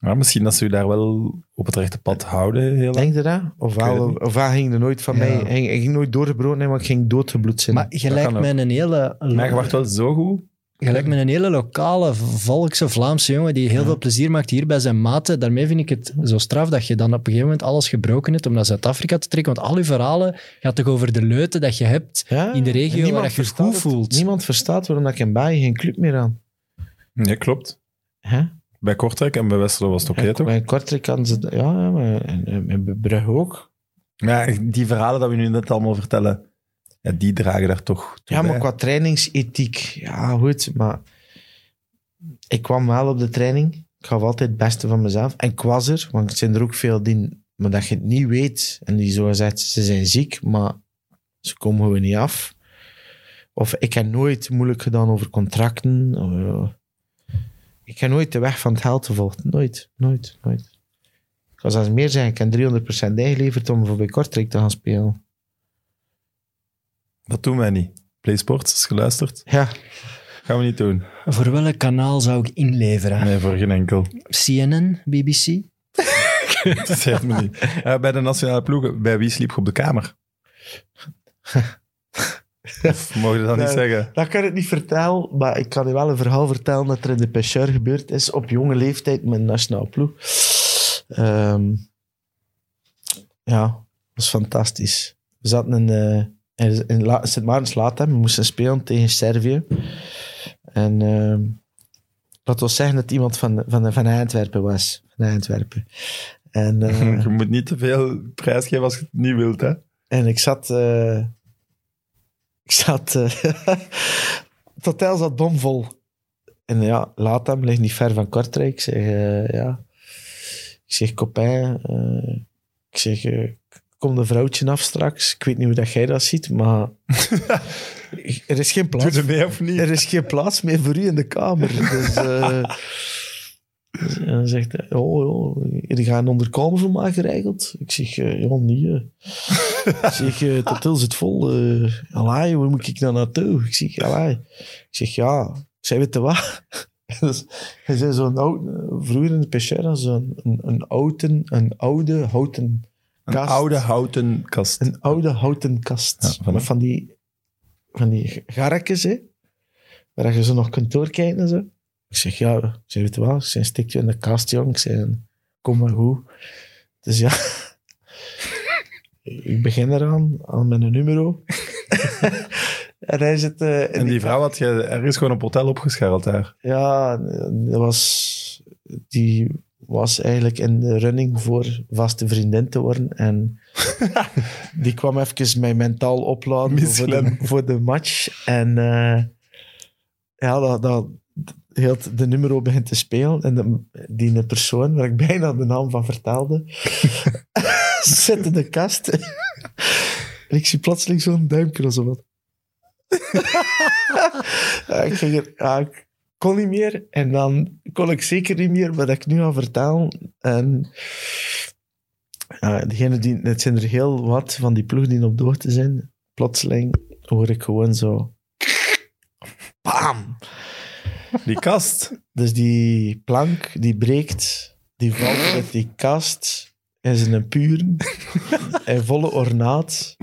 S1: Ja, misschien dat ze u daar wel op het rechte pad houden. Heel lang.
S3: Denk je dat?
S1: Ik weet
S3: Ofwel,
S1: het
S3: ofwel ging er nooit van
S2: Ja.
S3: mij. Ging, ik ging nooit doorgebroken, nee, maar ik ging doodgebloed zijn.
S2: Maar je lijkt
S1: kan ook.
S2: me een hele...
S1: Maar je wacht wel zo goed.
S2: Je lijkt me een hele lokale, volkse Vlaamse jongen die heel veel plezier maakt hier bij zijn maten. Daarmee vind ik het zo straf dat je dan op een gegeven moment alles gebroken hebt om naar Zuid-Afrika te trekken. Want al je verhalen gaat toch over de leuten dat je hebt
S3: Ja,
S2: in de
S3: en
S2: regio
S3: niemand
S2: waar je je
S3: verstaat
S2: goed
S3: het.
S2: voelt.
S3: Niemand verstaat waarom dat ik in Baai geen club meer aan.
S1: Ja, klopt.
S3: Hè?
S1: Bij Kortrijk en bij Westerlo was het oké,
S3: Ja,
S1: toch?
S3: Bij Kortrijk kan ze... Ja, ja, maar en- en- en bij Brugge ook.
S1: Ja, die verhalen dat we nu net allemaal vertellen, ja, die dragen daar toch toe
S3: Ja, maar
S1: bij.
S3: qua trainingsethiek, ja, goed. Maar ik kwam wel op de training. Ik gaf altijd het beste van mezelf. En ik was er, want er zijn er ook veel die, maar dat je het niet weet. En die zo zegt, ze zijn ziek, maar ze komen gewoon niet af. Of ik heb nooit moeilijk gedaan over contracten. Eh, Ik heb nooit de weg van het geld gevolgd. Nooit, nooit, nooit. Ik was als meer zeggen, ik heb 300% ingeleverd om voor bij Kortrijk te gaan spelen.
S1: Dat doen wij niet. PlaySports, als geluisterd,
S3: Ja,
S1: gaan we niet doen.
S2: Voor welk kanaal zou ik inleveren?
S1: Nee, voor geen enkel.
S2: CNN, BBC?
S1: Dat zegt me niet. Eh, bij de nationale ploegen, bij wie sliep je op de kamer? Of mogen we dat niet
S3: Nee.
S1: zeggen?
S3: Dat kan ik niet vertellen, maar ik kan je wel een verhaal vertellen dat er in de Pêcheur gebeurd is op jonge leeftijd met een nationale ploeg. Ehm, ja, dat was fantastisch. We zaten in, eh, in, in La- Sint Maartens Latem, we moesten spelen tegen Servië. En ehm dat wil zeggen dat iemand van, van, van Antwerpen was. Van Antwerpen. En, eh,
S1: Je moet niet te veel prijs geven als je het niet wilt, hè?
S3: en ik zat. eh, ik zat. eh, het hotel zat bomvol. En ja, Latam ligt niet ver van Kortrijk. Ik zeg, eh, ja. Ik zeg, Copain. eh, ik zeg, eh, kom een vrouwtje af straks. Ik weet niet hoe dat jij dat ziet, maar. er is geen
S1: Doe
S3: plaats.
S1: je mee of niet?
S3: Er is geen plaats meer voor u in de kamer. Dus. eh, dus, en dan zegt hij, oh, joh, jullie gaan onderkomen voor mij geregeld? Ik zeg, eh, ja, niet. eh. Ik zeg, eh, het hotel zit vol. eh alai, waar moet ik dan naartoe? Ik zeg, alai. Ik zeg, ja. Ik zei, weet je wat? Dus, er zijn zo'n oude, vroeger in de Pechera, zo'n een, een, ouden- een oude houten
S1: Een
S3: kast.
S1: oude houten kast.
S3: Een oude houten kast.
S1: Ja, voilà.
S3: Met van die, van die garretjes, hè. Waar je zo nog kunt doorkijken en zo. Ik zeg, ja, ik zeg, weet je wel, ik zeg, stik je in de kast, jong. Ik zeg, kom maar goed. Dus ja... ik begin eraan, aan mijn numero. en hij zit... eh, in
S1: En die vrouw had je ergens gewoon op hotel opgescharreld daar.
S3: ja, dat was, die was eigenlijk in de running voor vaste vriendin te worden. En die kwam even mij mentaal opladen voor de,
S1: Misleiden.
S3: voor de match. En eh, ja, dat, dat, heel het- de nummer begint te spelen. En de, die persoon, waar ik bijna de naam van vertelde, zit in de kast. en ik zie plotseling zo'n duimpje of zo wat. Ja, ik, ging er- ja, ik kon niet meer. En dan kon ik zeker niet meer wat ik nu ga vertellen. En ja, degene die, het zijn er heel wat van die ploeg die op de hoogte zijn. Plotseling hoor ik gewoon zo... Bam!
S1: Die kast.
S3: Dus die plank, die breekt, die valt uit die kast in zijn puren, in volle ornaat.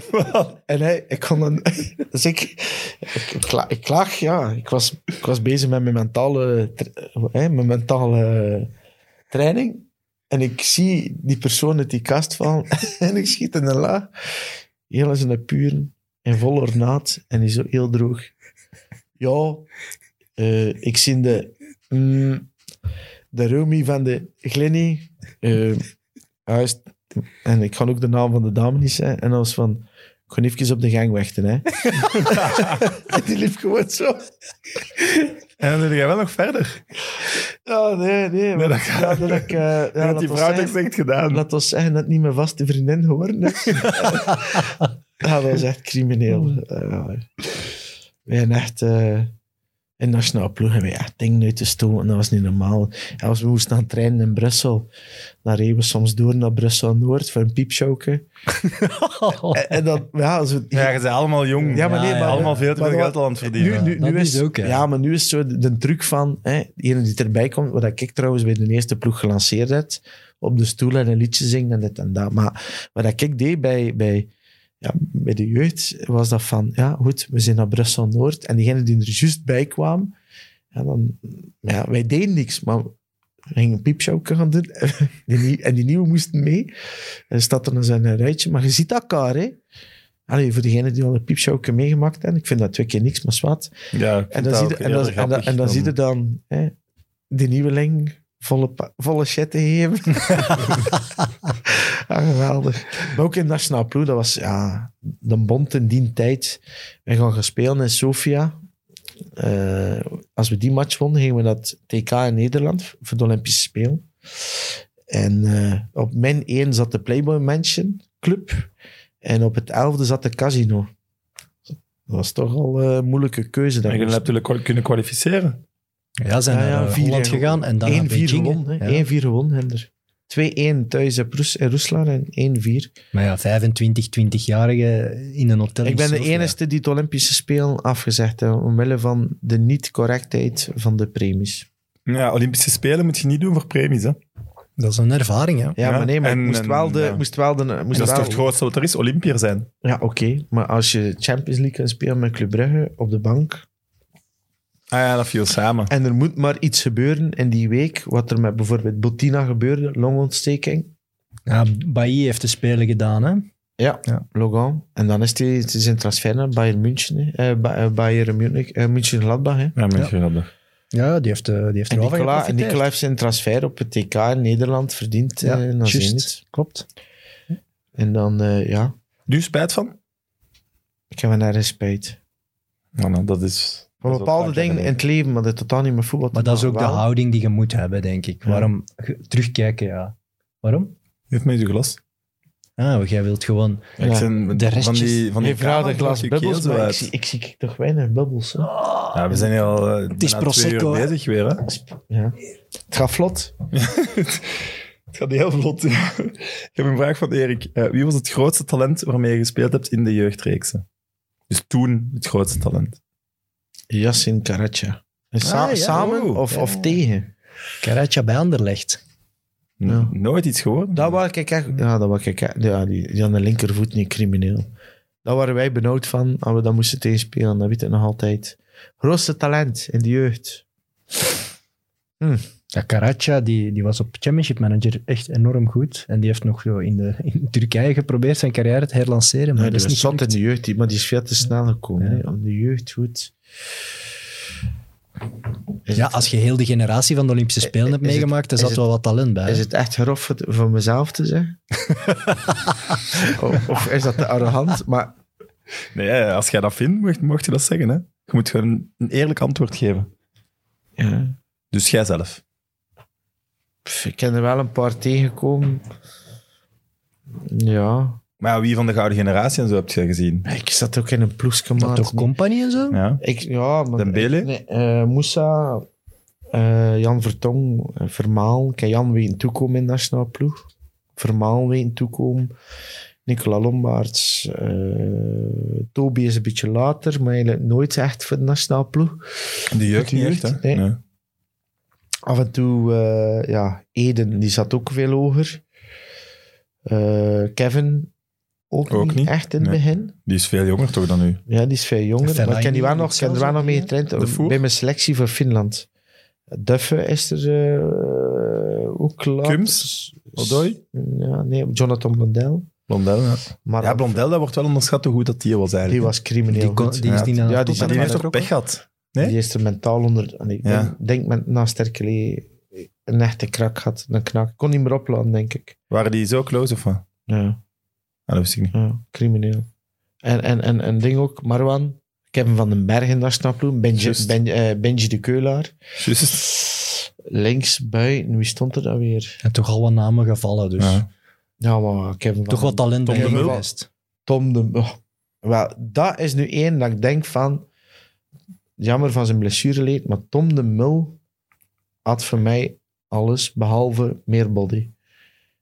S3: En hij, ik kon dan... Dus ik, ik, ik, kla- ik klaag, ja. Ik was, ik was bezig met mijn mentale, tra- hè, mijn mentale training. En ik zie die persoon uit die kast vallen en ik schiet in de la. Heel in zijn puren, in volle ornaat en die zo heel droog. Ja, eh, ik zie de Mm, de Romy van de Glenny. eh, hij is- en ik kan ook de naam van de dame niet zeggen. En dan was van, ik ga even op de gang wachten. Hè. en die liep gewoon zo.
S1: En dan doe jij wel nog verder.
S3: Oh, nee, nee.
S1: Nee,
S3: want-
S1: dat kan-
S3: ja, dat ik, eh, ja,
S1: en dat
S3: laat
S1: die
S3: ons
S1: vrouw
S3: zeggen-
S1: dat zegt gedaan.
S3: Laat ons zeggen dat het niet mijn vaste vriendin geworden is. ja, dat is echt crimineel. Eh, wij zijn echt eh in nationale ploeg hebben we echt dingen uit te stoten. Dat was niet normaal. En als we moesten gaan trainen in Brussel, dan reden we soms door naar Brussel-Noord voor een piepshowke. en, en dan, ja, zo,
S1: Ja, je bent allemaal jong.
S3: Ja, maar nee,
S2: Ja,
S3: maar-
S1: allemaal veel te
S3: maar
S1: veel
S3: wat-
S1: geld al aan het verdienen.
S3: nu, nu,
S2: Dat
S3: nu
S2: is
S3: is,
S2: ook, hè.
S3: ja. maar nu is zo de, de truc van, hè, degene die erbij komt, wat ik trouwens bij de eerste ploeg gelanceerd heb, op de stoel en een liedje zingen en dit en dat. Maar wat ik deed bij, bij, ja, bij de jeugd, was dat van, ja goed, we zijn naar Brussel-Noord en diegene die er juist bij kwam, ja, dan, ja, wij deden niks, maar we gingen een piepshowke gaan doen die, nie- en die nieuwe moesten mee. En dan staat er dan zijn rijtje, maar je ziet elkaar, hè. Allee, voor degene die al een piepshowke meegemaakt hebben, ik vind dat twee keer niks, maar zwart.
S1: Ja, ik vind
S3: En dan,
S1: dat
S3: zie
S1: ook
S3: je, en,
S1: heel
S3: dan, en, dan,
S1: grappig
S3: en dan zie je dan hè, die nieuweling volle, pa- volle shit te geven. ja, geweldig. Maar ook in Nationaal Ploeg, dat was ja, de bond in die tijd. We gaan gaan spelen in Sofia. Eh, als we die match wonnen, gingen we naar het TK in Nederland voor de Olympische Spelen. En eh, op min 1 zat de Playboy Mansion Club. En op het 11e zat de Casino. Dat was toch al eh, een moeilijke keuze.
S1: En
S3: daar.
S1: je hebt natuurlijk kwa- kunnen kwalificeren.
S2: Ja, zijn
S3: Ja,
S2: naar
S3: ja,
S2: eh,
S3: vier
S2: Holland
S3: en-
S2: gegaan en dan naar
S3: 1-4
S2: Beijing. hè.
S3: gewonnen.
S2: Ja.
S3: hè. 1-4 gewonnen, Hender. 2-1 thuis in, Roes in Rusland en 1-4.
S2: Maar ja, 25, 20-jarige in een hotel.
S3: Ik
S2: in
S3: ben de
S2: Sofia.
S3: enige die het Olympische Spelen afgezegd heeft, omwille van de niet-correctheid van de premies.
S1: Ja, Olympische Spelen moet je niet doen voor premies. Hè.
S2: Dat is een ervaring, ja.
S3: Ja,
S1: Ja,
S3: maar nee, maar
S1: en-
S3: ik moest wel de...
S1: en, ja.
S3: Moest wel de moest
S1: dat is
S3: wel,
S1: toch het grootste wat er is? Olympiër zijn.
S3: Ja, oké. Maar als je Champions League kan spelen met Club Brugge op de bank,
S1: Ah ja, dat viel samen.
S3: en er moet maar iets gebeuren in die week, wat er met bijvoorbeeld Bottina gebeurde, longontsteking,
S2: ja Bailly heeft de Spelen gedaan, hè.
S3: Ja,
S2: Ja.
S3: Logan. En dan is hij zijn transfer naar Bayern München. hè. Eh, Ba- eh, Bayern Munich, eh, München Gladbach. Hè.
S1: Ja,
S2: mensen
S1: ja. dat.
S2: Ja, die heeft, eh, die heeft
S3: En
S2: er wel van
S3: Nicola, en
S2: geprofiteerd.
S3: Nicola heeft zijn transfer op het TK in Nederland verdiend.
S2: Ja,
S3: Ja, naar
S2: juist.
S3: Zenit.
S2: Klopt.
S3: En dan, eh, ja,
S1: Nu spijt van?
S3: ik heb er nergens spijt.
S1: Ja, nou, dat is...
S3: Van
S1: dat is al
S3: bepaalde
S1: vaak
S3: dingen in
S1: geleden.
S3: het leven, maar dat totaal niet met voetbal te
S2: Maar dat is ook
S3: maken.
S2: de
S3: Wel,
S2: houding die je moet hebben, denk ik. Waarom? Ge- Terugkijken, ja. Waarom?
S1: Je hebt mij uw glas.
S2: Ah, jij wilt gewoon...
S3: Ja.
S1: Ik zijn
S2: de restjes.
S1: van die, van die
S3: Je vraagt een
S1: kamer dat
S3: glas
S1: je keel
S3: bubbels,
S1: zo
S3: maar ik
S1: uit.
S3: zie, ik zie toch weinig bubbels. hè.
S1: Ja, we zijn al eh,
S2: is
S1: bijna twee uur
S2: Prosecco, hè?
S1: bezig weer. Hè?
S3: Ja. Het gaat vlot.
S1: Het gaat heel vlot. ik heb een vraag van Erik. Eh, wie was het grootste talent waarmee je gespeeld hebt in de jeugdreeksen? Dus toen het grootste talent.
S3: Yassin Karatja. En sa-
S2: Ah, ja.
S3: samen
S1: Oeh.
S3: of, of tegen?
S2: Karatja bij Anderlecht.
S1: N-
S3: Ja.
S1: Nooit iets geworden.
S3: Dat was ik echt... Ja, dat was ik echt... Ja, die, die aan de linkervoet niet crimineel. Daar waren wij benauwd van als we dat moesten tegenspelen. Dat weet ik nog altijd. Grootste talent in de jeugd.
S2: Ja, Karatja, die, die was op Championship Manager echt enorm goed. En die heeft nog zo in, de, in Turkije geprobeerd zijn carrière te herlanceren. Maar
S3: Nee,
S2: dat
S3: die
S2: is niet
S3: was zot in
S2: gelukt.
S3: de jeugd, die- maar die is veel te snel gekomen.
S2: Ja.
S3: hè. Om de jeugd goed... Is,
S2: Ja,
S3: het, Eh,
S2: als je heel de generatie van de Olympische Spelen hebt
S3: is het-
S2: meegemaakt, daar
S3: is
S2: zat
S3: het-
S2: wel wat talent bij.
S3: is het echt grof het- van mezelf te zeggen? of, of is dat te arrogant? Maar
S1: Nee, als jij dat vindt, mocht, mocht je dat zeggen. Hè? Je moet gewoon een, een eerlijk antwoord geven.
S3: ja,
S1: Dus jijzelf.
S3: pff, ik ken er wel een paar tegengekomen. Ja.
S1: Maar ja, wie van de gouden generatie en zo heb je gezien?
S3: Ik zat ook in een ploesje,
S2: Dat
S3: maat.
S2: toch compagnie en zo?
S1: Ja.
S3: Ik, ja, maar...
S1: Dembele?
S3: ik- Nee, eh, Moussa, eh, Jan Vertong, eh, Vermaal. Kijk, Jan weten toekomen in de nationale ploeg. Vermaal weten toekomen. Nicola Lombaerts. eh, Toby is een beetje later, maar eigenlijk nooit echt voor de nationale ploeg.
S1: De jeugd niet echt, hè?
S3: Nee. Af en toe, eh, ja, Eden, die zat ook veel hoger. Eh, Kevin, ook,
S1: Ook
S3: niet,
S1: niet,
S3: echt in het
S1: nee.
S3: begin.
S1: Die is veel jonger toch dan u?
S3: Ja, die is veel jonger.
S2: Fellaini
S3: maar ik heb die wel
S2: ook
S3: nog, ik heb
S2: zelfs
S3: er wel
S2: ook,
S3: nog mee
S2: ja.
S1: De
S3: getraind
S1: Voer?
S3: bij mijn selectie voor Finland. Duffe is er eh, ook laat.
S1: Kums? Odoi?
S3: Ja, nee, Jonathan Blondel.
S1: Blondel, ja.
S3: Maar
S1: Ja, Blondel, dat wordt wel onderschat hoe goed dat die was
S3: die
S1: eigenlijk.
S3: was crimineel
S2: Die, kon-
S3: goed.
S2: die is
S1: Ja.
S2: die naar
S3: Ja, die
S1: maar
S3: zat
S1: die
S3: maar
S1: heeft toch
S3: ook
S1: pech gehad?
S3: Die,
S1: Nee?
S3: is er mentaal onder... en Ik
S1: Ja.
S3: denk- denk met, na Sterkele een echte krak had. Een knak. Kon niet meer oplaan, denk ik.
S1: Waren die zo close of wat? Ah,
S3: Ja,
S1: dat wist ik niet.
S3: ja crimineel. En, en, en, en ding ook, Marwan. Kevin van den Bergen, dat snap je. Benji,
S1: Juist.
S3: Benji, eh, Benji de Keulaar.
S1: Juist.
S3: Links buiten, wie stond er dan weer?
S2: En toch al wat namen gevallen, dus.
S1: Ja.
S3: Ja, maar Kevin van
S2: Toch wat talent
S1: Tom
S2: bij
S1: de Mul.
S2: geweest.
S3: Tom de... oh. Wel, dat is nu één dat ik denk van... Jammer van zijn blessureleed, maar Tom de Mul had voor mij alles behalve meer body.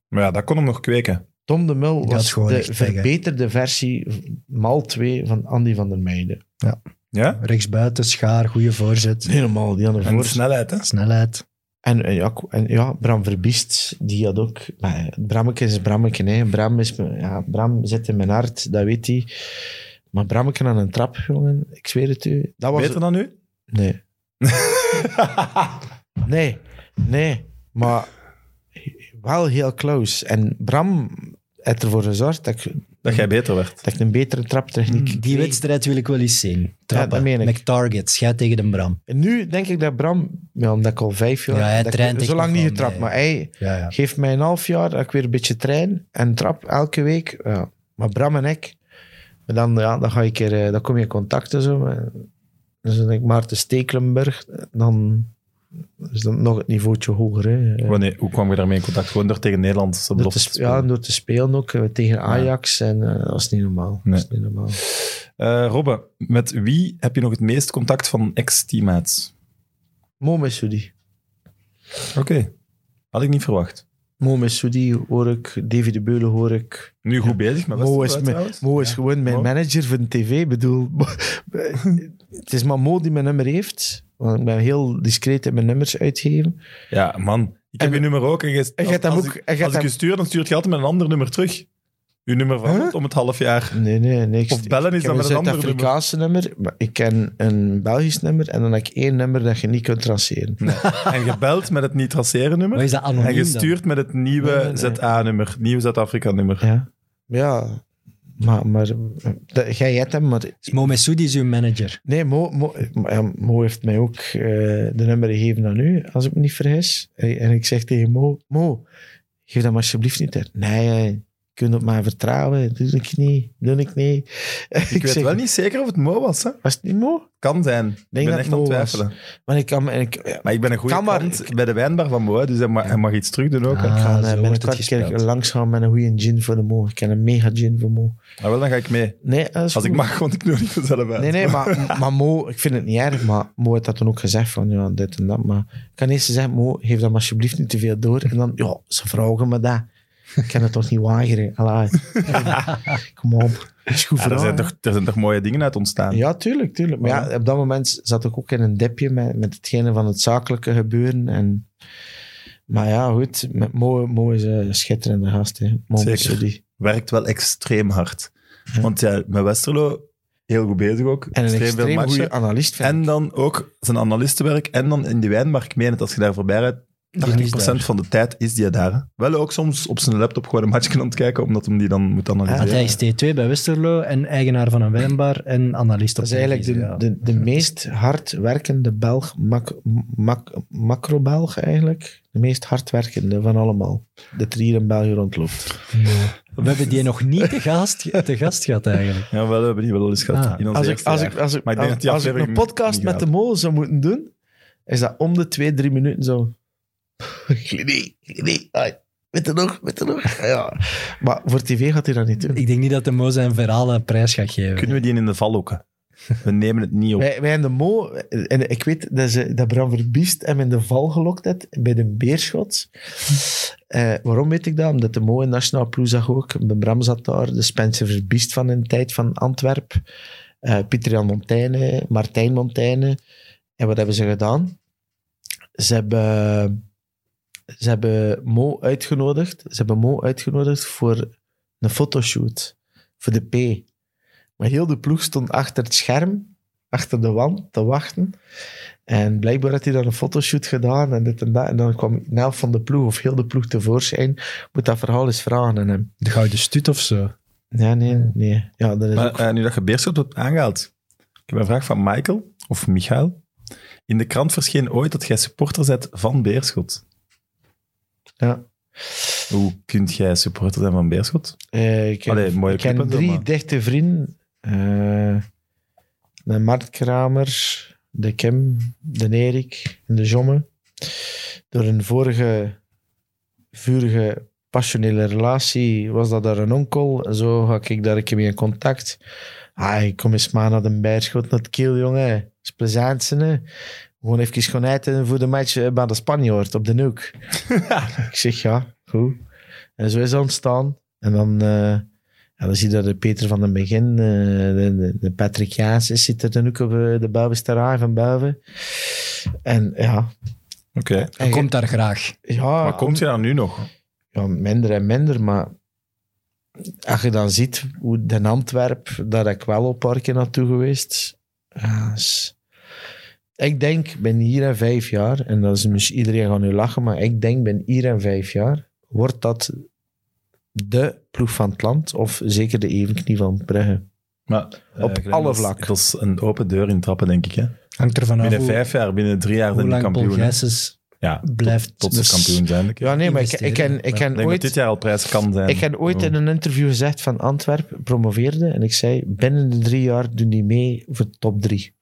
S1: Maar ja, dat kon hem nog kweken.
S3: Tom de Mul
S2: Die had
S3: was
S2: gewoon
S3: de
S2: echt pech, hè.
S3: verbeterde versie, mal 2, van Andy van der Meijden.
S1: Ja?
S2: Rechtsbuiten, schaar, goede voorzet,
S3: Helemaal, die hadden
S1: En de
S3: voor.
S1: snelheid, hè?
S2: snelheid.
S3: En, eh, ja, k- en ja, Bram Verbiest, die had ook... Maar eh, Brammeke is Brammeke, hè. Bram, is, mijn- ja, Bram zit in mijn hart, dat weet hij. Maar Brammeke aan een trap, jongen, ik zweer het u. Dat was...
S1: Beter dan u?
S3: Nee. nee, nee. Maar wel heel close. En Bram heeft ervoor gezorgd dat ik,
S1: Dat jij beter werd.
S3: dat ik een betere traptechniek
S1: Hmm.
S2: Die
S3: kreeg.
S2: wedstrijd wil ik wel eens zien. Trappen,
S3: dat meen ik.
S2: met targets, jij tegen de Bram.
S3: En nu denk ik dat Bram, ja, omdat ik al vijf jaar...
S2: Ja, hij
S3: dat ik
S2: traint echt
S3: Zo lang
S2: nog
S3: niet
S2: wel
S3: getrapt,
S2: mee.
S3: maar hij...
S2: Ja, ja.
S3: Geef mij een half jaar dat ik weer een beetje train en trap elke week. Ja. Maar Bram en ik, en dan, ja, dan, ga ik er, eh, dan kom je in contact en zo. Maar- Dus dan denk ik Maarten Stekelenburg, dan is dat nog het niveautje hoger. Hè. Eh,
S1: Wanneer, hoe kwam je daarmee in contact? Gewoon door tegen Nederland. zo
S3: Door
S1: belofte
S3: te,
S1: te
S3: sp-
S1: spelen.
S3: ja, door te spelen ook eh, tegen Ajax. En, eh, dat is niet normaal.
S1: Nee.
S3: Dat is niet normaal.
S1: Eh, Robbe, met wie heb je nog het meest contact van ex-teammates?
S3: Mo Messoudi.
S1: Oké. Had ik niet verwacht.
S3: Mo Messoudi hoor ik. Davy de Beulen hoor ik.
S1: Nu goed bezig, maar
S3: Mo
S1: was
S3: is,
S1: het
S3: mijn-
S1: trouwens?
S3: Mo is
S1: Ja.
S3: gewoon mijn
S1: Mo.
S3: manager van tv. Ik bedoel, het is maar Mo die mijn nummer heeft. Want ik ben heel discreet in mijn nummers uitgeven.
S1: Ja, man. Ik heb
S3: En-
S1: je nummer ook. En je,
S3: En je hebt hem
S1: als
S3: ook-
S1: ik,
S3: en je hebt
S1: als ik
S3: hem-
S1: je stuur, dan stuurt je altijd met een ander nummer terug. Uw nummer verandert om het half jaar.
S3: Nee, nee, niks.
S1: Of bellen is
S3: ik heb
S1: dan met een ander nummer.
S3: Zuid-Afrikaanse nummer. maar ik ken een Belgisch nummer en dan heb ik één nummer dat je niet kunt traceren.
S1: En gebeld met het niet traceren
S2: Wat
S1: nummer.
S2: is dat anoniem
S1: En gestuurd met het nieuwe
S3: Nee, nee, nee.
S1: ZA-nummer. Nieuwe Zuid-Afrika-nummer.
S3: Ja. Ja. Maar, maar dat, jij hebt hem, maar...
S2: dan? Mo Messoudi is uw manager.
S3: Nee, Mo, Mo, ja, Mo heeft mij ook eh, de nummer gegeven aan u, als ik me niet vergis. En en ik zeg tegen Mo, Mo, geef dat maar alsjeblieft niet uit. Nee, eh, je kunt op mij vertrouwen. Doe ik niet, doe ik niet.
S1: Ik, weet wel niet zeker of het Mo was. Hè?
S3: Was het niet Mo?
S1: Kan zijn. Ik ben
S3: dat
S1: echt
S3: het
S1: aan het
S3: Mo was.
S1: twijfelen.
S3: Maar ik kan... me- Ik, ja,
S1: Maar ik ben een goede
S3: Kan maar-
S1: klant bij de wijnbar van Mo. hè, Dus hij mag, hij mag iets terug doen ook. hè.
S2: Ah,
S3: ik ga
S2: zo
S3: eh,
S2: wordt het
S3: binnenkort een keer
S2: gespeeld.
S3: langs gaan met een goede gin voor de Mo. Ik ken een mega gin voor Mo.
S1: Ah, wel, dan ga ik mee.
S3: Nee, dat is
S1: Als ik
S3: goed.
S1: mag, want ik nodig mezelf uit.
S3: Nee, nee, maar, maar Mo, ik vind het niet erg, maar Mo had dat toen ook gezegd van ja, dit en dat. Maar ik kan eerst zeggen, Mo, geef dat maar alsjeblieft niet te veel door. En dan, ja, ze vragen me dat. Ik kan het toch niet wagen. Allee. Kom op. Het is goed
S1: Ja, er,
S3: verhaal,
S1: zijn toch, er zijn toch mooie dingen uit ontstaan.
S3: hè? Ja, tuurlijk, tuurlijk. Maar ja, op dat moment zat ik ook in een dipje met, met hetgene van het zakelijke gebeuren. En, maar ja, goed, met Mo, Mo is een schitterende gast. Hè. Mo
S1: Zeker.
S3: Moussoudi.
S1: Werkt wel extreem hard. Want ja, met Westerlo, heel goed bezig ook.
S3: En een
S1: veel
S3: extreem
S1: matchen.
S3: goede analist. Vind
S1: En
S3: ik.
S1: dan ook zijn analistenwerk. En dan in die wijnbar. Ik meen het, als je daar voorbij rijdt, 80% van de tijd is die daar. hè. Wel ook soms op zijn laptop gewoon een matchje aan het kijken, omdat hem die dan moet
S2: Want
S3: Ah,
S1: analyseren.
S2: hij is T2 bij Westerlo en eigenaar van een wijnbar en analist op
S3: Dat is eigenlijk de,
S2: televisie, ja.
S3: de, de meest hardwerkende Belg, mak, mak, macro-Belg eigenlijk. De meest hardwerkende van allemaal. Dat er hier in België rondloopt.
S2: We hebben die nog niet te gast, te gast gehad eigenlijk.
S1: Ja, wel, we hebben die wel eens gehad.
S2: Ah.
S1: in ons
S3: Als ik,
S1: eerste
S3: als, ik,
S1: jaar.
S3: als, ik,
S1: Maar ik denk dat
S3: als,
S1: die
S3: als ik een
S1: aflevering
S3: podcast
S1: niet
S3: met de
S1: gaat.
S3: mol zou moeten doen, is dat om de twee, drie minuten zo. Glidé, glidé, ai. Weet je nog? Weet je nog? Ja. Maar voor tv gaat hij dat niet doen.
S2: Ik denk niet dat de Mo zijn verhalen een prijs gaat geven.
S1: Kunnen we die in de val lokken? We nemen het niet op.
S3: Wij, wij en de Mo, en ik weet dat, ze, dat Bram Verbiest hem in de val gelokt had bij de Beerschot. Eh, waarom weet ik dat? Omdat de Mo in Nationaal Ploeg zag ook. De Bram zat daar, de Spencer Verbiest van in de tijd van Antwerp. eh, Pieter Jan Montaigne, Martijn Montaigne. En wat hebben ze gedaan? Ze hebben, ze hebben Mo uitgenodigd. Ze hebben Mo uitgenodigd voor een fotoshoot. Voor de P. Maar heel de ploeg stond achter het scherm achter de wand te wachten. En blijkbaar had hij dan een fotoshoot gedaan en dit en dat. En dan kwam de helft van de ploeg of heel de ploeg tevoorschijn. Moet dat verhaal eens vragen aan hem.
S2: De Gouden Stut of zo.
S3: Ja, nee, nee. Ja, dat is
S1: Maar
S3: ook...
S1: eh, nu dat je Beerschot hebt aangehaald. Ik heb een vraag van Michael, of Michael. In de krant verscheen ooit dat jij supporter bent van Beerschot.
S3: Ja.
S1: Hoe kunt jij supporter zijn van Beerschot?
S3: Eh, ik heb,
S1: Allee, mooie
S3: ik heb
S1: club en zo,
S3: drie
S1: maar-
S3: dichte vrienden. Eh, de Mart Kramer, de Kim, de Erik en de Jomme. Door een vorige vurige passionele relatie was dat daar een onkel. Zo ga ik daar een keer mee in contact. Ah, ik kom eens maar naar de bijschot, naar het kiel, jongen. Dat is plezant, hè. Gewoon even gaan eten voor de match eh, bij de Spanjaard op de Nuuk. ik zeg, ja, goed. En zo is dat ontstaan. En dan, eh, ja, dan zie je dat de Peter van den Begin, eh, de, de, de Patrick Jaans, is- zit er dan ook op eh, de Buivensterraai van Buiven. En ja...
S1: Oké.
S2: Hij komt daar graag.
S3: ja,
S1: Maar komt je dan nu nog?
S3: ja, minder en minder, maar als je dan ziet hoe Den Antwerp, daar heb ik wel op een paar keer naartoe geweest. Ja, is- ik denk, ben hier en vijf jaar, en dat is misschien iedereen gaat nu lachen, maar ik denk, ben hier en vijf jaar, wordt dat de ploeg van het land, of zeker de evenknie van Brugge.
S1: Maar, eh,
S3: Op
S1: Glenn,
S3: alle
S1: dat is-
S3: vlak.
S1: Dat is een open deur in trappen, denk ik. Hè?
S2: Hangt er vanaf
S1: Binnen
S2: hoe,
S1: vijf jaar, binnen drie jaar
S2: hoe
S1: zijn de
S2: lang Paul
S1: kampioen. hè.
S2: Gijsens
S1: Ja,
S2: blijft.
S1: tot
S2: dus-
S1: ze kampioen zijn. Ik
S3: Ja, nee, maar ik, ik, ken, ik,
S1: denk
S3: ken
S1: dat
S3: ooit,
S1: dit jaar al prijs kan zijn. Oh.
S3: ik heb ooit in een interview gezegd van Antwerp promoveerde, en ik zei, binnen de drie jaar doen die mee voor top drie.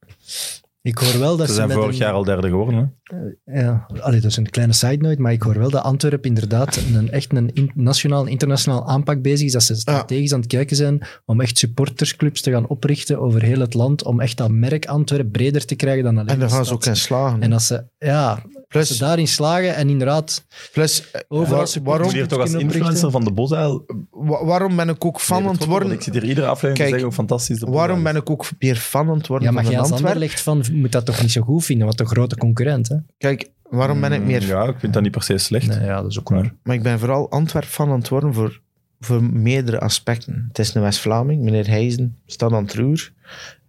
S2: Ik hoor wel dat
S1: Ze
S2: ze,
S1: zijn
S2: met
S1: vorig
S2: een-
S1: jaar al derde geworden. Hè?
S2: Ja, allee, dat is een kleine side note, maar ik hoor wel dat Antwerpen inderdaad een, echt een in- nationaal en internationaal aanpak bezig is. Dat ze strategisch aan het kijken zijn om echt supportersclubs te gaan oprichten over heel het land. Om echt dat merk Antwerpen breder te krijgen dan alleen
S3: En daar
S2: de
S3: gaan ze
S2: stad.
S3: ook in slagen.
S2: En als ze, ja, als ze
S3: plus,
S2: daarin slagen en inderdaad
S3: plus eh,
S2: Dus overal
S3: waar-
S2: supporters
S1: Moet
S3: waarom,
S1: je hier toch als
S2: kunnen oprichten?
S1: influencer van de Bosuil...
S3: wa- waarom ben ik ook fan
S1: Nee,
S3: aan het
S1: betrokken worden? Ik zit
S3: worden?
S1: hier iedere aflevering te
S3: Kijk,
S1: zeggen hoe fantastisch de Bosuil
S3: Waarom
S1: is.
S3: ben ik ook meer fan aan het worden
S2: Ja, maar
S3: van
S2: jij
S3: een
S2: als ander
S3: Antwerp?
S2: legt van, moet dat toch niet zo goed vinden, want een grote concurrent, hè?
S3: Kijk, waarom ben ik
S1: Mm,
S3: meer...
S1: Ja, ik vind dat niet per se slecht.
S2: Nee, ja, dat is ook waar.
S3: Maar ik ben vooral Antwerp fan aan het worden voor, voor meerdere aspecten. Het is een West-Vlaming, meneer Heijzen, stad aan het roer.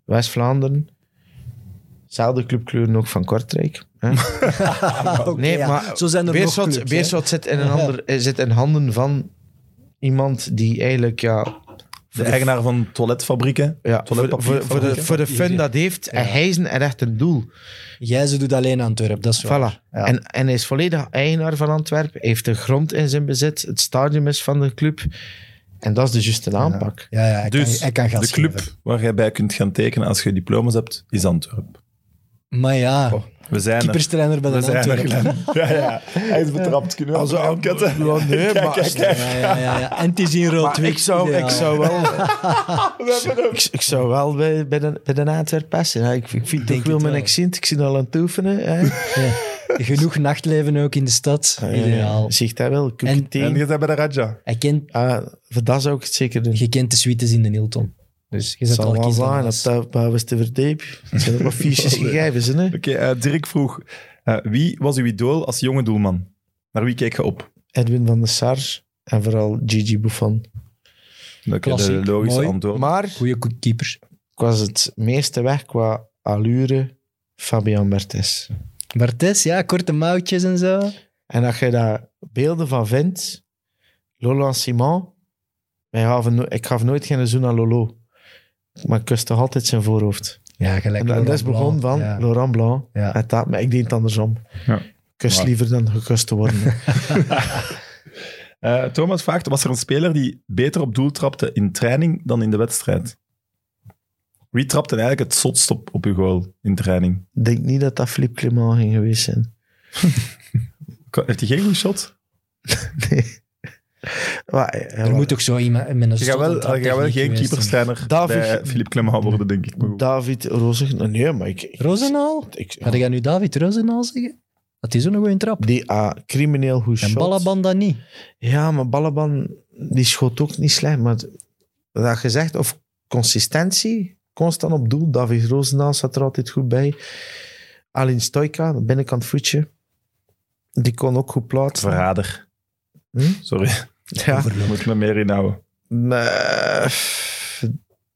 S3: West-Vlaanderen. Zelfde clubkleuren ook van Kortrijk. hè.
S2: Ah, Oké,
S3: Nee,
S2: ja.
S3: maar
S2: zo zijn er nog
S3: Beerschot,
S2: clubs, hè.
S3: Beerschot zit, in een ander, eh, zit in handen van iemand die eigenlijk... Ja,
S1: De eigenaar van toiletfabrieken.
S3: Ja, voor,
S1: Toiletpapier,
S3: voor, voor, de,
S1: toiletpapier.
S3: voor de fun dat heeft, en hij is een echt een doel.
S2: Jij ze doet alleen Antwerpen, dat is waar.
S3: Voilà.
S2: Ja.
S3: En, en hij is volledig eigenaar van Antwerpen, heeft de grond in zijn bezit, het stadium is van de club. En dat is de juiste aanpak.
S2: Ja, ja, hij
S1: Dus
S2: kan, hij kan gas
S1: de club
S2: geven.
S1: waar jij bij kunt gaan tekenen als je diploma's hebt, is Antwerp.
S2: Maar ja,
S1: We zijn er.
S2: keeperstrainer bij
S1: We
S2: de
S1: zijn er,
S2: Antwerpen.
S1: Glenn. Ja, ja. Hij is betrapt. Kunnen we hem aankutten?
S3: nee, maar-
S2: Ja, ja, ja, ja. En het is in rood
S3: Maar ik zou, ik zou wel... ik, ik zou wel bij, bij, de, bij de Antwerp passen. Ja, ik, ik vind
S2: denk
S3: toch wel
S2: het
S3: mijn
S2: wel.
S3: accent. Ik zie al aan het oefenen. hè.
S2: Genoeg nachtleven ook in de stad. Ideaal.
S3: Zeg dat wel.
S2: En-
S1: En
S3: En,
S1: je bent bij de Raja.
S2: Hij kent,
S3: voor dat zou ik het zeker doen.
S2: je kent de suites in de Hilton. Dus je
S3: Het
S2: zet al
S3: zal wel
S2: kiezen.
S3: zijn, dat, dat, dat was te verdiep. Het zijn ook wat fiches gegevens, hè?
S1: Oké, eh, Dirk vroeg, eh, wie was uw idool als jonge doelman? Naar wie keek je op?
S3: Edwin van der Sar en vooral Gigi Buffon.
S1: Dat is
S2: Klassiek,
S1: de logische
S2: mooi.
S1: antwoord.
S3: Maar
S2: Goeie ko- keepers.
S3: ik was het meeste weg qua allure Fabian Bertes.
S2: Bartes, ja, korte mouwtjes en zo.
S3: En als je daar beelden van vindt, Lolo en Simon, wij gaven no- ik gaf nooit geen zoen aan Lolo. Maar ik kuste altijd zijn voorhoofd.
S2: Ja, gelijk.
S3: En, en dat is begon van
S2: Ja.
S3: Laurent Blanc.
S2: Ja.
S3: En dat, maar ik deed het andersom.
S1: Ja.
S3: Kus
S1: Maar-
S3: liever dan gekust te worden.
S1: Eh, Thomas vraagt, was er een speler die beter op doel trapte in training dan in de wedstrijd? Wie trapte eigenlijk het zotst op, op uw goal in training?
S3: Ik denk niet dat dat Philippe Clément ging geweest zijn.
S1: Ko- Heeft hij geen goede shot?
S3: Nee. Maar, ja,
S2: Er
S3: wel,
S2: moet toch zo iemand met een
S1: Je gaat wel, je gaat wel geen keeperstrainer
S3: David-
S1: bij Philippe Clement worden, denk ik. Maar goed.
S3: David Rozen... Nee, maar ik... ik
S2: Rozenaal?
S3: ik-
S2: Ga jij nu David Rozenaal zeggen? Dat is ook een goeie trap.
S3: die ah, crimineel hoe
S2: En
S3: shot.
S2: Balaban dan niet.
S3: Ja, maar Balaban, die schoot ook niet slecht. Maar het- dat gezegd, of consistentie, constant op doel. David Rozenaal zat er altijd goed bij. Alin Stojka, binnenkant voetje. Die kon ook goed plaatsen.
S1: Verrader.
S3: Hm?
S1: Sorry,
S3: Ja,
S1: daar moet ik me meer inhouden.
S3: maar, pff,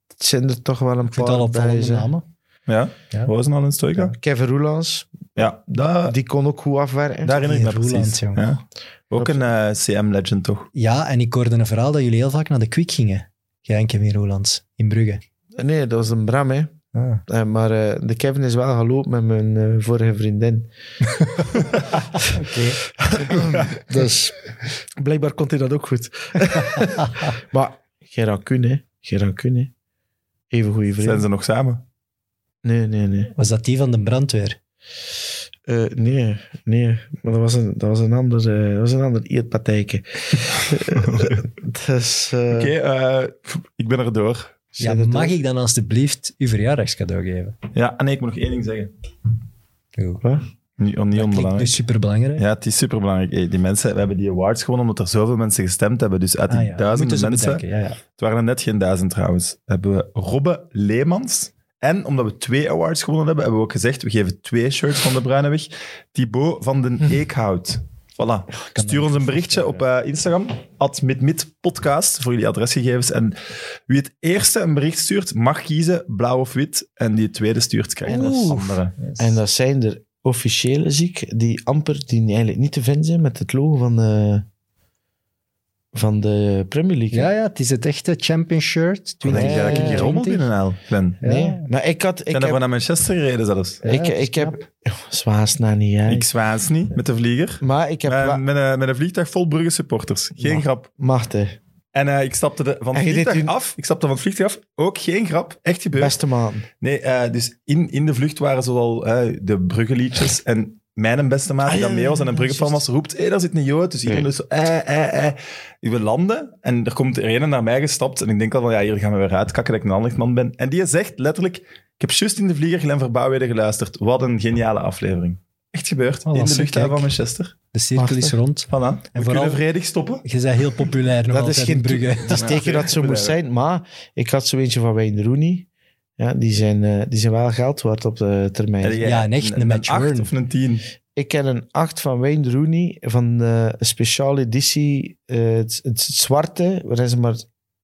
S3: het zijn er toch wel een
S2: Ik vind het
S3: paar
S2: al
S3: bij.
S2: opvallende
S3: zeg.
S2: namen.
S1: Ja,
S2: Ja.
S1: Rozenal en Stoika.
S3: Kevin Roelans,
S1: nou Ja, da-
S3: die kon ook goed afwerken.
S1: daar herinner ik me
S2: Die Roeland,
S1: precies.
S2: jongen.
S1: Ja. Ook een CM-legend, toch?
S2: Ja, en ik hoorde een verhaal dat jullie heel vaak naar de Quick gingen. Jij en Kevin Rolands in Brugge.
S3: Nee, dat was een Bram, hè.
S2: Ah.
S3: Eh, maar eh, de Kevin is wel gelopen met mijn eh, vorige vriendin. dus blijkbaar kon hij dat ook goed. maar Gerard Kuhn, hè. Gerard Kuhn, hè. Even goede
S1: Zijn
S3: vriend.
S1: ze nog samen?
S3: Nee, nee, nee.
S2: Was dat die van de brandweer?
S3: Eh, nee, nee. Maar dat was een, dat was een ander, eh, dat was een ander eetpartijke. dus... eh,
S1: Oké, eh, ik ben er door.
S3: zei
S2: Ja,
S3: dat
S2: mag
S3: ook?
S2: ik dan alstublieft uw verjaardagscadeau geven?
S1: Ja, en nee, ik moet nog één ding zeggen.
S2: Goed.
S1: Niet, niet
S2: Dat klinkt nu
S1: onbelangrijk.
S2: superbelangrijk.
S1: Ja, het is superbelangrijk. Hey, die mensen, we hebben die awards gewonnen omdat er zoveel mensen gestemd hebben. Dus uit die
S2: Ah, ja. Moeten
S1: duizenden
S2: ze
S1: mensen,
S2: bedenken, Ja, ja.
S1: het waren er net geen duizend trouwens, hebben we Robbe Leemans. En omdat we twee awards gewonnen hebben, hebben we ook gezegd, we geven twee shirts van De Bruine weg. Thibaut van den
S2: Hm.
S1: Eekhout. Voilà. Stuur ons een berichtje op eh, Instagram, at mitmitpodcast, voor jullie adresgegevens. En wie het eerste een bericht stuurt, mag kiezen, blauw of wit. En die het tweede stuurt, krijgt een
S3: Oeh.
S1: andere.
S3: En dat zijn er officiële ziek die amper, die eigenlijk niet te vinden zijn met het logo van de, van de Premier League. hè.
S2: Ja, ja, het is het echte champion shirt.
S1: Toen denk ik dat ik hier rommel
S2: 2020.
S1: binnenhaal, Ben.
S2: Ja.
S3: Nee, maar ik had, ik
S1: Ik ben daarvoor
S3: heb,
S1: naar Manchester gereden zelfs.
S2: Ja,
S3: ik,
S2: dat is
S3: ik heb, Oh, zwaas na niet, hè.
S1: Ik zwaas niet met de vlieger.
S3: Maar ik heb,
S1: Eh,
S3: wel-
S1: met, een, met een vliegtuig vol Brugge supporters. Geen
S3: Ja.
S1: grap.
S3: Maarten,
S1: En eh, ik stapte de, van het
S3: En je deed
S1: vliegtuig
S3: u-
S1: af. Ik stapte van het vliegtuig af. Ook geen grap. Echt gebeurd.
S3: beste man.
S1: Nee, eh, dus in, in de vlucht waren zoal eh, de Brugge-liedjes. En mijn beste maat, die
S3: Ah, ja,
S1: dan mee was en een
S3: ja,
S1: Brugge-fan was,
S3: juist.
S1: roept, hé, daar zit een jood. Dus iedereen
S3: Nee.
S1: dus zo, eh, eh, eh. We landen en er komt er een naar mij gestapt. En ik denk al van, ja, hier gaan we weer uitkakken dat ik een ander man ben. En die zegt letterlijk, ik heb juist in de vlieger Glenn Verbouwheden geluisterd. Wat een geniale aflevering. Echt gebeurd.
S2: Oh,
S1: in de
S2: lastig,
S1: luchthaven
S2: kijk.
S1: van Manchester.
S2: De cirkel is
S3: Prachtig.
S2: rond.
S1: Voilà. We
S2: vooral-
S1: kunnen vredig stoppen.
S2: Je bent heel populair nog
S3: Dat is
S2: altijd
S3: geen
S2: in Brugge.
S3: Het is teken dat ze
S1: Ja.
S3: moest zijn, maar ik had zo eentje van Wayne Rooney. Ja, die zijn, eh, die zijn wel geld waard op de termijn.
S1: Heb jij
S2: Ja, en echt, een match
S1: acht
S2: earn.
S1: of een tien.
S3: Ik ken een 8 van Wayne Rooney van eh, een speciale editie, eh, het, het zwarte, waar ze maar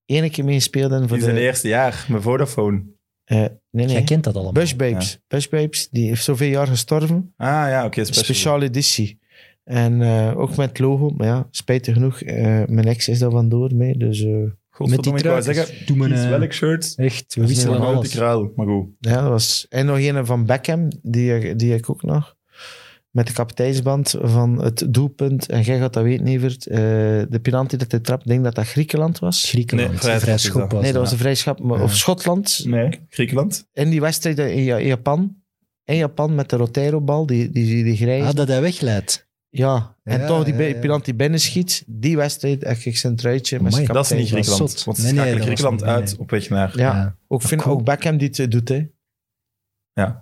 S3: ene keer mee speelden. Voor
S1: In zijn
S3: de,
S1: eerste jaar, mijn Vodafone.
S3: eh, nee,
S2: Jij
S3: nee.
S2: kent dat allemaal.
S3: Bush Babes. Bush Babes, die heeft zoveel jaar gestorven.
S1: Ah ja, oké, special.
S3: Speciale editie. En eh, ook met logo, maar ja, spijtig genoeg, eh, mijn ex is daar vandoor mee. Dus eh,
S1: Godverdomme, ik wou zeggen,
S2: Doe me
S1: kies
S2: een...
S1: welk shirt.
S2: Echt, we
S3: Dat is niet
S2: wisselen
S3: normaal,
S1: Houd ik
S2: alles.
S1: ruil, maar goed.
S3: ja, dat was. En nog een van Beckham, die, die ik ook nog. Met de kapiteinsband van het doelpunt. En jij gaat dat weten, Evert. eh, de penalty dat hij trapt, ik denk dat dat Griekenland was.
S1: Nee,
S2: Griekenland,
S1: vrij
S2: een vrij
S1: schop is
S2: schop
S1: dat.
S2: was
S3: nee, dat
S2: dat.
S3: was een vrijschap. maar-
S2: Ja.
S3: Of Schotland.
S1: Nee, Griekenland.
S3: In die wedstrijd in Ja- in Japan. In Japan met de Roteiro-bal, die, die, die, die grijze.
S2: Ah, dat hij wegleidt.
S3: ja, en
S2: Ja,
S3: toch die
S2: ja,
S3: be-
S2: ja.
S3: penalty binnen schiet. Die wedstrijd heb ik zijn truitje. Met
S2: Amai,
S3: zijn
S1: Dat is niet
S3: kapitein.
S2: was
S1: Griekenland.
S2: zot.
S1: Want ze
S2: Nee, nee,
S1: schakelen
S2: dat was
S1: Griekenland
S2: niet- nee,
S1: uit
S2: nee.
S1: op weg naar
S3: Ja,
S2: Ja.
S3: Ook, vind,
S2: Cool.
S3: ook Beckham die het doet, hè.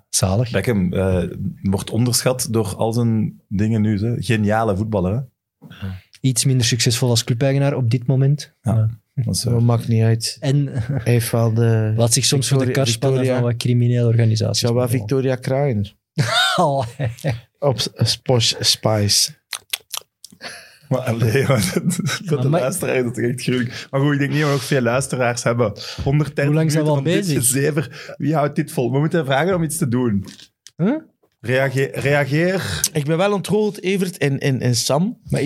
S2: Zalig.
S1: Beckham. eh, wordt onderschat door al zijn dingen nu. Hè. Geniale voetballer. Hè.
S2: Iets minder succesvol als clubeigenaar op dit moment.
S1: Ja.
S2: Maar-
S1: Dat is, eh,
S3: Dat maakt niet uit.
S2: En
S3: Hij heeft wel de...
S2: laat zich soms voor de
S3: Victoria-
S2: kar spannen van
S3: Victoria.
S2: wat criminele organisaties.
S3: Ja, wel Victoria Kraaien.
S2: Oh,
S3: Op Posh Spice.
S1: maar allee, man, dat- dat de
S2: maar-
S1: luisteraars, dat is echt gruwelijk. Maar goed, ik denk niet dat we nog veel luisteraars hebben. 130
S2: Hoe lang zijn we
S1: minuten
S2: al
S1: van dit
S2: bezig?
S1: gezever. Wie houdt dit vol? We moeten vragen om iets te doen.
S2: Huh?
S1: Reageer, reageer.
S3: Ik ben wel ontroerd, Evert en, en, en Sam.
S2: Maar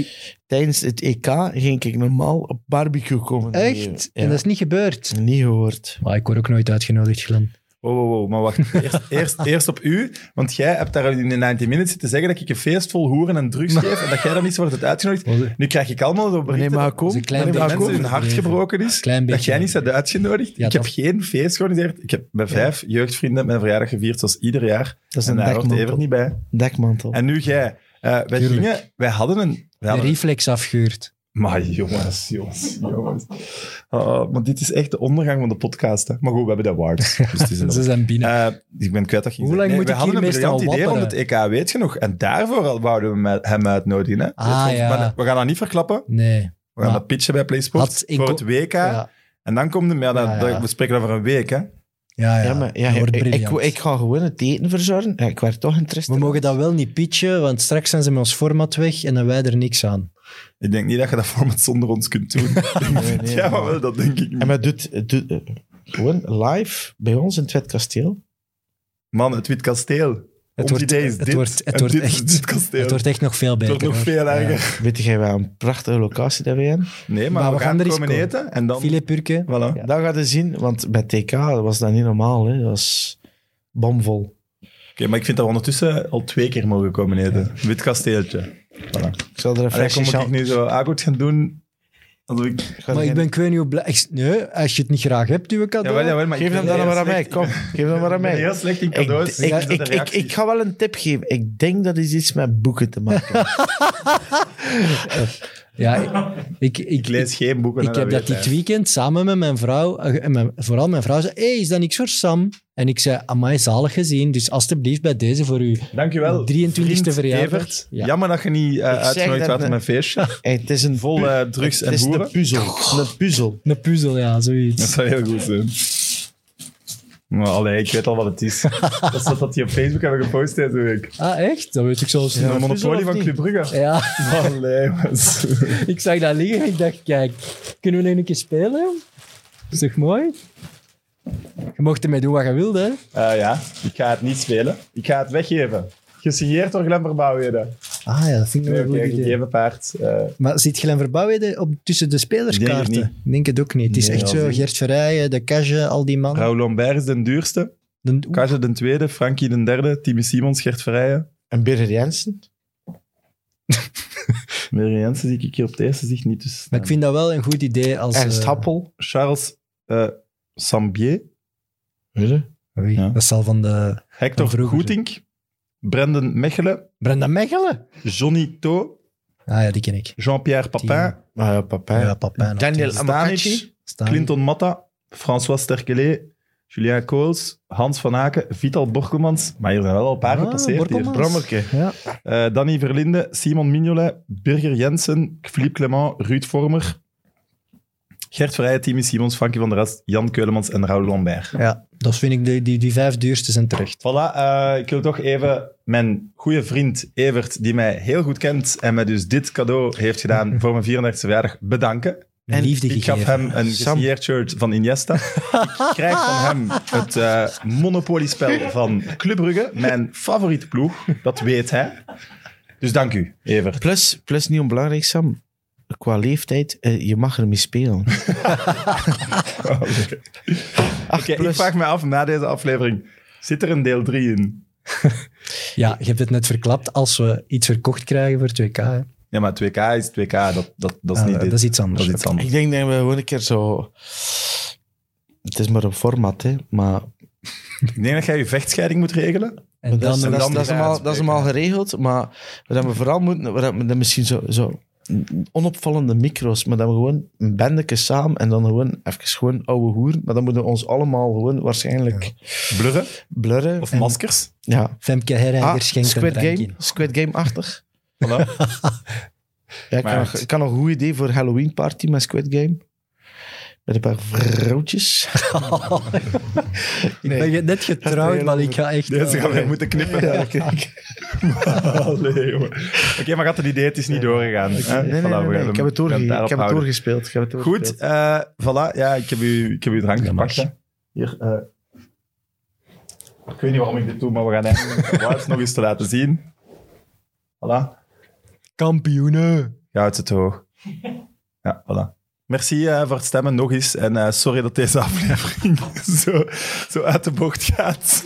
S3: Tijdens het EK ging ik normaal op barbecue komen.
S2: echt?
S3: Ja.
S2: En dat is niet gebeurd.
S3: Niet gehoord.
S2: Maar ik word ook nooit uitgenodigd, Glenn.
S1: Wow, wow, wow, maar wacht. Eerst, eerst, eerst op u, want jij hebt daar in de 90 Minutes zitten zeggen dat ik een feest vol hoeren en drugs geef en dat jij dan niet zo wordt uitgenodigd. Nu krijg ik allemaal zo berichten
S3: maar
S1: dat-
S3: kom.
S2: Dat is een klein
S1: dat
S2: beetje
S1: mensen hun hart
S2: overdreven.
S1: gebroken is,
S2: Klein
S1: dat
S2: beetje
S1: jij niet bent uitgenodigd.
S2: Ja,
S1: ik heb
S2: dat-
S1: geen feest georganiseerd. Ik heb bij vijf jeugdvrienden mijn verjaardag gevierd, zoals ieder jaar.
S3: Dat is
S1: en
S3: een
S1: daar hoort Evert niet
S3: dekmantel.
S1: bij.
S3: Dekmantel.
S1: En nu jij. Eh, wij,
S2: Tuurlijk.
S1: gingen, wij hadden een... Wij
S2: De
S1: hadden,
S2: reflex afgehuurd.
S1: Maar jongens, jongens, jongens. Ah, maar dit is echt de ondergang van de podcast. Hè. Maar goed, we hebben dat waard. Dus het is een-
S2: Ze zijn binnen.
S1: Eh, ik ben kwijt dat ging
S2: Hoe lang moet
S1: we
S2: ik
S1: hadden
S2: hier
S1: een
S2: meestal
S1: briljant idee rond het EK, weet je nog? En daarvoor al wouden we met hem uitnodigen. Hè?
S2: Ah,
S1: Dus,
S2: ja.
S1: maar we gaan dat niet verklappen.
S2: nee.
S1: We gaan
S2: Maar-
S1: dat pitchen bij PlaySports
S2: Had ik
S1: voor
S2: ook-
S1: het WK.
S2: Ja,
S1: En dan komt de... Ja, dat,
S2: Ja,
S1: dat-
S2: ja.
S1: we spreken over een week, hè?
S2: ja, ja.
S3: Ja, maar ja,
S2: dat
S3: ik,
S2: wordt
S3: ik,
S2: briljant.
S3: ik ga gewoon het eten verzorgen. Ja, ik werd toch
S2: we
S3: interessant.
S2: mogen dat wel niet pitchen, want straks zijn ze met ons format weg en dan wij er niks aan.
S1: Ik denk niet dat je dat format zonder ons kunt doen. ja, maar wel, dat denk ik
S3: En
S1: niet.
S3: maar doet, doet eh, gewoon live bij ons in het Wit Kasteel.
S1: Man, het Wit Kasteel.
S2: Het
S1: Ons
S2: wordt-
S1: idee is
S2: het
S1: dit.
S2: wordt- het
S1: en
S2: wordt
S1: dit
S2: echt-
S1: is dit kasteel.
S2: Het wordt echt nog veel
S1: Het
S2: beter.
S1: wordt nog
S2: hoor.
S1: veel erger.
S3: Weet jij wel een prachtige locatie daar weer in?
S1: Nee, maar, we, gaan,
S2: er eens
S1: komen
S2: komen.
S1: eten en
S2: Ja.
S1: dan...
S2: Philip Urke.
S1: Voilà.
S3: Dat gaat je zien, want bij TK was dat niet normaal. Hè. Dat was bomvol.
S1: Oké, maar ik vind dat we ondertussen al twee keer mogen komen eten. Wit kasteeltje.
S3: Ik zal er
S1: Allee,
S3: een flesje
S1: kom ik
S3: champagne...
S1: nu zo aankomt gaan doen... Alsof ik...
S3: ik ga er
S2: Maar ik
S3: geen-
S2: ben ik weet niet hoe blij... ik- Nee, als je het niet graag hebt, doe ik dat
S1: Jawel, jawel, maar ik
S3: Geef
S1: ben
S3: hem dan
S1: heel
S3: maar aan mij,
S1: slecht-
S3: kom. Geef hem maar aan
S1: Ik ben
S3: mij.
S1: heel slecht in
S3: Ik,
S1: cadeaus.
S3: ik,
S1: dus
S3: ik,
S1: de
S3: ik,
S1: reacties.
S3: ik ga wel een tip geven. Ik denk dat is iets met boeken te maken.
S2: Ja, ik, ik, ik,
S1: Ik lees geen boeken.
S2: ik
S1: hè,
S2: heb dat
S1: weet
S2: dit
S1: hij.
S2: weekend samen met mijn vrouw, eh, en mijn- vooral mijn vrouw, zei: hey, is dat niks voor Sam? En ik zei: Amai, zalig gezien. Dus alstublieft bij deze voor u.
S1: Dankjewel.
S2: 23e
S1: vriend
S2: verjaardag.
S1: Evert.
S2: Ja.
S1: Jammer dat je niet eh,
S3: Ik zeg
S1: uitgenodigd
S3: dat
S1: werd op
S3: net.
S1: mijn feestje.
S3: Hey, het is een
S1: Vol
S3: pu-
S1: eh, drugs
S3: het
S1: en
S3: is
S1: boeren.
S3: een puzzel. Een puzzel.
S2: Een puzzel, ja,
S1: Dat
S2: zoiets.
S1: zou heel goed zijn. Maar allee, ik weet al wat het is. dat is dat die op Facebook hebben gepost deze week.
S2: Ah, echt? Dat weet ik zelfs
S1: De
S2: niet.
S1: monopolie
S3: of
S1: van
S3: niet?
S1: Club Brugge.
S2: Ja,
S1: Allee, mens.
S2: ik zag dat liggen en ik dacht: Kijk, kunnen we nog een keer spelen? Is toch mooi? Je mocht ermee doen wat je wilde. hè?
S1: Eh, ja, ik ga het niet spelen. Ik ga het weggeven. Gesigneerd door Glen Verbouwheden.
S2: Ah ja, dat vind ik
S1: Nee,
S2: nog een
S1: oké,
S2: goed idee.
S1: gegeven paard. eh,
S2: Maar zit Glen Verbouwheden op tussen de spelerskaarten?
S1: Ik denk het
S2: Ik denk het ook niet. Het is
S1: Nee,
S2: echt
S1: dat
S2: zo,
S1: is-
S2: Gert Verrijen, De Cage, al die mannen.
S1: Raoul Lambert is de duurste.
S2: De-
S1: Kaja de tweede, Frankie de derde, Timmy Simons, Gert Verrijen.
S3: En Birger Jensen?
S1: Mary Jensen zie ik hier op deze zicht niet. Dus,
S2: Maar ik vind dat wel een goed idee als...
S3: Ernst
S2: eh,
S3: Happel?
S1: Charles eh, Sambier,
S2: oei,
S1: Ja.
S2: Dat zal van de...
S1: Hector
S2: Van vroeger.
S1: Goetink, Brendan Mechelen,
S2: Brenda Mechelen?
S1: Johnny To,
S2: Ah ja, die ken ik.
S1: Jean-Pierre Papin,
S3: Maar Ah, ja, papa.
S2: Ja, papa.
S3: Daniel
S1: Stanic,
S3: Amakachi?
S2: Staan.
S1: Clinton Matta, François Sterkelee, Julien Kools, Hans van Aken, Vital Borkelmans. Maar hier zijn wel al een paar
S2: Ah,
S1: gepasseerd hier.
S2: Borkelmans.
S1: Brommerke.
S2: Ja.
S1: Eh, Danny Verlinde, Simon Mignolet, Birger Jensen, Philippe Clement, Ruud Vormer, Gert Verrijen, Timmy Simons, Frankie van der Rest, Jan Keulemans en Raoul Lambert.
S2: Ja, dat vind ik, die, die, die vijf duurste zijn terecht.
S1: Voilà, eh, ik wil toch even mijn goede vriend Evert, die mij heel goed kent en mij dus dit cadeau heeft gedaan voor mijn 34e verjaardag, bedanken.
S2: Mijn
S3: En
S2: liefde
S1: Ik
S2: gegeven.
S1: gaf hem een
S3: Sam.
S1: gesigneerd shirt van Iniesta. Ik krijg van hem het eh monopoliespel van Club Brugge, mijn favoriete ploeg. Dat weet hij. Dus dank u, Evert.
S3: Plus, plus niet onbelangrijk, Sam. Qua leeftijd, eh, je mag ermee spelen.
S1: Oké, ik
S3: plus.
S1: vraag me af na deze aflevering, zit er een deel 3 in?
S2: Ja, je hebt het net verklapt. Als we iets verkocht krijgen voor 2K, hè.
S1: Ja, maar 2K is 2K, dat, dat, dat is
S2: Ah,
S1: niet dit.
S2: dat is iets anders.
S1: Dat is iets anders.
S3: Ik denk dat we gewoon een keer zo... Het is maar een format, hè. Maar
S1: Ik denk dat jij je vechtscheiding moet regelen.
S2: En
S3: dat,
S2: dan...
S3: is,
S1: een
S3: dat, is-
S1: ander
S3: dat is allemaal, dat is
S1: uitspreken.
S3: allemaal geregeld. Maar wat we vooral moeten... Wat we dan misschien zo, zo onopvallende micro's, maar dan gewoon een bendeke samen en dan gewoon even gewoon ouwe hoer. Maar dan moeten we ons allemaal gewoon waarschijnlijk
S1: Blurren
S3: blurren.
S1: of
S3: En-
S1: maskers.
S3: Ja.
S2: Femke Herreiger
S3: Ah,
S2: schenkt
S3: Squid
S2: een drank
S3: Game.
S2: in.
S3: Squid Game-achtig.
S1: Voilà.
S3: Ja,
S1: Maar
S3: ik kan,
S1: het-
S3: nog, ik kan nog een goed idee voor Halloween party met Squid Game. Met een paar vrouwtjes.
S2: Ik ben je- net getrouwd, maar ik ga echt... eh,
S1: Deze gaan we moeten knippen. Allee, jongen. Oké, maar gaat het idee, het is niet doorgegaan. hè?
S3: Nee, nee,
S1: Voilà, we
S3: nee,
S1: gaan
S3: nee,
S1: hem-
S3: Ik heb het,
S1: we gaan
S3: doorge- ik
S1: daarop
S3: heb het
S1: houden.
S3: doorgespeeld. Ik heb het doorgespeeld.
S1: Goed, eh voilà. Ja, ik heb u, ik heb uw drank gepakt. hè. Hier, eh, ik weet niet waarom ik dit doe, maar we gaan eigenlijk de awards nog eens te laten zien. Voilà.
S2: Kampioenen!
S1: Je houdt het hoog. Ja, voilà. Merci eh, voor het stemmen nog eens. En eh, sorry dat deze aflevering zo, zo uit de bocht gaat.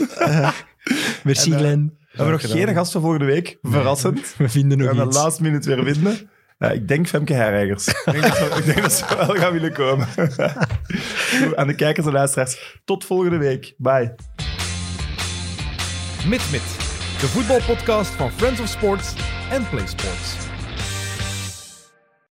S2: Merci,
S1: En, eh,
S2: Glen.
S1: we hebben Eh, nog geen gasten volgende week. Verrassend.
S2: We vinden
S1: We
S2: nog
S1: gaan dat
S2: iets.
S1: last minute weer vinden. Eh, ik denk Femke Herreigers. ik, denk dat ze, ik denk dat ze wel gaan willen komen. Aan de kijkers en luisteraars. Tot volgende week. Bye.
S4: MidMid, de voetbalpodcast van Friends of Sports en Play Sports.